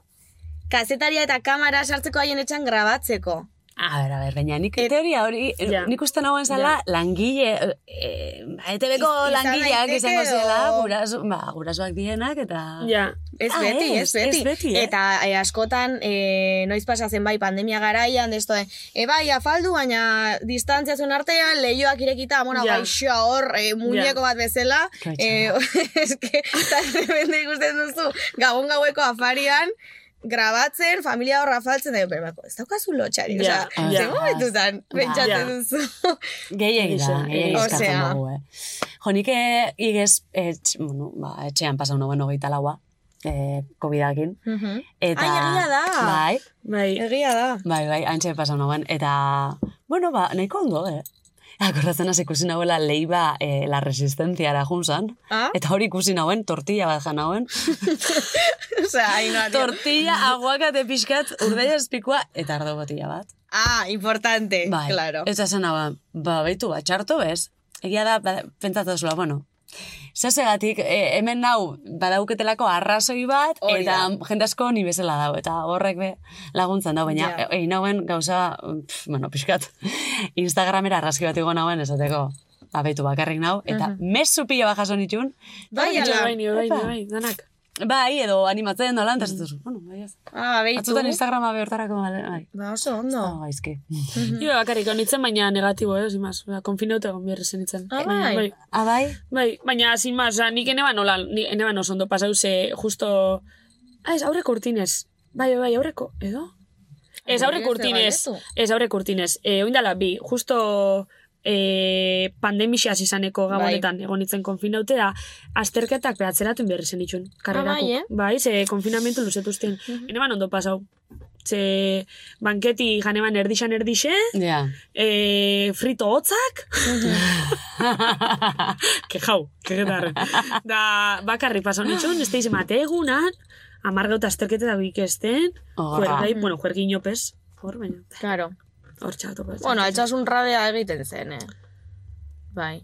Speaker 2: kazetaria eta kamera sartzeko haien etxean grabatzeko.
Speaker 8: A ber, a ber, baina nik
Speaker 7: eh,
Speaker 8: teoria hori, eh,
Speaker 7: Ja.
Speaker 8: nik uste nagoen zala langile, eh, ETB-ko
Speaker 2: Iz- izan
Speaker 8: langileak
Speaker 2: daiteke
Speaker 8: izango zela,
Speaker 2: o-
Speaker 8: guraso, ba, gurasoak dienak, eta...
Speaker 7: Ja,
Speaker 2: Ez
Speaker 8: Ah,
Speaker 2: beti,
Speaker 8: ez,
Speaker 2: ez, beti.
Speaker 8: ez beti, eh?
Speaker 2: Eta e, askotan, e, noiz pasatzen bai pandemia garaian, desto, e, e bai, afaldu, baina distantzia zuen artean, lehioak irekita, amona,
Speaker 7: Ja.
Speaker 2: gaixoa hor, e, muñeko bat bezala,
Speaker 8: Gaitza.
Speaker 2: e, eske, eta tremendo ikusten duzu, gabon gaueko afarian, grabatzen, familia horra faltzen, da, pero bako, ez daukazu lotxari,
Speaker 7: Ja,
Speaker 2: osea,
Speaker 8: ja.
Speaker 2: ze momentutan,
Speaker 7: Ja.
Speaker 2: pentsatzen duzu.
Speaker 8: Gehiegi da,
Speaker 7: Egixe,
Speaker 8: gehiegi
Speaker 2: egixe.
Speaker 8: eskatzen
Speaker 2: Osea.
Speaker 8: dugu, eh. Jo, nik eh, igez, etx, bueno, ba, etxean pasau noen hogeita laua, eh, COVID-akin. Eta,
Speaker 2: Ai, egia da.
Speaker 8: Bai,
Speaker 7: bai.
Speaker 2: Egia da.
Speaker 8: bai, bai, antxe pasau noen, eta, bueno, ba, nahiko ondo, eh. Akordatzen hasi ikusi nahuela leiba eh, la resistentziara junzan.
Speaker 2: Ah?
Speaker 8: Eta hori ikusi nauen, tortilla bat jan nauen.
Speaker 2: Osea, hain bat.
Speaker 8: tortilla, aguakate pixkat, urdeia espikua, eta ardo botila bat.
Speaker 2: Ah, importante,
Speaker 8: Bai,
Speaker 2: claro.
Speaker 8: Eta zen hau, ba, baitu, ba, txarto bez. Egia da, ba, pentsatu zula, bueno, Zasegatik, e, hemen nau, badauketelako arrazoi bat,
Speaker 2: Hori
Speaker 8: eta jende asko ni bezala dago, eta horrek be laguntzen dau, baina
Speaker 2: Ja.
Speaker 8: yeah. egin nauen gauza, pff, bueno, pixkat, Instagramera arrazki bat igo nauen, esateko, abeitu bakarrik nau, eta
Speaker 2: Mhm.
Speaker 8: mesu pilo bat jaso nitun,
Speaker 2: Bai,
Speaker 7: Bai,
Speaker 2: ala.
Speaker 7: bai, ni, bai, ni,
Speaker 8: Opa.
Speaker 7: bai, danak.
Speaker 8: bai, edo animatzen nolan, eta ez duzu, bueno, bai, ez.
Speaker 2: Ah, beitu.
Speaker 8: Atzutan Instagrama behortarako, bai, bai.
Speaker 2: Ba, oso ondo.
Speaker 8: Oh, gaizki.
Speaker 2: Mm. Mhm.
Speaker 7: Iba bakarrik honitzen, baina negatibo, eh, zimaz. Oza, konfineuta egon bierre zenitzen.
Speaker 2: Ah, bai.
Speaker 7: bai.
Speaker 8: Abai?
Speaker 7: Bai, baina zin maz, oza, nik eneban nola, nik eneban oso ondo pasau, ze justo... Ah, ez, aurreko urtinez. Bai, bai, bai, aurreko, edo? Ez, aurreko
Speaker 2: Bai, Ez,
Speaker 7: urtinez.
Speaker 2: galdetu.
Speaker 7: Ez, aurreko urtinez. E, oindala, bi, justo e, pandemixia izaneko
Speaker 2: Bai.
Speaker 7: gabonetan, egon nintzen konfinaute da, azterketak behatzeratun berri zen itxun, karrerako.
Speaker 2: bai, eh? Mhm.
Speaker 7: bai, ze konfinamentu luzetuzten. Eneban ondo pasau. Ze banketi janeban erdixan erdixe,
Speaker 8: Ja.
Speaker 7: e, frito hotzak,
Speaker 2: Mhm.
Speaker 7: que jau, que getarren. Da, bakarri paso nitxun, ez teiz emate egunan, amargauta azterketa da bikesten,
Speaker 8: Horra.
Speaker 7: juergai, bueno, juergi inopez, hor, baina,
Speaker 2: Claro.
Speaker 7: hor txatu.
Speaker 2: Bueno, altxasun rabea egiten zen, eh? Bai.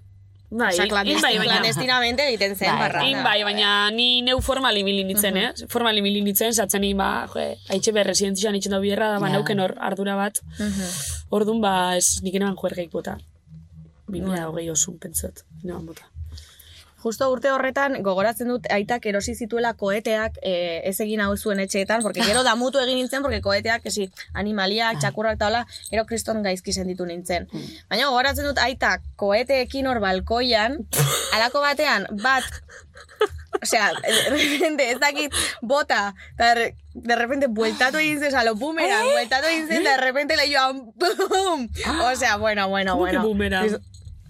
Speaker 7: bai,
Speaker 2: Osa,
Speaker 7: in bai, baina,
Speaker 2: clandestinamente egiten zen,
Speaker 8: Bai,
Speaker 2: barra.
Speaker 7: in bai, baina ni neu formal imili nintzen, eh? Formal imili nintzen, zatzen egin, ba, jo, haitxe berre, zientzian itxen da bierra, da, ba,
Speaker 8: Ja.
Speaker 7: nauken hor, ardura bat, ordun ba, ez, nik eneban juergaik bota. 2020 hogei osun, pentsat, eneban bota.
Speaker 2: Justo urte horretan gogoratzen dut aitak erosi zituela koeteak eh, ez egin hau zuen etxeetan, porque gero damutu egin nintzen, porque koeteak, esi,
Speaker 7: Ah.
Speaker 2: animaliak, txakurrak eta hola, gero kriston gaizki senditu nintzen.
Speaker 7: Hmm.
Speaker 2: Baina gogoratzen dut aitak koeteekin hor balkoian, alako batean, bat, osea, de repente, ez dakit, bota, eta de, de repente, bueltatu egin zen, alo, bumera, bueltatu egin zen, eta de repente le joan, bum! Osea, bueno, bueno,
Speaker 7: ¿Cómo que
Speaker 2: bueno.
Speaker 7: boomerang?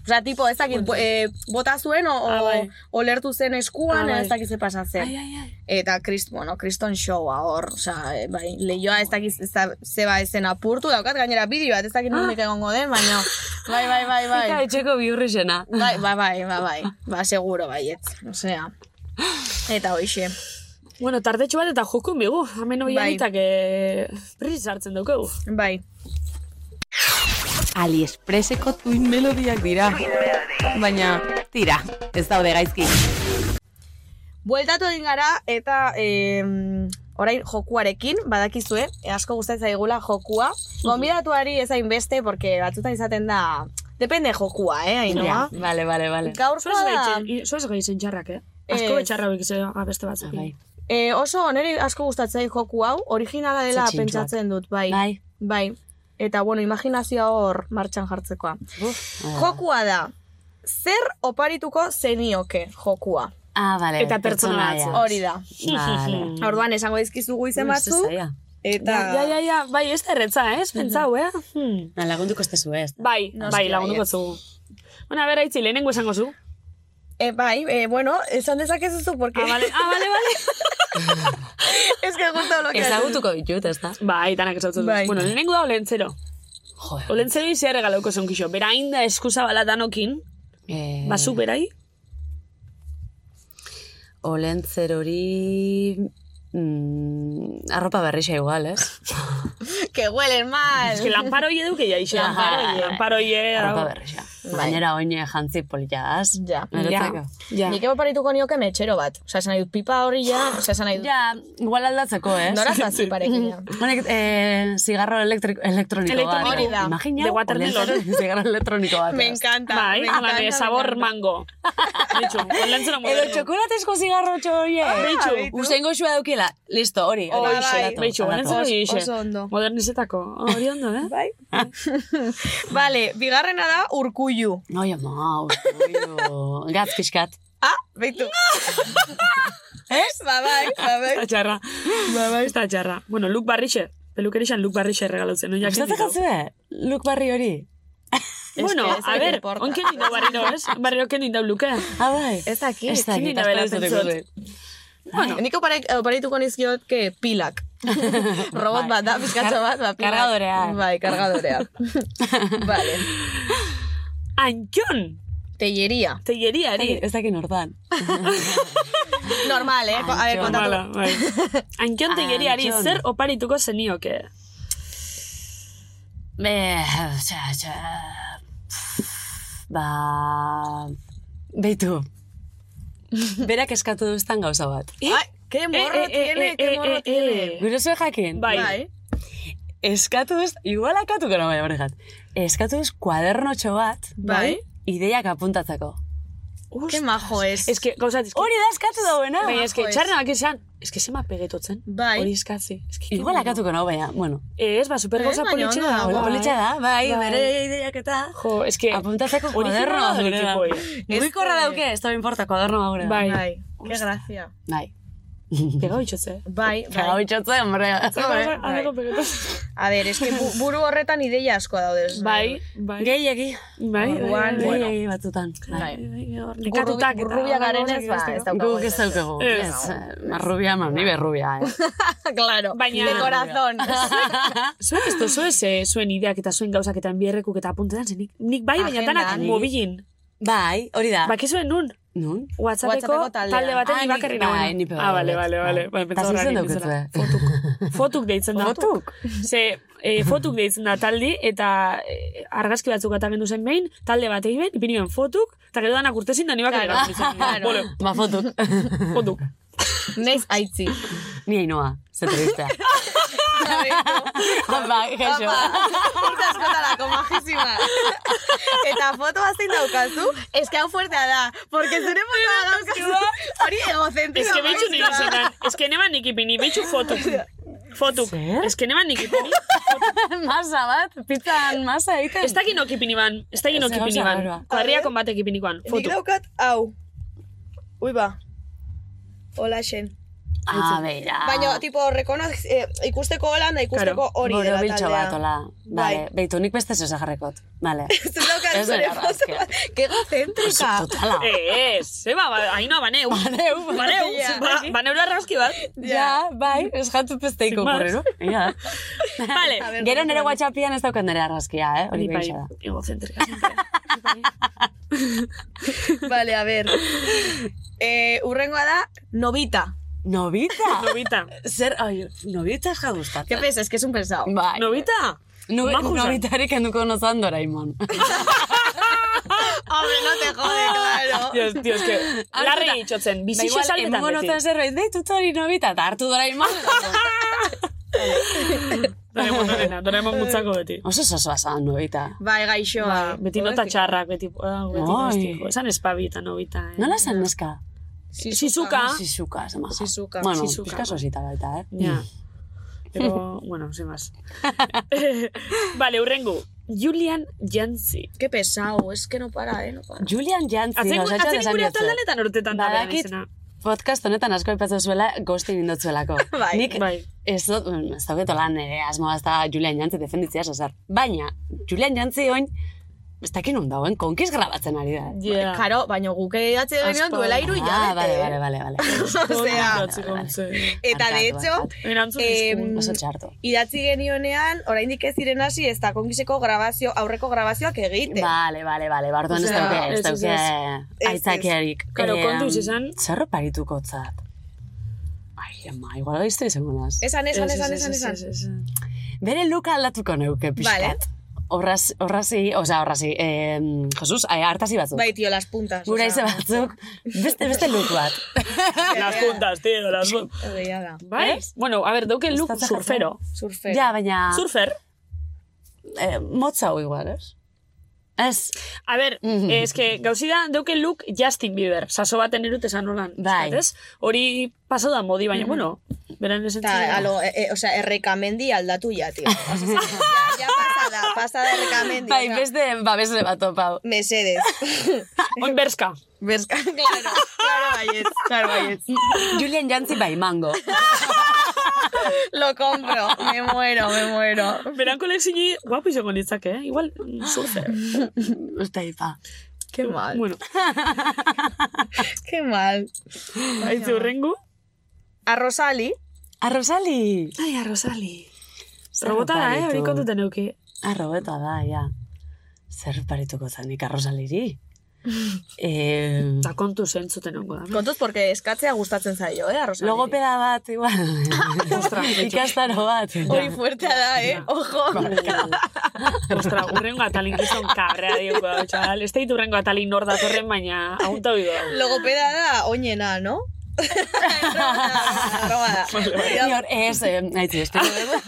Speaker 2: Osea, tipo, ez dakit, bo- eh, bota zuen, o,
Speaker 7: Ah,
Speaker 2: o,
Speaker 7: bai.
Speaker 2: olertu zen eskuan,
Speaker 7: Ah, bai.
Speaker 2: ez dakit ze pasa zen.
Speaker 7: Ai, ai, ai.
Speaker 2: Eta, krist, bueno, kriston showa hor, osea, eh, bai, leioa ez dakit ba ez da- zeba ezen apurtu, daukat gainera bideo bat, ez
Speaker 7: Ah.
Speaker 2: dakit nondik egongo den, baina, bai, bai, bai,
Speaker 8: Eta
Speaker 2: bai.
Speaker 8: etxeko bihurri zena.
Speaker 2: Bai, bai, bai, bai, bai, ba, seguro, baietz, osea. Eta hoxe.
Speaker 7: Bueno, tardetxo bat eta jokun bigu. Hemen hori
Speaker 2: Bai.
Speaker 7: anitak eh, prisa hartzen dugu.
Speaker 2: Bai.
Speaker 10: Aliexpreseko tuin melodiak dira. Baina, tira, ez daude gaizki.
Speaker 2: Bueltatu egin gara eta em, orain jokuarekin, badakizue, eh, asko gustatzen zaigula jokua. Gonbidatuari ez hainbeste, porque batzutan izaten da, depende jokua, eh,
Speaker 8: Ja,
Speaker 2: hainoa.
Speaker 8: Bale, bale, bale.
Speaker 2: Gaurkoa da,
Speaker 7: Zuez gai zen txarrak, eh? Asko
Speaker 2: Ez.
Speaker 7: betxarra hauek izan beste batzuk.
Speaker 8: Bai.
Speaker 2: eh, oso niri asko gustatzen zait joku hau, originala dela
Speaker 8: Ze txintxoak.
Speaker 2: pentsatzen dut, bai.
Speaker 8: Bai.
Speaker 2: Bai. Eta, bueno, imaginazioa hor martxan jartzekoa. Jokua da, zer oparituko zenioke jokua.
Speaker 8: Ah, bale.
Speaker 7: Eta pertsona
Speaker 8: pertsonaia.
Speaker 7: batzuk.
Speaker 2: Hori da.
Speaker 8: Vale.
Speaker 2: Orduan esango dizkizugu izen batzu.
Speaker 8: Ez zaila.
Speaker 2: Eta...
Speaker 7: Ja, ja, ja, ja, bai, ez da erretza, eh? Ez pentsau, eh? Hmm.
Speaker 8: Na, Lagunduko ez tezu ez.
Speaker 7: Bai,
Speaker 2: Noski,
Speaker 7: bai, lagunduko
Speaker 2: baietz.
Speaker 7: zugu. Bueno, a ber, aitzi, lehenengo esango zu.
Speaker 2: E, bai, e, bueno, esan dezakezuzu, porque...
Speaker 7: Ah, vale, ah, vale, vale.
Speaker 2: es que justo lo que...
Speaker 8: Ezagutuko ditut, ez da?
Speaker 7: Bai, danak ezautzen
Speaker 2: Bai.
Speaker 7: bai. Bueno, lehenengo da olentzero.
Speaker 8: Joder.
Speaker 7: Olentzero izia regalauko zen kixo. Bera inda eskusa bala danokin,
Speaker 8: Eh,
Speaker 7: bazu berai.
Speaker 8: Olentzer hori... Mm, arropa berrixa igual, ez?
Speaker 2: Que huelen mal.
Speaker 7: Ez que lanparoie duke ja iso, lanparoie, lanparoie.
Speaker 8: arropa
Speaker 7: hau.
Speaker 8: berrixa. Gainera oine jantzi politaz.
Speaker 2: Ja.
Speaker 8: Niretzako.
Speaker 7: Ja.
Speaker 2: Nik eparituko nioke metxero bat. Osa, esan nahi dut pipa hori ja, osa, esan nahi dut...
Speaker 8: Ja, igual aldatzeko, ez?
Speaker 2: Nora zazi parekin ja.
Speaker 8: Honek, eh, zigarro elektrik, elektroniko bat.
Speaker 7: Elektroniko.
Speaker 2: Hori da.
Speaker 8: Imagina,
Speaker 7: De Watermelon.
Speaker 8: olentzero zigarro elektroniko bat. ez?
Speaker 2: encanta.
Speaker 7: Bai, alare, sabor mango. Betxu, olentzero
Speaker 8: Edo
Speaker 7: modelo.
Speaker 8: txokolatezko zigarrotxo horiek.
Speaker 7: Beitu.
Speaker 8: Usain goxua daukila. Listo, hori.
Speaker 2: Bai,
Speaker 8: hori
Speaker 2: bai.
Speaker 8: salatu,
Speaker 7: Betxu,
Speaker 8: salatu.
Speaker 7: olentzero
Speaker 2: Oso-
Speaker 7: ixe.
Speaker 2: oso ondo.
Speaker 7: Modernizetako. Hori ondo, eh? Bai.
Speaker 2: Vale, bigarrena da urkullu.
Speaker 8: Noi, ama, ustuio. Gatz pixkat.
Speaker 2: Ah, beitu. Ez? Ba, bai, ba, bai.
Speaker 7: Eta txarra. Ba, bai. Eta txarra. Bueno, Luke Barrixe. Pelukerixan Luke Barrixe regalautzen. No,
Speaker 8: Gustatzen jatzue? Luk barri hori.
Speaker 7: Bueno,
Speaker 2: Ez que ez
Speaker 7: a ver,
Speaker 2: importa.
Speaker 7: onken dindau barriro, ez? Barriro onken dindau luke.
Speaker 8: Ah, bai.
Speaker 2: Ez dakit.
Speaker 8: Ez dakit,
Speaker 7: Ni
Speaker 8: espero
Speaker 7: nabela
Speaker 8: ez dut
Speaker 7: pentsatzen.
Speaker 8: ikusi.
Speaker 7: Bueno,
Speaker 2: Nik eh, opare- oparituko nizkioke pilak. Robot
Speaker 7: Bai.
Speaker 2: bat da, pizkatxo bat, ba, pilak.
Speaker 8: Kargadorea.
Speaker 2: Bai, kargadorea. vale.
Speaker 7: Antxon!
Speaker 2: Telleria.
Speaker 7: Teieria,
Speaker 8: Ez dakit-
Speaker 7: eri.
Speaker 8: Ez dakit nortan.
Speaker 2: Normal, eh? Ko- A ver,
Speaker 8: Antxon.
Speaker 2: kontatu.
Speaker 7: Mala, bai. Antxon teieria, ari,
Speaker 8: Antxon.
Speaker 7: zer oparituko zenioke?
Speaker 8: Be, txa, txa. Ba... Beitu. Berak eskatu duztan gauza bat.
Speaker 2: Ay, qué morro
Speaker 7: eh,
Speaker 2: tiene,
Speaker 7: eh,
Speaker 2: qué
Speaker 7: eh,
Speaker 2: morro
Speaker 7: eh,
Speaker 2: tiene.
Speaker 7: eh.
Speaker 8: Gure zuen jakin?
Speaker 7: Bai.
Speaker 2: Bai.
Speaker 8: Eskatu duz... Igual akatuko no, baina horregat. Eskatu duz kuadernotxo bat
Speaker 2: Bai.
Speaker 8: ideiak apuntatzeko.
Speaker 2: Qué majo es.
Speaker 7: Ez que, gauzat, ez que...
Speaker 8: Hori da eskatu dauena.
Speaker 7: Baina, ez que,
Speaker 2: majo ez.
Speaker 7: txarrenak esan, ez que zema pegetotzen.
Speaker 2: Bai.
Speaker 7: Hori eskatzi. Ez que,
Speaker 8: Igual akatuko no, baina, bueno.
Speaker 7: Ez, ba, super gauza
Speaker 2: Ez, baina
Speaker 7: politxe
Speaker 2: ondo
Speaker 7: da.
Speaker 2: dago.
Speaker 7: bai.
Speaker 8: Politxa da, bai,
Speaker 7: Bai.
Speaker 8: bere ideiak eta...
Speaker 7: Jo, ez que...
Speaker 8: Apuntatzeko
Speaker 7: originala
Speaker 8: kuaderno
Speaker 7: da
Speaker 8: gure da.
Speaker 7: hori, tipo,
Speaker 8: Muy korra dauke, ez da importa, kuaderno gure da.
Speaker 7: Bai.
Speaker 2: Bai. Qué gracia.
Speaker 8: Bai.
Speaker 7: Pega bitxotze.
Speaker 2: Bai,
Speaker 8: Kaga
Speaker 2: bai.
Speaker 8: bitxotze, hombre.
Speaker 2: Hombre, bai.
Speaker 7: Aleko pegetotzen.
Speaker 2: A ver, es que bu- buru horretan ideia asko daude. ez
Speaker 7: Bai, bai.
Speaker 8: Gehiegi.
Speaker 7: Bai,
Speaker 2: Orduan,
Speaker 7: bai,
Speaker 2: bueno.
Speaker 7: bai.
Speaker 8: Gehiegi batzutan. Bai.
Speaker 7: Nekatutak. eta
Speaker 2: Burrubia garenez,
Speaker 7: horrek
Speaker 2: ba, ez
Speaker 7: besteko.
Speaker 2: daukagu.
Speaker 8: Guk ez daukagu.
Speaker 7: Ez.
Speaker 8: Ez, eh, rubia, ma, ni berrubia, eh.
Speaker 2: claro.
Speaker 7: Baina-
Speaker 2: De corazón.
Speaker 7: Zuek ez dozu ez, eh, zuen ideak eta zuen gauzak eta enbierrekuk eta apuntetan zen. Nik, nik bai, baina
Speaker 2: Agendan.
Speaker 7: danak mobilin.
Speaker 8: Bai, hori da.
Speaker 7: Bak zuen nun,
Speaker 8: Nun?
Speaker 7: WhatsAppeko
Speaker 2: WhatsAppeko taldean.
Speaker 7: talde
Speaker 8: Ah,
Speaker 7: baten
Speaker 8: nik-
Speaker 7: ibakarri
Speaker 8: bai, ni
Speaker 7: nagoen.
Speaker 8: pe bai,
Speaker 7: Ah, bale,
Speaker 8: bai.
Speaker 7: bale, bale. Ba,
Speaker 8: Ta
Speaker 7: pentsa
Speaker 8: zuzen
Speaker 7: horrekin
Speaker 8: daukat,
Speaker 7: bezala.
Speaker 8: eh.
Speaker 7: Fotuk. Fotuk deitzen da.
Speaker 8: Fotuk?
Speaker 7: Ze, eh, fotuk deitzen da taldi, eta eh, argazki batzuk atamendu zen behin, talde bat egin behin, ipini behin fotuk, eta gero danak urtezin da ni bakarri
Speaker 2: Claro.
Speaker 7: nagoen. Bole,
Speaker 8: Ba, fotuk.
Speaker 7: fotuk.
Speaker 2: Neiz aitzi.
Speaker 8: Ni hainoa, ze tristea. Bai, gaixo.
Speaker 2: Urte askotarako, majísima. Eta foto zein daukazu, eske hau fuertea da. Porque zure fotoa daukazu, hori egocentrismo.
Speaker 7: Ez que behitxu nire
Speaker 2: maestra.
Speaker 7: zenan. Ez que neban nik ipini, behitxu fotu. Fotu. Ez que neban nik ipini.
Speaker 8: masa bat, pizzan masa egiten.
Speaker 7: Ez dakin ok ipini ban. Ez dakin ok
Speaker 8: Ez,
Speaker 7: ipini
Speaker 8: gauza
Speaker 7: ban.
Speaker 8: raroa.
Speaker 7: Kuadriakon batek ipinikoan.
Speaker 2: Nik
Speaker 7: Fotu.
Speaker 2: daukat, hau. Ui ba. Hola xen.
Speaker 8: Ah, beira.
Speaker 2: Baina, tipo, rekonoz, eh, ikusteko holan da ikusteko
Speaker 7: Claro,
Speaker 2: hori
Speaker 8: Boro
Speaker 2: dela
Speaker 8: biltxo bat,
Speaker 2: taldea.
Speaker 8: hola.
Speaker 2: Bai.
Speaker 8: Vale, beitu, nik beste zosa jarrekot. Vale.
Speaker 2: Zer daukat
Speaker 8: Ez
Speaker 2: zure
Speaker 8: dela
Speaker 2: foto bat.
Speaker 8: argazkia.
Speaker 2: Que egocéntrica.
Speaker 8: Totala.
Speaker 7: Ez, zeba, ba- haino baneu.
Speaker 8: Baneu,
Speaker 7: Baneu.
Speaker 2: Ja.
Speaker 7: ba- Baneu larrazki bat.
Speaker 8: Ja, bai, ez jatu pesteiko
Speaker 7: Sin
Speaker 8: kurrero. Ja.
Speaker 7: Vale.
Speaker 8: Gero nire whatsappian ez daukat nire argazkia, eh? Hori
Speaker 7: bai,
Speaker 8: baixa da.
Speaker 7: egozentrika.
Speaker 2: Vale, a ver. Eh, urrengoa da, novita.
Speaker 8: Nobita?
Speaker 7: Novita.
Speaker 8: Zer, ai, nobita ez jagustatzen.
Speaker 2: ¿Qué piensas? Que es un pesado.
Speaker 8: Bai.
Speaker 7: Novita?
Speaker 8: Nube,
Speaker 7: Majusan.
Speaker 8: nobitarik enduko nozan doraimon.
Speaker 2: Hombre, no te jode, claro.
Speaker 7: Dios, tío, es que... Larri
Speaker 8: Ba,
Speaker 7: itxotzen, bizitxo salbetan
Speaker 8: Emungo nozan
Speaker 7: beti.
Speaker 8: zerbait, deitu hori nobita, eta hartu doraimon.
Speaker 7: Doraemon horrena, Doraemon gutzako beti.
Speaker 8: Oso zozoa zan nobita.
Speaker 2: Bai, gaixoa.
Speaker 7: Ba, Beti nota txarrak, beti... ah, beti
Speaker 8: Ai.
Speaker 7: nostiko. Esan espabita, novita. eh.
Speaker 8: Nola zen neska? Ah,
Speaker 7: Shizuka.
Speaker 8: Shizuka, zama.
Speaker 2: Shizuka,
Speaker 8: Bueno,
Speaker 7: Shizuka.
Speaker 8: pizka sosita baita, eh?
Speaker 7: Ja. Pero, bueno, sin más. vale, urrengu. Julian Jantzi.
Speaker 2: Qué pesado, es que no para, eh, no para.
Speaker 8: Julian Jantzi,
Speaker 7: Atzen
Speaker 8: gauzatxo
Speaker 7: atzen
Speaker 8: desan
Speaker 7: gure
Speaker 8: diotzu.
Speaker 7: ataldanetan urtetan da beren
Speaker 8: Badakit.
Speaker 7: izena.
Speaker 8: podcast honetan asko aipatzen zuela gozti bindotzuelako.
Speaker 2: Bai,
Speaker 8: Nik
Speaker 7: bai.
Speaker 8: ez dut, mm, ez dauket lan ere asmoa ez da Julian Jantzi defenditzea zazar. Baina, Julian Jantzi oin, ez dakin non dagoen, konkiz grabatzen ari da. eh?
Speaker 7: Ja.
Speaker 2: Karo, baina guk edatze genion duela iru
Speaker 8: Ah,
Speaker 2: ja.
Speaker 8: vale, vale, vale, vale.
Speaker 2: Osea, eta
Speaker 8: Barkatu,
Speaker 2: de hecho,
Speaker 8: barkatu.
Speaker 7: Erantzun
Speaker 2: Em,
Speaker 7: izkun.
Speaker 8: Oso txarto.
Speaker 2: idatzi genionean, oraindik ez diren hasi, ez da konkiseko grabazio, aurreko grabazioak egite.
Speaker 8: Vale, vale, vale, barduan ez
Speaker 7: Osea,
Speaker 8: dauke, ez
Speaker 7: ez, ez,
Speaker 8: dauke
Speaker 2: ez.
Speaker 8: aitzakiarik.
Speaker 7: Karo,
Speaker 8: Em,
Speaker 7: kontuz izan.
Speaker 8: Zerro parituko zat. Ai, ama, igual gaiztu izango naz.
Speaker 2: Esan, esan,
Speaker 7: Ez, ez,
Speaker 2: esan,
Speaker 7: ez,
Speaker 2: esan,
Speaker 7: ez,
Speaker 2: esan.
Speaker 7: ez, ez, ez.
Speaker 8: Bere luka aldatuko neuke
Speaker 2: Vale.
Speaker 8: pixkat. Horraz, horrazi, oza, horrazi, eh, Jesus, eh, hartasi batzuk.
Speaker 2: Bai, tío, las puntas.
Speaker 8: Gura
Speaker 2: osea,
Speaker 8: izan batzuk, beste, beste look bat.
Speaker 7: Las puntas, tío, las puntas.
Speaker 2: egia da.
Speaker 7: Bai? Bueno, a ver, dauke look
Speaker 8: Ostatza
Speaker 7: surfero.
Speaker 2: Surfer.
Speaker 8: ja,
Speaker 2: Ah.
Speaker 8: baina
Speaker 7: Surfer.
Speaker 8: eh, motza hau igual, ez? Ez,
Speaker 7: A ver, es que gauzi da, dauke look Justin Bieber. Saso baten erut esan holan.
Speaker 8: Bai.
Speaker 7: Eskat, ez? Hori pasau da modi, baina, bueno, beran esentzen.
Speaker 2: Eta, alo, e, e, osea, errekamendi aldatu ja, tío. Osea, ja, ja pasada, pasada errekamendi.
Speaker 8: bai,
Speaker 2: osea,
Speaker 8: beste babesle bat topau.
Speaker 2: Mesedes.
Speaker 7: Oin berska.
Speaker 2: Berska, claro, claro, baiet, claro, baiet.
Speaker 8: Julian Jantzi bai mango.
Speaker 2: Lo compro, me muero, me muero.
Speaker 7: Beran kolekzini guapo izango litzak, eh? Igual, mm, surfer.
Speaker 8: Uste ba. ipa.
Speaker 2: Qué mal,
Speaker 7: Bueno,
Speaker 2: qué mal.
Speaker 7: haitze urrengu.
Speaker 2: A Rosali,
Speaker 8: Arrozali!
Speaker 7: Ai, a Rosali.
Speaker 8: Zer
Speaker 7: Robota da, eh?
Speaker 8: oparitu?
Speaker 7: Hori kontuten euki.
Speaker 8: Arrobeta da, ja. Zer parituko zanik arrozaliri? eh,
Speaker 7: Eta kontu zentzuten ongo da.
Speaker 2: kontuz, porque eskatzea gustatzen zaio, eh, a Rosali.
Speaker 8: logopeda bat, igual. Ikastaro bat.
Speaker 2: Hori fuertea da, eh, ojo.
Speaker 7: Ostra, urrengo atalin gizon kabrea dioko da, txal. Ez dit urrengo atalin nor datorren, baina agunta hori da.
Speaker 2: Logopeda da, oinena, no? Robada.
Speaker 8: Ior, ez, eh, haitzi, espero dugu.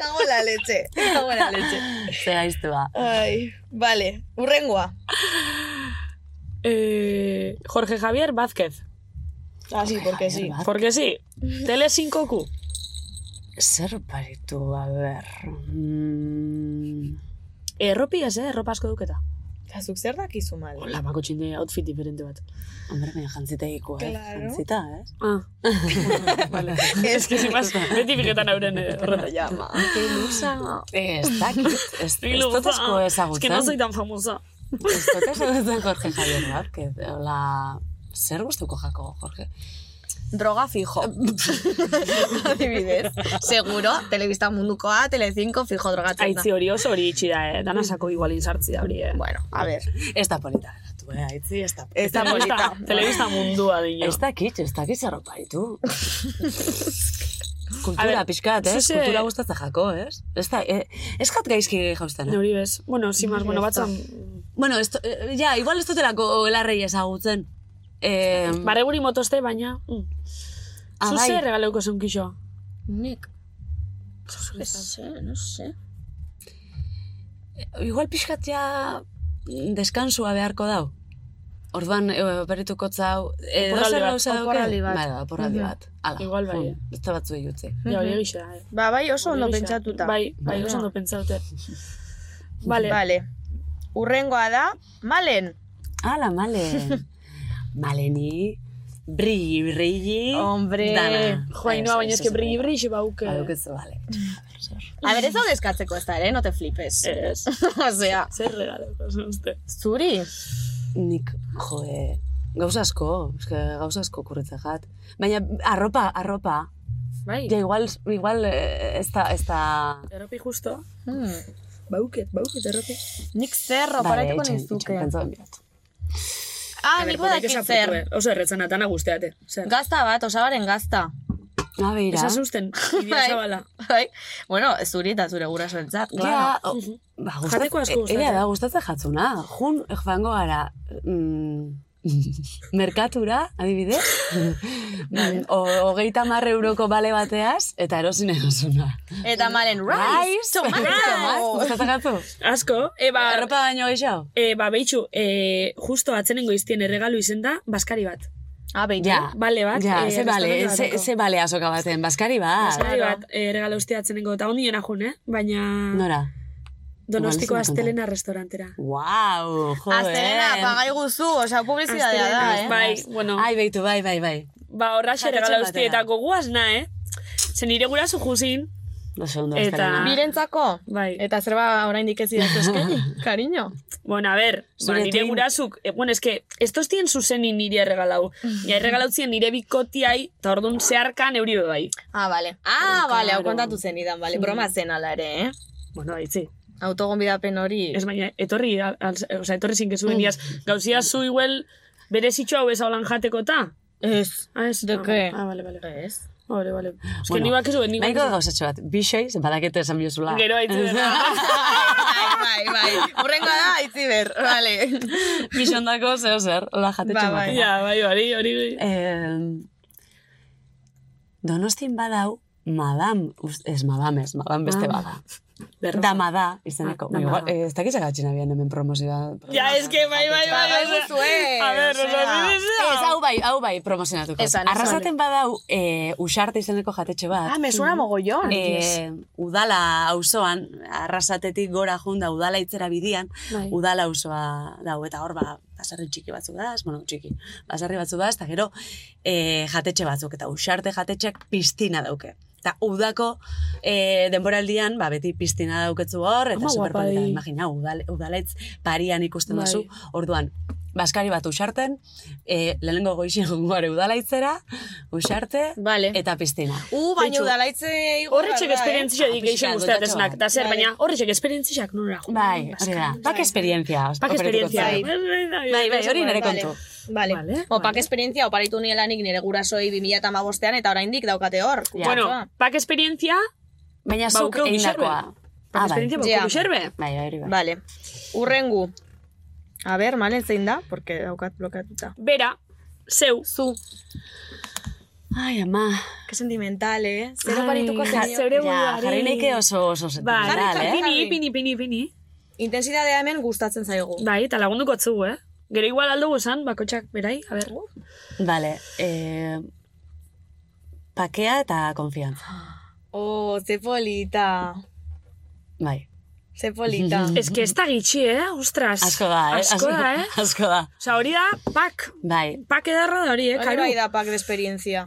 Speaker 2: Cago en la leche, cago en la leche.
Speaker 8: Ze ba. gaiztua.
Speaker 2: Ai, vale, urrengoa.
Speaker 7: Eh, Jorge Javier Vázquez.
Speaker 2: Así, porque Ah, sí.
Speaker 8: Bat,
Speaker 7: Porque sí, Tele 5Q.
Speaker 8: Zer paritu, a ber... Mm,
Speaker 7: Erropiaz, eh? Erropa asko duketa.
Speaker 2: Azuk zer dakizu mal.
Speaker 7: Hola, bako txinde outfit diferente bat.
Speaker 8: hombre, baina jantzitegiko, eh?
Speaker 2: Claro.
Speaker 8: Jantzita, eh?
Speaker 7: Ah. vale. Es que, sin más, beti piketan hauren eh, horretan.
Speaker 2: llama.
Speaker 8: Ez dakit, ez,
Speaker 7: Ni
Speaker 8: ez
Speaker 7: lupa.
Speaker 8: dut asko
Speaker 7: ah, Es que no soy
Speaker 8: ezagutzen.
Speaker 7: tan famosa.
Speaker 8: Ez dut ezagutzen Jorge Javier Vázquez. Hola, zer gustuko jako, Jorge?
Speaker 2: Droga fijo. Adibidez. Seguro, telebista mundukoa, Telecinco fijo drogatzen da.
Speaker 7: Aitzi hori oso hori itxi da, eh? Danasako igual inzartzi da hori, eh?
Speaker 2: Bueno, a ver.
Speaker 8: Ez da polita geratu, eh? Aitzi, ez da
Speaker 2: Ez da
Speaker 7: Telebista,
Speaker 2: polita.
Speaker 7: telebista mundua dino.
Speaker 8: Ez dakit, ez dakit zer paritu.
Speaker 7: A
Speaker 8: Kultura
Speaker 7: ber,
Speaker 8: pixkat, ez?
Speaker 7: zuze-
Speaker 8: Kultura gustatzen jako, ez? Ez da, eh, ez jat gaizki jauzten, eh?
Speaker 7: Neuri bez. Bueno, sin más, bueno, batzan...
Speaker 8: Bueno, esto, eh, ja, igual ez dutelako belarrei ezagutzen. Eh,
Speaker 7: Barreguri motoste, baina... Mm.
Speaker 8: Ah,
Speaker 7: Zuze
Speaker 8: bai.
Speaker 7: regaleuko zeun kixoa. Nik. Ese, no sé.
Speaker 8: Igual pixkatia deskansua beharko dau. Orduan, e, berrituko zau, e,
Speaker 7: Oporraldi
Speaker 8: dozer
Speaker 7: bat,
Speaker 8: gauza dauke?
Speaker 2: oporraldi bat.
Speaker 8: Bai, oporraldi bat. Ala,
Speaker 7: Igual bai,
Speaker 8: jun,
Speaker 7: eh.
Speaker 8: Beste batzu egutze.
Speaker 7: Ja, hori egixe da. eh.
Speaker 2: Ba, bai, oso ondo
Speaker 7: Hori egixe da.
Speaker 2: pentsatuta. Bai.
Speaker 7: Bai, bai, oso ondo pentsatuta. Vale.
Speaker 2: Vale. Urrengoa da, malen.
Speaker 8: Ala, malen. Maleni, brilli, brilli.
Speaker 2: Hombre.
Speaker 8: dana.
Speaker 7: Joainoa, Eh, baina eske brilli
Speaker 8: brilli.
Speaker 7: brilli bauke.
Speaker 8: Badukezu, bale.
Speaker 2: A ber, ez hau deskatzeko ez da, ere, no te flipes.
Speaker 7: Ez.
Speaker 2: Osea,
Speaker 7: Zer regalo, uste.
Speaker 2: zuri.
Speaker 8: Nik, jo, e, gauza asko, eske gauza asko kurretza jat. Baina, arropa, arropa.
Speaker 7: Bai,
Speaker 8: Ja, igual, igual, e, ez da, ez da...
Speaker 7: erropi justo. Ba
Speaker 2: Hmm.
Speaker 7: Bauket, bauket, erropi.
Speaker 2: Nik zer roparatuko
Speaker 8: etxen-
Speaker 2: nizuke.
Speaker 8: etxen pentsa bilatu.
Speaker 7: A
Speaker 2: Ah,
Speaker 7: ber,
Speaker 2: nik
Speaker 7: botaik
Speaker 2: badakit
Speaker 7: esaputu,
Speaker 2: zer.
Speaker 7: eh. Oso erretzen atana guztiate. Zer.
Speaker 2: Gazta bat, osabaren gazta.
Speaker 8: Ah, beira.
Speaker 7: Esasusten, ibira
Speaker 2: Bai.
Speaker 7: zabala.
Speaker 2: Bai. Bueno, zuri eta zure gurasoentzat.
Speaker 8: Ja, o- ba, gustat,
Speaker 7: Jateko asko gustatzen.
Speaker 8: Ega da, gustatzen jatzuna. Jun, joango gara, mm, merkatura, adibidez, Mm, o, hogeita mar euroko bale bateaz, eta erosin erosuna.
Speaker 2: Eta malen, rice, tomato.
Speaker 8: Gustatzen jatzu?
Speaker 7: Asko, eba,
Speaker 8: Arropa baino gehiago?
Speaker 7: e, ba, behitxu, e, justo atzenen goiztien erregalu izen da, baskari bat.
Speaker 2: Ah, behitu.
Speaker 8: Ja,
Speaker 7: Bale bat,
Speaker 8: Ja,
Speaker 7: eh,
Speaker 8: ze bale,
Speaker 7: restaurante
Speaker 8: ze,
Speaker 7: bateko.
Speaker 8: ze bale azoka baten, baskari bat.
Speaker 7: Baskari bat, e, regalo uste atzenengo, eta ondi jona jun, eh? Baina
Speaker 8: Nora?
Speaker 7: donostiko
Speaker 8: Igual ez dut
Speaker 7: astelena restaurantera.
Speaker 8: Wow, jo,
Speaker 2: Aztelena,
Speaker 8: eh.
Speaker 2: pagai guzu, osea, publizitatea da,
Speaker 7: Astelena,
Speaker 2: eh?
Speaker 7: Bai, bueno,
Speaker 8: Ah, Ai, beitu, bai, bai, bai.
Speaker 7: ba, horra xe
Speaker 8: Jatetxe
Speaker 7: regalo
Speaker 8: batera.
Speaker 7: usteetako guazna, eh? Zer nire guraso juzin,
Speaker 8: Oso ondo,
Speaker 7: Eta-
Speaker 8: Aztelena.
Speaker 2: Birentzako?
Speaker 7: Bai.
Speaker 2: Eta zer ba oraindik ez idatzu eskeni, kariño?
Speaker 7: Bueno, a ver, ba,
Speaker 8: Zure
Speaker 7: nire
Speaker 8: tuin.
Speaker 7: gurasuk, eh, bueno, eske, estos tien zuzeni nire erregalau. Ja, erregalautzien nire bikotiai, eta orduan zeharkan euri be bai.
Speaker 2: Ah, bale. Ah, bale, hau kontatu zen idan, bale. Broma zen ala ere, eh?
Speaker 7: Bueno, haitzi.
Speaker 2: Autogonbidapen hori.
Speaker 7: Ez baina, etorri, al, al- osea, etorri zinkezu
Speaker 8: Mm.
Speaker 7: beniaz, gauzia zu igual bere zitxo hau ez haulan jateko eta?
Speaker 2: Ez.
Speaker 7: Ah, ez,
Speaker 2: De
Speaker 7: ah,
Speaker 2: que?
Speaker 7: Ah, bale, bale.
Speaker 2: Ez.
Speaker 7: Bale, bale. Ez que ni bakizu, ni
Speaker 8: Baiko
Speaker 7: bakizu.
Speaker 8: gauzatxo bat, bixeiz, badakete esan biozula.
Speaker 7: Gero haitzi dena.
Speaker 2: bai, bai, bai. Urrengoa da, itziber, bale.
Speaker 8: Bixondako zeo zer, hola jatetxo
Speaker 2: Ba,
Speaker 8: ba,
Speaker 2: bai.
Speaker 7: Ja, bai, hori, hori.
Speaker 8: Eh, donostin badau, madam, uz- ez madam ez, madam beste bada.
Speaker 7: Berroza.
Speaker 8: Dama da, izeneko.
Speaker 7: Ah,
Speaker 8: Ah,
Speaker 7: dama
Speaker 8: Igual,
Speaker 7: da.
Speaker 8: eh, ez dakitza gatxina bian hemen promozioa.
Speaker 7: Ja, ez que, bai, bai, bai.
Speaker 2: bai,
Speaker 7: bai.
Speaker 2: guzue,
Speaker 7: A ver,
Speaker 2: osea.
Speaker 7: osea,
Speaker 8: Ez, hau bai, hau bai promozionatuko.
Speaker 2: Esan, esan.
Speaker 8: Arrasaten badau, eh, usarte izeneko jatetxe bat.
Speaker 2: Ah, me suena mogollon.
Speaker 8: Eh, udala auzoan, arrasatetik gora junda udala itzera bidian,
Speaker 7: Bai.
Speaker 8: udala auzoa dago eta hor ba baserri txiki batzuk daz, bueno, txiki. Baserri batzuk daz eta gero eh, jatetxe batzuk eta usarte jatetxeak piztina dauke. Eta udako eh, denboraldian, ba, beti piztina dauketzu hor, eta
Speaker 7: Ama
Speaker 8: superpolita,
Speaker 7: guapai.
Speaker 8: imagina, udal, udalaitz parian ikusten
Speaker 7: Bai.
Speaker 8: duzu. Orduan, baskari bat usarten, e, lehenengo goixen gure udalaitzera, usarte,
Speaker 2: Vale.
Speaker 8: eta piztina.
Speaker 2: U, Uh, baina
Speaker 8: Beitu.
Speaker 2: udalaitze igorra
Speaker 7: Horretxek
Speaker 2: da, eh?
Speaker 7: esperientzia
Speaker 8: Ah,
Speaker 7: dik
Speaker 8: pixka
Speaker 7: geixen
Speaker 8: bat,
Speaker 7: guztatezenak,
Speaker 8: gotxo bat.
Speaker 7: da zer, baina horretxek esperientziak nora.
Speaker 8: Bai, hori da. Pak esperientzia.
Speaker 7: Pak esperientzia.
Speaker 2: Bai.
Speaker 8: Bai, bai, hori nere
Speaker 2: Vale,
Speaker 8: kontu.
Speaker 2: Vale.
Speaker 7: Vale,
Speaker 2: Opak
Speaker 7: vale.
Speaker 2: esperientzia oparitu nielanik nire gurasoei 2008an eta oraindik daukate hor.
Speaker 8: Ja.
Speaker 7: Bueno,
Speaker 2: kutsatxoa.
Speaker 7: pak esperientzia,
Speaker 8: Baina zuk
Speaker 7: Baukeu
Speaker 8: eindakoa.
Speaker 7: pak
Speaker 8: Ah, bai.
Speaker 7: esperientzia Ba.
Speaker 2: Ja.
Speaker 7: bako kuserbe.
Speaker 8: Bai, bai, hori bai.
Speaker 2: Vale. Urrengu. A ber, malen zein da, porque daukat blokatuta.
Speaker 7: Bera, zeu,
Speaker 2: Zu,
Speaker 8: Ai, ama.
Speaker 2: que sentimental, eh? Zero
Speaker 7: Ai,
Speaker 2: parituko
Speaker 7: ja-
Speaker 2: zenio.
Speaker 7: zeure
Speaker 8: Ja,
Speaker 7: buruari.
Speaker 8: jarri neike oso oso
Speaker 7: Bai,
Speaker 8: sentimental,
Speaker 2: jarri,
Speaker 8: eh?
Speaker 2: jarri.
Speaker 7: pini, pini, pini, pini.
Speaker 2: Intensidadea hemen gustatzen zaigu.
Speaker 7: Bai, eta lagunduko atzugu, eh? Gero igual aldugu esan, bakotxak berai, a ber.
Speaker 8: Vale, eh, pakea eta konfiantza.
Speaker 2: Oh, ze polita.
Speaker 8: Bai.
Speaker 2: Ze polita.
Speaker 7: Ez que ez da gitxi, eh? Ostras.
Speaker 8: Asko da, eh?
Speaker 7: Asko da, eh?
Speaker 8: Asko da.
Speaker 7: Osa, hori da, pak,
Speaker 8: Bai.
Speaker 7: pak edarra da hori, eh?
Speaker 2: Hori
Speaker 7: Karu.
Speaker 2: bai da pak de esperientzia.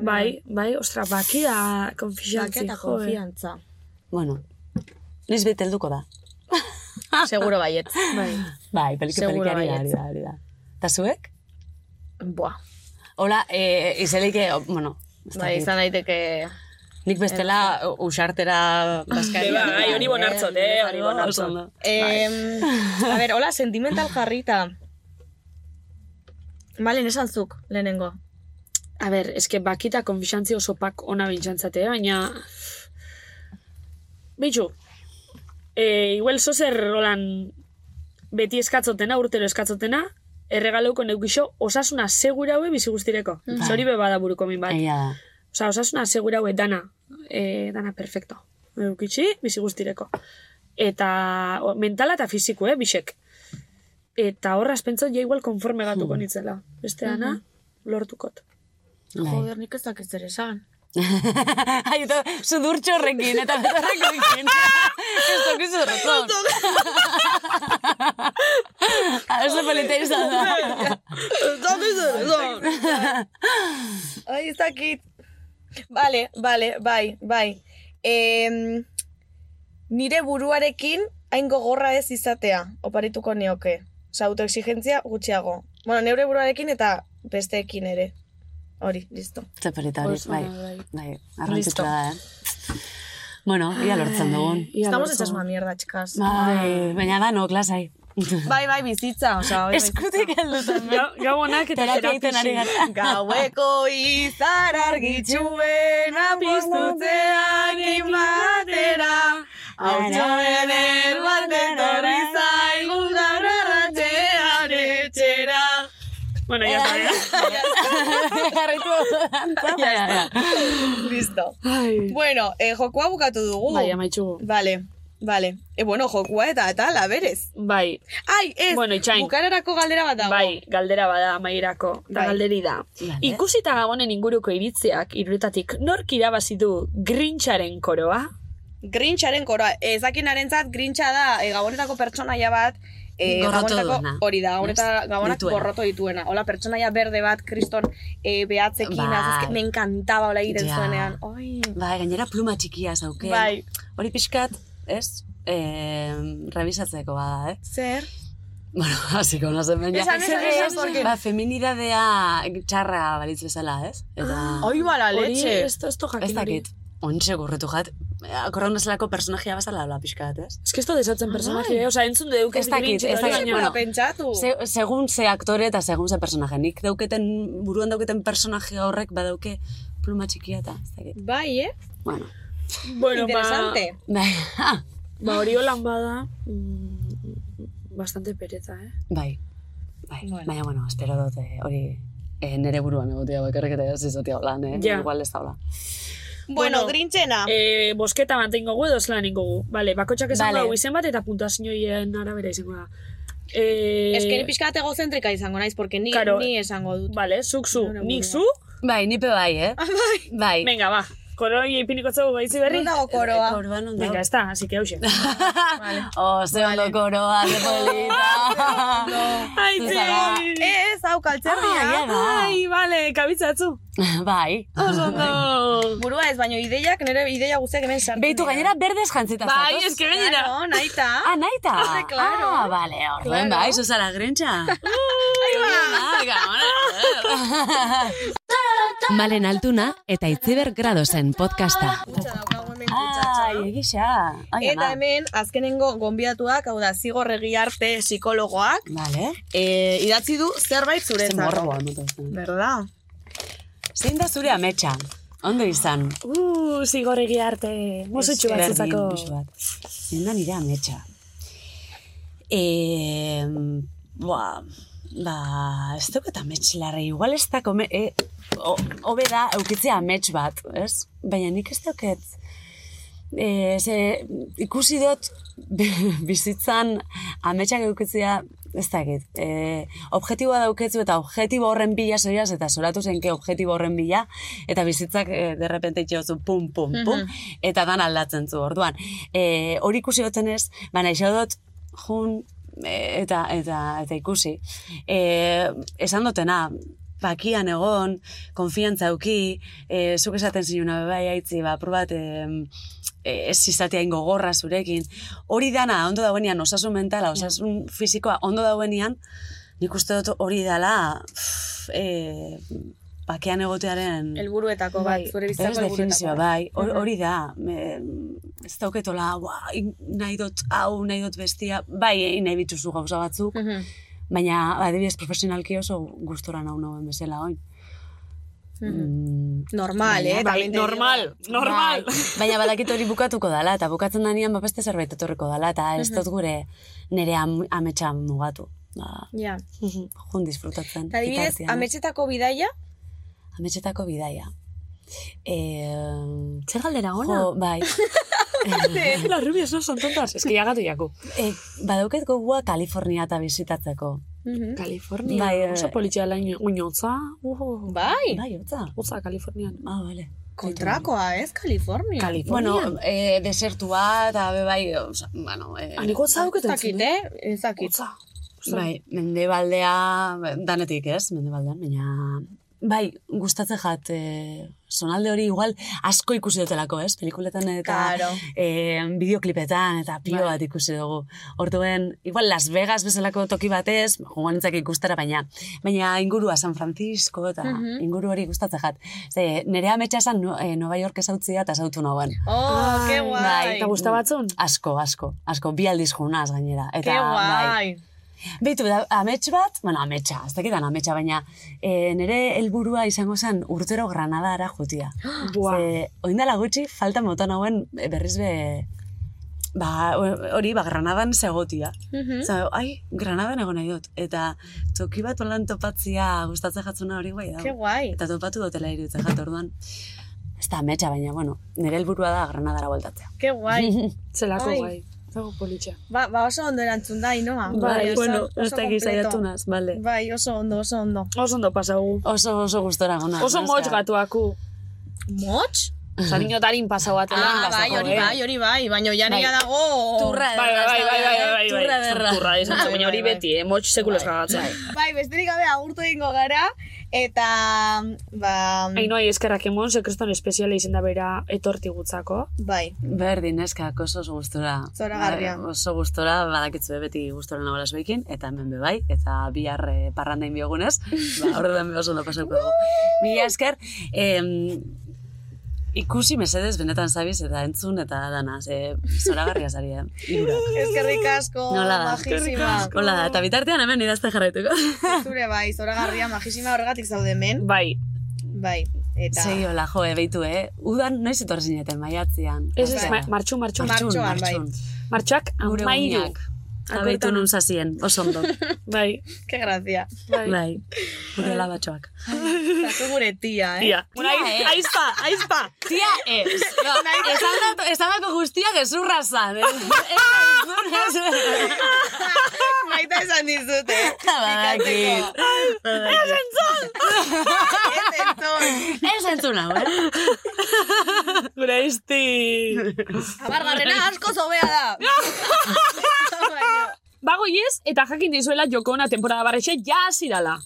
Speaker 7: Bai, bai, ostra, baki da konfixantzi,
Speaker 2: Bakea
Speaker 7: jo,
Speaker 2: eta
Speaker 7: eh?
Speaker 2: konfiantza.
Speaker 8: Bueno. Liz betelduko da.
Speaker 2: Seguro baiet.
Speaker 7: Bai.
Speaker 8: Bai, peliki
Speaker 2: Seguro
Speaker 8: pelikari da,
Speaker 2: baietz.
Speaker 8: hori da, hori da. Ta zuek?
Speaker 2: Boa.
Speaker 8: Hola, eh, izeleike, bueno, ez
Speaker 2: Bai,
Speaker 8: dakit.
Speaker 2: izan daiteke...
Speaker 8: Nik bestela u- usartera baskari.
Speaker 7: Be, bai, hori bonartzot, eh, hori
Speaker 8: Bai,
Speaker 7: bonartzot.
Speaker 2: Em, a ver, hola, sentimental jarrita. Malen, esan zuk, lehenengo.
Speaker 7: A ber, eske bakita konfixantzi oso pak ona bintxantzate, baina... Bitxu, e, igual zozer rolan beti eskatzotena, urtero eskatzotena,
Speaker 8: Bai.
Speaker 7: erregaleuko neukixo osasuna segura hue bizi guztireko. Zori beba da buruko min bat.
Speaker 8: Egia da.
Speaker 7: Osa, osasuna segura hue dana, e, dana perfecto. Eukitxi, bizi guztireko. Eta o, mentala eta fiziko, eh, bisek. Eta horra pentsa ja igual konforme gatuko nitzela. Beste dana, lortukot.
Speaker 10: Bai.
Speaker 11: Joder, nik ez dakit zer esan.
Speaker 10: Ai, eta sudurtxo horrekin, eta betorreko ikin. Ez tokizu razón. Oso polita izan da.
Speaker 2: Ai, ez dakit. Bale, bale, bai, bai. Em, nire buruarekin hain gogorra ez izatea, oparituko nioke. Osa, autoexigentzia gutxiago. Bueno, neure buruarekin eta besteekin ere. Hori, listo.
Speaker 10: Ze polita hori,
Speaker 11: Oso
Speaker 10: bai.
Speaker 11: bai.
Speaker 10: Bai, arrantzitsua da, eh? Bueno, ia lortzen dugun.
Speaker 7: Ia
Speaker 2: Estamos
Speaker 7: lortzen.
Speaker 2: hechas una mierda, chicas.
Speaker 10: Bai, baina da, no, klasai.
Speaker 2: Bai, bai, bizitza, osa, bai,
Speaker 10: Eskutik heldutan, bai.
Speaker 7: Gau- Gau honak eta
Speaker 10: Terapia egiten ari
Speaker 7: terapixi.
Speaker 10: gara.
Speaker 2: Gaueko izar argitxuen apostutzeak imatera Hautxoen erbat etorri zaigu gaur arratxean etxera
Speaker 7: Bueno, ya está, ya.
Speaker 10: Jarraitu. Ja, ja.
Speaker 2: Listo. Bueno, eh, jokua bukatu dugu.
Speaker 7: Bai, amaitxugu.
Speaker 2: Vale, vale. E, bueno, jokua eta atala, berez.
Speaker 7: Bai,
Speaker 2: Ai, ez,
Speaker 7: Bueno, itxain.
Speaker 2: bukararako galdera bat dago.
Speaker 7: bai, galdera bada amairako, da
Speaker 2: Bai.
Speaker 7: galderi da. Ikusi eta gabonen inguruko iritziak iruretatik nork irabazi du grintxaren koroa?
Speaker 2: Grincharen koroa, ezakinaren zat, Grincha da, e, gabonetako pertsonaia bat, e,
Speaker 8: Gorroto
Speaker 2: gabonetako,
Speaker 8: duena.
Speaker 2: hori da, gaboneta,
Speaker 8: Ez?
Speaker 2: gabonak
Speaker 8: Dituena.
Speaker 2: gorroto dituena. Hola, pertsonaia berde bat, kriston e, behatzekin,
Speaker 8: Bai.
Speaker 2: azazke, me encantaba hola egiten
Speaker 8: Ja.
Speaker 2: zuenean. Oi.
Speaker 8: Bai, gainera pluma txikia zauke.
Speaker 2: Bai.
Speaker 8: Hori pixkat, ez? Eh, revisatzeko bada, eh?
Speaker 2: Zer?
Speaker 8: Bueno, hasiko nazen baina.
Speaker 2: Esan, esan, esan, porque-
Speaker 8: Ba, feminidadea txarra balitz bezala, ez? Eta...
Speaker 2: Oi, mala
Speaker 7: Hori,
Speaker 2: leche.
Speaker 7: esto, esto jakin
Speaker 8: ez
Speaker 7: hori.
Speaker 8: dakit. Ontxe gorretu jat. Akorraun bezalako personajea bezala habla pixkat, ez?
Speaker 7: Ez que esto desatzen personaje, eh? Osa, entzun deuk
Speaker 8: Ez dakit, ez
Speaker 7: Grinch,
Speaker 8: dakit,
Speaker 7: baina-
Speaker 8: bueno.
Speaker 2: pentsatu.
Speaker 8: Se, segun ze aktore eta segun ze personaje. Nik dauketen, buruan dauketen personaje horrek badauke pluma txikia eta ez dakit.
Speaker 2: Bai, eh?
Speaker 8: Bueno.
Speaker 7: Bueno, ba,
Speaker 2: Interesante.
Speaker 8: Bai, ah,
Speaker 7: ba hori holan bada, mm, bastante pereza, eh?
Speaker 8: bai. bai. Baina, bueno, espero dut eh, hori eh, nere buruan egotea bakarrik eta ez izotea holan, eh?
Speaker 7: Ja.
Speaker 8: Igual ez da hola.
Speaker 2: Bueno, eh, Grinchena.
Speaker 7: E, bosketa mantengo gu edo zelan ingo Bale, bakotxak esan
Speaker 8: Vale.
Speaker 7: dugu izen bat eta puntuazioien arabera izango da. E,
Speaker 2: Ez que ni pixkat egozentrika izango naiz, porque ni,
Speaker 7: Karo.
Speaker 2: ni esango dut.
Speaker 7: Bale, zuk zu,
Speaker 2: Nora
Speaker 7: nik
Speaker 2: burua.
Speaker 7: zu,
Speaker 8: Bai, nipe bai, eh? Bai.
Speaker 7: venga, ba. Koroi ipiniko zau gaitzi berri.
Speaker 2: Non dago koroa.
Speaker 8: Orduan ondo.
Speaker 7: Venga, ez da, así que hauxe.
Speaker 8: Oh, ze ondo koroa, ze polita.
Speaker 7: Aitzi!
Speaker 8: Zuzara.
Speaker 2: Ez, hau
Speaker 8: Ah,
Speaker 2: kaltzerria.
Speaker 8: ja da.
Speaker 7: Ai, bale, kabitzatzu.
Speaker 8: Bai.
Speaker 7: Ondo!
Speaker 2: Burua ez, baino ideiak, nire ideia guztiak hemen sartzen.
Speaker 10: Beitu
Speaker 2: dira.
Speaker 10: gainera berdez jantzita
Speaker 7: Bai,
Speaker 10: zatoz.
Speaker 7: ez que gainera.
Speaker 2: Claro, naita.
Speaker 10: Ah, naita.
Speaker 2: Hombre, claro.
Speaker 10: Ah, vale, orduan
Speaker 2: Claro.
Speaker 10: bai.
Speaker 8: Bai, zuzara grentxa.
Speaker 10: Malen altuna eta itziber gradozen podcasta.
Speaker 2: Kutxa daukagu hemen kutsatxo.
Speaker 10: Ai, egisa. Ai,
Speaker 2: Eta
Speaker 10: ama.
Speaker 2: hemen, azkenengo gonbiatuak, hau da, zigorregi arte psikologoak,
Speaker 8: Vale.
Speaker 2: e, idatzi du zerbait
Speaker 8: Ze
Speaker 2: zuretzako.
Speaker 8: morroa emoten zuen.
Speaker 2: Berda?
Speaker 8: Zein da zure ametsa? Ondo izan.
Speaker 7: Uh, zigorregi arte. Musutxu bat
Speaker 8: Berdin,
Speaker 7: zuzako.
Speaker 8: musu bat. Zein da nire ametsa? E, ba, ba, ez duket amets larri. Igual ez da kome... E, o- hobe da, eukitzea amets bat, ez? Baina nik ez duket... E, ze, ikusi dut bi- bizitzan ametsak eukitzea ez dakit. E, objektiboa dauketzu eta objektibo horren bila zoiaz eta zoratu zenke objektibo horren bila eta bizitzak e, derrepente itxeozu pum, pum, pum eta dan aldatzen zu orduan. E, hori ikusi dutzen ez, baina iso dut jun e, eta, eta, eta ikusi. E, esan dutena, bakian egon, konfiantza euki, e, zuk esaten zinuna bai aitzi, ba, probat, em, e, ez izatea ingo gorra zurekin. Hori dana, ondo dauenian, osasun mentala, osasun fisikoa, ondo dauenian, nik uste dut hori dela, pff, e, bakean egotearen...
Speaker 2: Elburuetako
Speaker 7: Bai,
Speaker 2: bat, zure
Speaker 8: Ez
Speaker 2: bizitzako
Speaker 8: definizioa,
Speaker 2: elburuetako bat.
Speaker 8: bai, hor- hori da, e, ez dauketola, ua, in- nahi dut hau, nahi dut bestia, bai, egin nahi bituzu gauza batzuk,
Speaker 2: Mhm.
Speaker 8: baina, adibidez, profesionalki oso gustora nau nauen bezala, oin. Mm,
Speaker 2: Normal, eh?
Speaker 7: Bai,
Speaker 2: También te
Speaker 7: normal,
Speaker 2: digo.
Speaker 7: normal.
Speaker 8: Bai, baina badakit hori bukatuko dala, eta bukatzen danean ba beste zerbait etorriko dala, eta ez dut gure nire am, ametsa mugatu. Ba,
Speaker 2: Ja.
Speaker 8: jun disfrutatzen.
Speaker 2: Eta adibidez,
Speaker 8: bitartean, ez?
Speaker 2: ametxetako bidaia,
Speaker 8: ametsetako bidaia. Eh, zer galdera gona? Jo, bai.
Speaker 7: Las rubias no son tontas. Es que ya gato jako.
Speaker 8: Eh, badauket gogoa Kalifornia eta bizitatzeko.
Speaker 7: Kalifornia.
Speaker 8: Bai, eh.
Speaker 7: Oso politia lain uinotza. Uhu.
Speaker 11: Bai.
Speaker 8: Bai, hotza.
Speaker 7: Hotza, Kalifornian.
Speaker 8: Ah, bale.
Speaker 11: Kontrakoa, ez? Kalifornia.
Speaker 8: Bueno, eh, desertua eta be bai, oza, bueno... Eh,
Speaker 7: Aniko hotza
Speaker 11: Ez
Speaker 7: duketan
Speaker 11: dakit, eh? Ez dakit.
Speaker 7: Hotza.
Speaker 8: Bai, mendebaldea, ba, danetik ez, mendebaldean, baina... Bai, gustatzen jat, eh, sonalde hori igual asko ikusi dutelako, ez? Pelikuletan eta
Speaker 11: Claro.
Speaker 8: eh, bideoklipetan eta pilo bat ikusi dugu. Orduen, igual Las Vegas bezalako toki batez, joan nintzak ikustera, baina baina ingurua San Francisco eta inguru hori gustatzen jat. Ze, nere ametsa esan no, eh, Nueva York esautzia eta esautu nagoen.
Speaker 11: Oh, que
Speaker 8: Bai,
Speaker 11: guai.
Speaker 7: Eta guzta batzun?
Speaker 8: Asko, asko, asko, bi aldiz junaz gainera. Eta,
Speaker 11: Que
Speaker 8: bai,
Speaker 11: guai.
Speaker 8: Beitu, da, amets bat, bueno, ametsa, ez dakitan ametsa, baina e, nire helburua izango zen urtero Granadara jutia.
Speaker 7: Buah.
Speaker 8: Ze, oindala gutxi, falta mota nauen berriz be, ba, hori, ba, Granadan zegotia. Zau, ai, Granadan egon nahi dut. Eta toki bat holan topatzia gustatzen jatzuna hori guai
Speaker 11: Que
Speaker 8: da.
Speaker 11: guai.
Speaker 8: Eta topatu dutela iruditzen jat, orduan. Ez da ametsa, baina, bueno, nire helburua da Granadara bueltatzea.
Speaker 11: Que guai.
Speaker 7: Zelako
Speaker 11: Ai.
Speaker 7: gai. Zago politia.
Speaker 11: Ba, ba oso ondo erantzun da, Ainhoa.
Speaker 7: Bai,
Speaker 2: Bai,
Speaker 8: Bai,
Speaker 11: oso- oso completo.
Speaker 8: naz, bale.
Speaker 11: Bai, oso ondo, oso ondo.
Speaker 7: Oso ondo pasagu.
Speaker 8: Oso, oso gustora gona.
Speaker 7: Oso motx gatuaku.
Speaker 11: Motx?
Speaker 7: Zariño darin pasau atela.
Speaker 11: Ah, bai, hori bai, hori bai, baina ja nila dago...
Speaker 8: eh. Turra
Speaker 7: eh? Bai, bai, bai, bai, bai, bai,
Speaker 8: Turra derra.
Speaker 7: Turra izan zen, baina hori
Speaker 11: Bai, bai.
Speaker 7: beti, eh? Motx sekulez gagatzen.
Speaker 2: Bai, besterik gabe agurtu egingo gara, eta, ba,
Speaker 7: Ainhoa eskerrak emon, sekreston espeziala izan da bera etorti gutzako.
Speaker 2: bai,
Speaker 8: Berdin eskak oso oso gustora.
Speaker 2: Zoragarria.
Speaker 8: Bai, Oso gustora, badakitzu beti gustora nagoela zuekin, eta hemen be bai, eta bihar eh, parrandain biogunez, ba, orduan be oso ondo pasako dugu. Mila esker, em, ikusi mesedez benetan zabiz, eta entzun, eta dana, ze zoragarria zari, eh? Hirurak.
Speaker 2: eskerrik asko,
Speaker 8: Nola da?
Speaker 2: majísima.
Speaker 8: Hola da, eta bitartean hemen idazte jarraituko.
Speaker 2: Zure bai, zoragarria, majísima horregatik zaude hemen,
Speaker 7: Bai,
Speaker 2: bai, eta...
Speaker 8: Segi hola, jo, eh, beitu, eh? Udan noiz etorri zineten, maiatzean.
Speaker 7: ez ez,
Speaker 2: Bai.
Speaker 7: ma- martxu, martxu.
Speaker 2: Martxoan, bai.
Speaker 7: Martxuak
Speaker 8: Gure
Speaker 7: amairu.
Speaker 8: uniak. Abeitu nun zazien, oso ondo.
Speaker 7: Bai,
Speaker 2: Que grazia.
Speaker 7: bai.
Speaker 8: Bai, gure labatxoak.
Speaker 2: Zazu gure tia, eh?
Speaker 7: Ia. Bueno, aiz-
Speaker 8: eh?
Speaker 7: aizpa, aizpa.
Speaker 8: Tia ez. No, esan dut- esandako guztiak gezurra zan. Ez ez ez
Speaker 2: Maita esan dizut, eh?
Speaker 8: Badakit.
Speaker 2: Ez entzun.
Speaker 8: Ez entzun hau, eh?
Speaker 7: Gure aizti.
Speaker 2: Amargarrena asko zobea da. Baina,
Speaker 7: Bago iez, eta jakin dizuela jokona temporada barrexe ja hasi dala.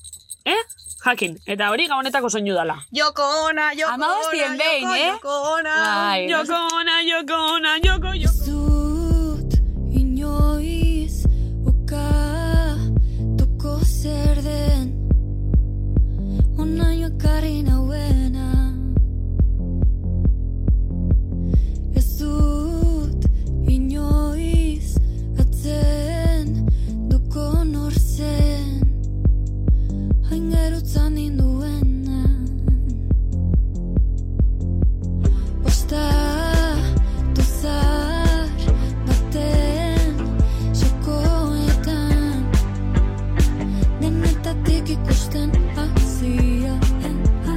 Speaker 7: Eh? Jakin, eta hori gaunetako soinu dala.
Speaker 2: Joko ona, joko ona,
Speaker 8: Hamabost dien behin,
Speaker 2: joko,
Speaker 8: eh?
Speaker 2: joko ona.
Speaker 8: Bai.
Speaker 7: Jokona, jokona, joko, joko.
Speaker 12: dut inoiz ukatuko zer den onaino ekarri nauena ez dut inoiz atzen duko nor zen hain gerutzan ninduena Osta dozar baten sokoetan Denetatik ikusten hazia den Oh,